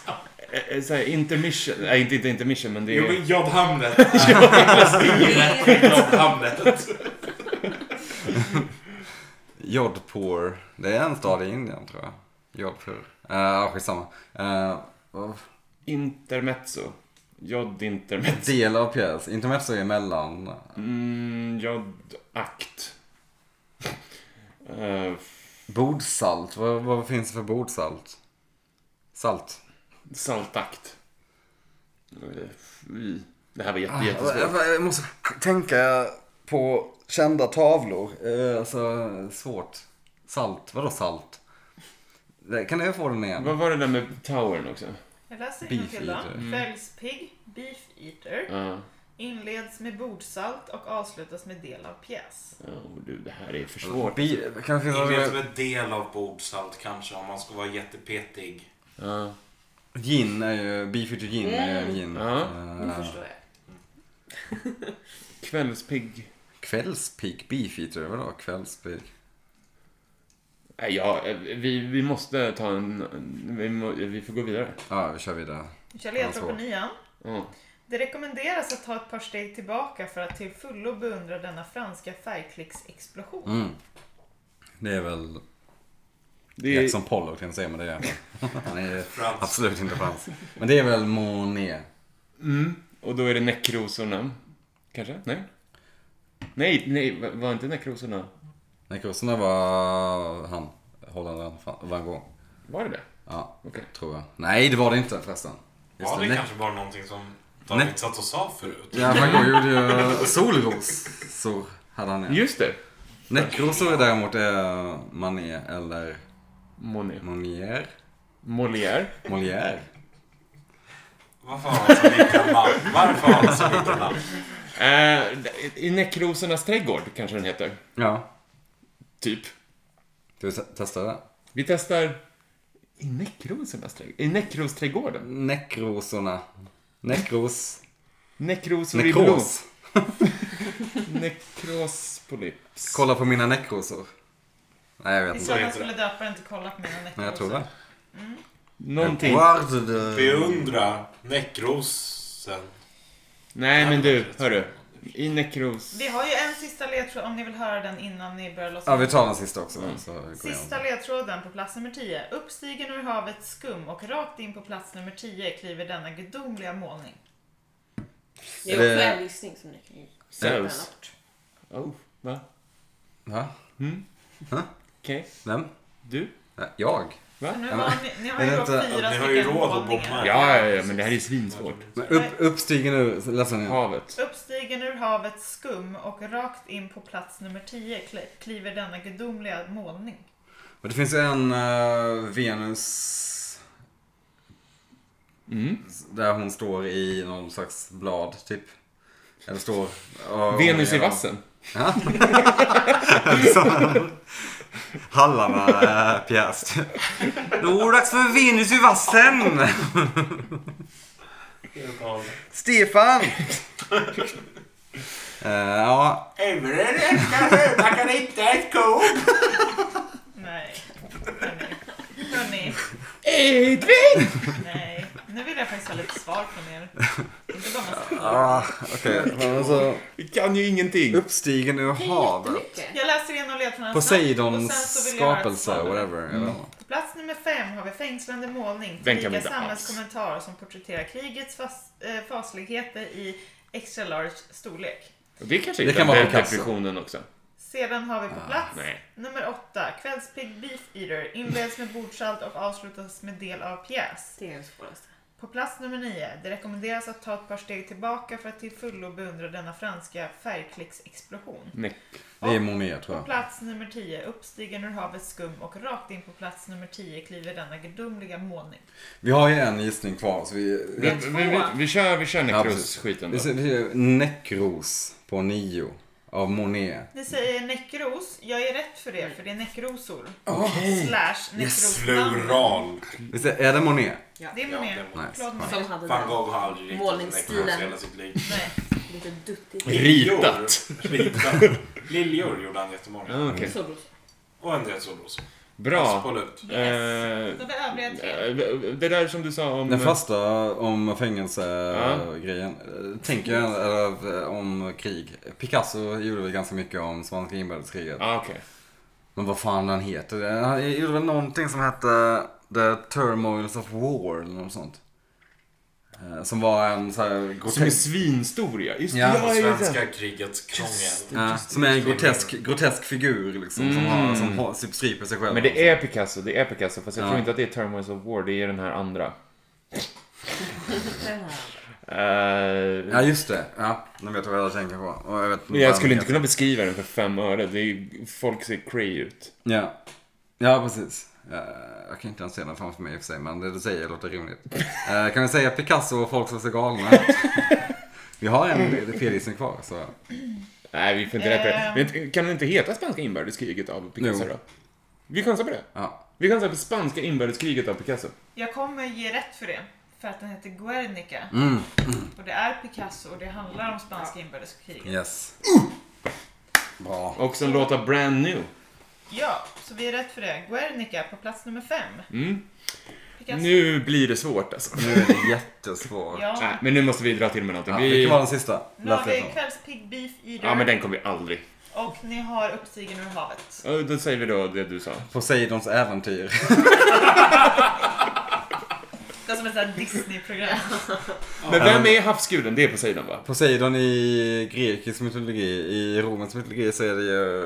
B: Eh, eh, Såhär intermission. Nej, inte, inte intermission, men det
D: Jo,
B: är...
D: men jobbhamnet. Jobbhamnet.
C: Jodhpur. Det är en stad i Indien tror jag. Jodhpur. Eh, Ja, skitsamma. Eh, vad-
B: Intermezzo. Jod intermezzo.
C: del av pjäs. Intermezzo är emellan.
B: Mm, jod akt. Eh,
C: Bordsalt. Vad, vad finns det för bordsalt? Salt.
B: saltakt. Eh, fy. Det här var jätte, jättesvårt.
C: Ah, Jag jag måste tänka på kända tavlor. Eh, Alltså, svårt. Salt. Vadå salt? Det- Kan jag få den igen?
B: Vad var det där med towern också?
A: Jag läser
C: Beef
A: innantill då.
C: eater. Mm.
A: Kvällspigg, beef eater,
B: Ja,
A: inleds med bordsalt och avslutas med del av pjäs.
B: ja, och du, det här är för svårt.
C: Bi- Kan det
D: Inleds som
C: finnas
D: en del av bordsalt kanske om man ska vara jättepetig.
B: Ja.
C: gin är ju, beef eater gin är ju gin.
B: Ja.
C: Eh,
E: Nu förstår jag.
B: Kvällspigg.
C: Kvällspigg, beef eater, vadå kvällspigg?
B: Nej, ja, eh, vi, vi måste ta en... en- Vi, må, vi får gå vidare.
C: Ja, vi kör vidare.
A: Kjell
C: Ja,
A: Edström på
C: svårt.
A: nian.
B: Ja.
A: Det rekommenderas att ta ett par steg tillbaka för att till fullo beundra denna franska färgklicksexplosion.
C: Mm. Det är väl
B: Det är,
C: Jackson Pollock kan jag säga, men det är han. Han är
D: Frans.
C: absolut inte fransk. Men det är väl Monet.
B: mm, och då är det näckrosorna. Kanske? Nej? Nej, nej, va- var inte näckrosorna...
C: Nej, kurserna var han, holländaren Fran- van Gogh.
B: Var det det?
C: Ja,
B: Okej.
C: tror jag. Nej, det var det inte förresten.
D: Ja, det
C: Nej.
D: kanske bara någonting som
C: Nej.
D: David satt och sa förut.
C: Ja, van Gogh gjorde ju solrosor. Hade han ju.
B: Just det!
C: Näckrosor är däremot är Manet eller
B: Monet.
C: Monier.
B: Molière.
C: Molière.
D: Varför har han så mycket namn? Varför har han så mycket namn?
B: Eh, I näckrosornas trädgård kanske den heter.
C: Ja.
B: Typ.
C: Ska vi te- testa det?
B: Vi testar... I näckrosornas trädgård? I näckrosträdgården?
C: Näckrosorna. Näckros.
B: Näckrosor i blom.
C: Näckros.
B: Näckrospolyps.
C: Kolla på mina näckrosor. Nej, jag vet
A: I
C: inte.
A: så fall
D: heter
A: skulle döparen inte kollat mina
C: Nej, jag tror
A: näckrosor.
C: det. eh,
B: Någonting.
C: Guard the-
D: Beundra näckrosen.
B: Nej men du, hörru. I näckros...
A: Vi har ju en sista ledtråd om ni vill höra den innan ni börjar lossa.
C: Ja, vi tar den sista också. Så går jag.
A: Sista ledtråden på plats nummer 10. Uppstigen ur havets skum och rakt in på plats nummer 10 kliver denna gudomliga målning.
E: Det är
C: Är det-
E: också en gissning som ni kan ju
B: Zeus.
E: sätta en ort.
B: Oh, va?
C: Va?
B: Okej.
C: Vem?
B: Du?
C: Ja, Jag?
A: Så nu
C: Ja,
A: har ni, ni har ju
C: är det
A: då
C: inte-
A: fyra
D: Ni har ju
A: stycken
D: råd att bomma.
A: målningar.
B: Ja, ja, ja, men det här är svinsvårt.
C: Men Upp, uppstigen ur... Läs den igen.
B: Havet.
A: Uppstigen ur havets skum och rakt in på plats nummer 10 kli- kliver denna gudomliga målning.
C: Och det finns ju en eh, Venus...
B: Mm.
C: Där hon står i någon slags blad, typ. Eller står... och-
B: Venus i
C: och-
B: vassen.
C: Ja. Så- Hallarna-pjäs. Då är eh, det dags för Venus i vassen! Stefan! Eh, ja,
D: Every räcka man kan hitta ett ko.
A: Nej. Hörni. Hörni.
B: Edvin!
A: Nej. Nu vill jag faktiskt ha lite svar från er. Inte bara massa.
C: ah, okej. Men Alltså,
B: Vi kan ju ingenting.
C: uppstigen ur
E: Det är
C: havet.
E: jättemycket.
A: Jag läser igenom ledtrådarna snabbt, och sen
C: Poseidons
A: så vill jag ha ett
C: skapelse,
A: svar.
C: whatever. jag vet inte.
A: På plats nummer fem har vi fängslande målning.
B: Den kan vi
A: Tillika
B: inte alls.
A: samhällskommentar som porträtterar krigets fas, eh, fasligheter i extra large storlek.
B: Det kanske
C: Det kan
B: är
C: vara
B: den här
C: Picasso.
B: depressionen också.
A: Sedan har vi på plats
B: Ah, Nej.
A: nummer åtta. Kvällspigg Beef Eater inleds med bordsalt och avslutas med del av pjäs.
E: Det är det svåraste.
A: På plats nummer nio. Det rekommenderas att ta ett par steg tillbaka för att till fullo beundra denna franska färgklicksexplosion.
B: Nej.
C: Det är Monet tror
A: På
C: jag.
A: plats nummer 10, uppstigen ur havets skum och rakt in på plats nummer 10 kliver denna gudomliga målning.
C: Vi har ju en gissning kvar så vi...
B: Vi, vi, vi, vi kör, vi kör
C: Ja, precis.
B: näckros-skiten
C: vi
B: då.
C: ser- vi ser Näckros på nio av Monet.
A: Ni säger näckros, jag är rätt för det för det är näckrosor.
C: Okej.
A: Slash näckrosnamn.
D: Plural.
C: Visst är- Är det Monet?
A: Det är
D: Ja,
A: Monet.
D: det är
C: Monet.
A: Claude Monet.
E: Som hade
D: Van
E: den
D: Gogh har aldrig riktigt
E: Målningsstilen.
D: näckrose i hela sitt liv.
A: Nej.
E: lite duttigt.
B: Ritat.
D: Ritat. Liljor gjorde han jättemånga.
B: Ja, Ah, Okej.
C: Mm.
E: Solros.
D: Och en del solrosor.
B: Bra.
D: Absolut.
A: Yes.
B: Eh,
A: Då har vi övriga tre.
B: eh, det där som du sa om...
C: Den första om
B: Ja.
C: fängelsegrejen. Ja. Tänker jag eller, eh, om krig. Picasso gjorde väl ganska mycket om spanska inbördeskriget.
B: Ja, Ah, okej.
C: Men vad fan den heter? Han gjorde väl någonting som hette The Turmoils of War eller något sånt. Eh, Som var en så här
B: Som är
C: grotesk...
B: stor ja. Just det,
C: Ja,
B: ja, just det.
D: Svenska krigets krångel.
C: Ja, som är en grotesk, grotesk figur liksom. Som,
B: Mm.
C: har, som har, typ stryper sig själv.
B: Men det är Picasso, det är Picasso. Fast jag
C: Ja.
B: Eh, tror inte att det är Turmoils of War, det är den här andra.
E: Den här.
B: Eh,
C: Ja, just det. Ja, nu vet jag vad jag tänker på. Och jag, vet
B: men jag skulle inte kunna
C: alltså.
B: beskriva den för fem öre. Det är, folk ser cray ut.
C: Ja, ja precis. Eh, jag kan inte ens se den framför mig i och för sig, men det du säger låter rimligt. Eh, kan vi säga Picasso och folk som ser galna ut? Vi har en p kvar, så...
B: Nej, vi får inte rätt på det.
A: Ehm.
B: Men inte- Kan det inte heta spanska inbördeskriget av Picasso
C: Jo.
B: då? Vi chansar på det.
C: Ja.
B: Vi chansar på spanska inbördeskriget av Picasso.
A: Jag kommer ge rätt för det. För att den heter Guernica.
C: Mm.
A: Och det är Picasso och det handlar om spanska inbördeskriget.
C: Yes. Bra.
B: Och sen låta brand new.
A: Ja, så vi är rätt för det. Guernica på plats nummer fem.
B: Mm.
A: Picasso.
B: Nu blir det svårt alltså.
C: Nu är det jättesvårt.
B: Nej,
A: Ja.
B: men nu måste vi dra till med någonting.
C: Ja,
B: vi...
C: vilken var den sista?
A: Nu har vi
C: Lätt
A: kvälls Pig Beef Eater
B: Ja, men den kommer vi aldrig.
A: och ni har Uppstigen ur havet.
B: Ja, Då säger vi då det du sa.
C: Poseidons äventyr.
A: Det är som ett sånt här Disney-program.
B: Men vem är havsguden? Det är Poseidon va?
C: Poseidon i grekisk mytologi, i romans mytologi så är det ju...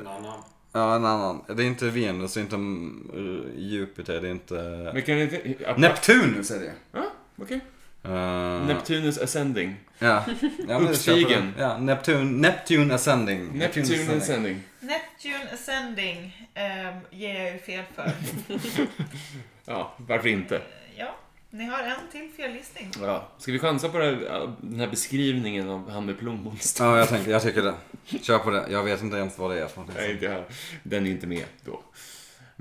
D: En annan.
C: Ja, en annan. Det är inte Venus, det är inte eh, Jupiter, det är inte...
B: Men kan det inte... Ja,
C: Neptunus är det
B: Ja, okej.
C: Eh,
B: Neptunus ascending.
C: Ja. ja men det köper
B: Uppstigen.
C: jag. Ja, Neptun, Neptune ascending.
B: Neptune ascending.
A: Neptune Ascending ehm, ger jag ju fel för. Eh,
B: Ja, varför inte?
A: Ja, ni har en till fellistning.
B: Ja. Ska vi chansa på det här, den här beskrivningen av han med plommonstret?
C: Ja, jag, tänker, jag tycker det. Kör på det. Jag vet inte ens vad det är för någonting.
B: Nej, det här. Den är inte med då.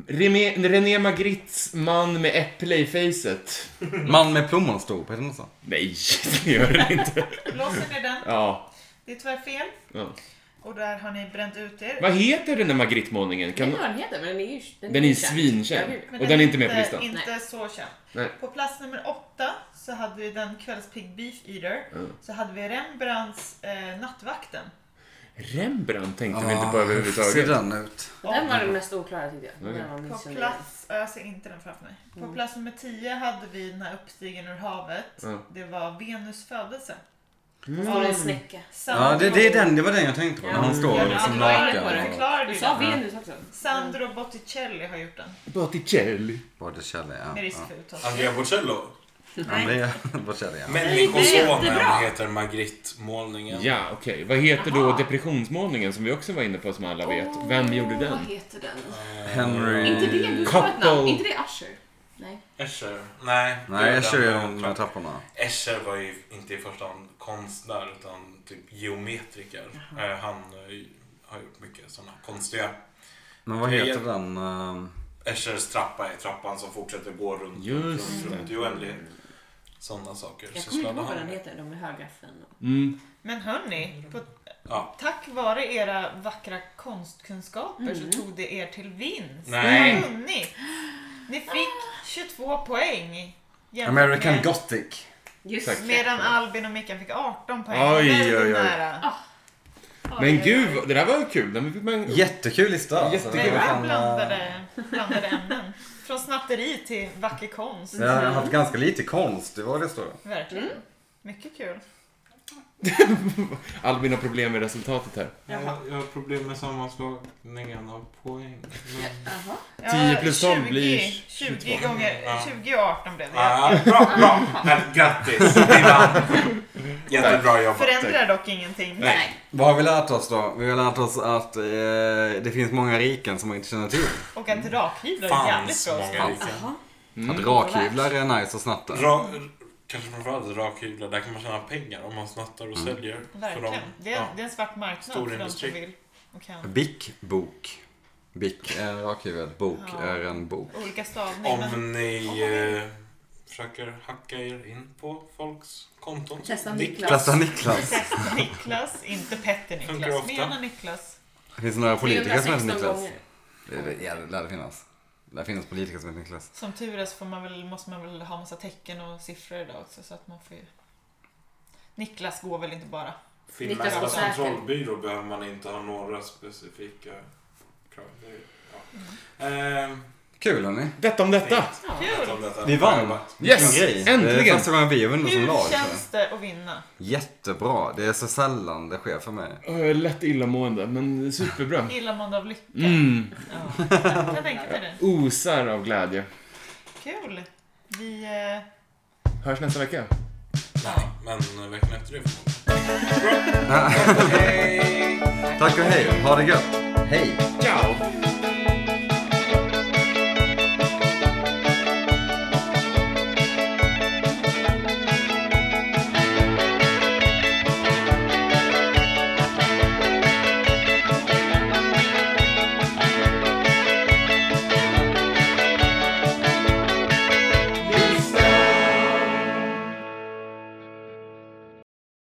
B: René, René Magritts man med äpple i facet.
C: Man med plommonstrop, heter det något sånt?
B: Nej, det gör den inte.
A: Blåser ni den?
B: Ja.
A: Det är tyvärr fel.
B: ja.
A: Och där har ni bränt ut er.
B: Vad heter den där Magritte-målningen?
E: Kan...
B: Kan...
E: Det är den heter, men den är ju...
B: Den är ju
E: känd.
B: svinkänd.
E: Ja, gud.
A: Men
B: Och den är inte med på listan.
A: Inte så känd.
B: Nej.
A: På plats nummer åtta så hade vi den kvälls Pig Beef Eater.
B: Mm.
A: Så hade vi Rembrandts eh, Nattvakten.
B: Rembrandt tänkte vi
C: Ah,
B: inte på
C: Ser
B: överhuvudtaget.
C: den ut?
E: Den var den mest oklara tyckte jag.
B: Okej.
E: Den var
A: På
E: minst känd.
A: plats, ja, jag ser inte den framför mig. På plats nummer 10 hade vi den här Uppstigen ur havet.
B: Mm.
A: Det var Venus födelse.
E: Och så Mm. var det en snäcka.
C: Ja, det, det är den. Det var den jag tänkte på. När han
A: Ja,
C: står
E: men
C: liksom
E: jag var inne på
C: naken.
E: det.
A: Förklarar
E: Du
A: du
E: sa
A: den?
E: Venus också.
A: Sandro Botticelli har gjort den.
B: Botticelli.
C: Botticelli,
A: Med
C: ja.
A: risk för uttal.
D: Andrea Bocello.
C: ja. Andrea Botticelli, ja.
D: Människosonen heter Magritte-målningen.
B: Ja, okej. Vad heter då
E: Jaha.
B: depressionsmålningen som vi också var inne på som alla vet?
E: Åh,
B: Vem gjorde den?
E: Vad heter den?
D: Eh,
C: Henry...
E: Inte det du sa ett namn.
B: Couple.
E: Inte det Usher? Nej.
D: Escher. Nej.
C: Nej, jag kör ju de
D: den.
C: med trapporna.
D: Escher var ju inte i första hand konstnär utan typ geometriker. Eh, Han eh, har gjort mycket sådana konstiga.
C: Men vad
D: Tre.
C: heter den? ehm,
D: Eschers trappa är trappan som fortsätter gå runt,
B: Just
D: runt, runt i oändlighet. Sådana saker.
E: Jag kommer
D: sysslade
E: inte
D: han
E: ihåg vad den
D: med.
E: heter. De med högaffeln. och-
B: Mm.
A: Men hörni, på,
D: Ja.
A: tack vare era vackra konstkunskaper så tog det er till vinst.
D: Nej.
A: Vad kunde Ni, ni fick 22 poäng. jämfört
C: American
A: med-
C: Gothic.
E: Just
B: Tack.
E: det.
A: Medan Albin och Mickan fick 18 poäng.
B: Oj,
A: Väldigt
B: oj, oj.
A: nära.
B: Men gud, vad- det där var ju kul. Den fick man...
C: Jättekul lista. alltså.
B: Jättekul.
A: Det
B: Det var
A: var
C: Fan, eh,
A: blandade, blandade ämnen. Från snatteri till vacker konst.
C: Jag har haft ganska lite konst, det var det stora.
A: Verkligen. Mycket kul.
B: Albin har problem med resultatet här.
A: Jaha.
D: Jag har problem med sammanslagningen av poäng.
E: Jaha.
B: 10 plus 12
A: 20
B: blir
A: 20
B: 22.
A: gånger,
D: Ja.
A: 20 och 18 blev det.
D: Ah, bra, bra! Nej, Grattis! Det är namn. Jättebra jobbat.
A: Förändrar dock ingenting.
E: Nej.
C: Vad har vi lärt oss då? Vi har lärt oss att eh, det finns många riken som man inte känner till.
A: Och att rakhyvlar är jävligt
D: Mm. Fanns
A: bra.
D: många rika.
E: Jaha.
A: Mm.
C: Att rakhyvlar är nice att snatta.
D: Ra, kanske framförallt rakhyvlar. Där kan man tjäna pengar om man snattar och säljer. För de,
A: Verkligen. Det är,
D: ja.
A: det är en svart marknad
D: Stor
A: för de
D: industri.
A: som vill och kan.
C: Bick, bok. Bick är en rakhyvel, bok
A: Ja.
C: är en bok.
A: Olika stavning. men
D: Om ni eh, försöker hacka er in på folks konton.
E: Testa
D: Det
E: Niklas.
C: Klassa Niklas.
A: Testa Niklas, inte Petter
D: Funkar
A: Niklas.
D: ofta.
A: Mena Niklas.
C: Finns det några politiker som heter
E: 316
C: Niklas?
E: gånger.
C: Det, det, ja, det lär det finnas. Det lär finnas politiker som heter Niklas.
A: Som tur är så får man väl, måste man väl ha massa tecken och siffror idag också så att man får ju... Niklas går väl inte bara.
E: Niklas var
D: Finlands
E: säker.
D: kontrollbyrå behöver man inte ha några specifika krav. Det är- Ja.
E: Mm.
D: Ehm,
C: Kul hörni.
B: Detta om detta!
E: Ja.
D: vet
A: Kul!
D: om detta.
C: Vi vann.
B: Yes,
C: Vilken grej. Det är
B: äntligen.
C: första gången vi vunnit som lag.
A: Hur
C: så.
A: känns det att vinna?
C: Jättebra. Det är så sällan det sker för mig.
B: Jag är lätt illamående, men superbra.
A: Illamående av lycka.
B: Mm.
A: Ja. Jag kan tänka mig det.
B: Osar av glädje.
A: Kul! Vi... Eh,
B: Hörs nästa vecka.
D: Men veckan efter det förmodligen. Bra. Hej!
C: Tack och hej, ha det gött. Hej.
B: Ciao!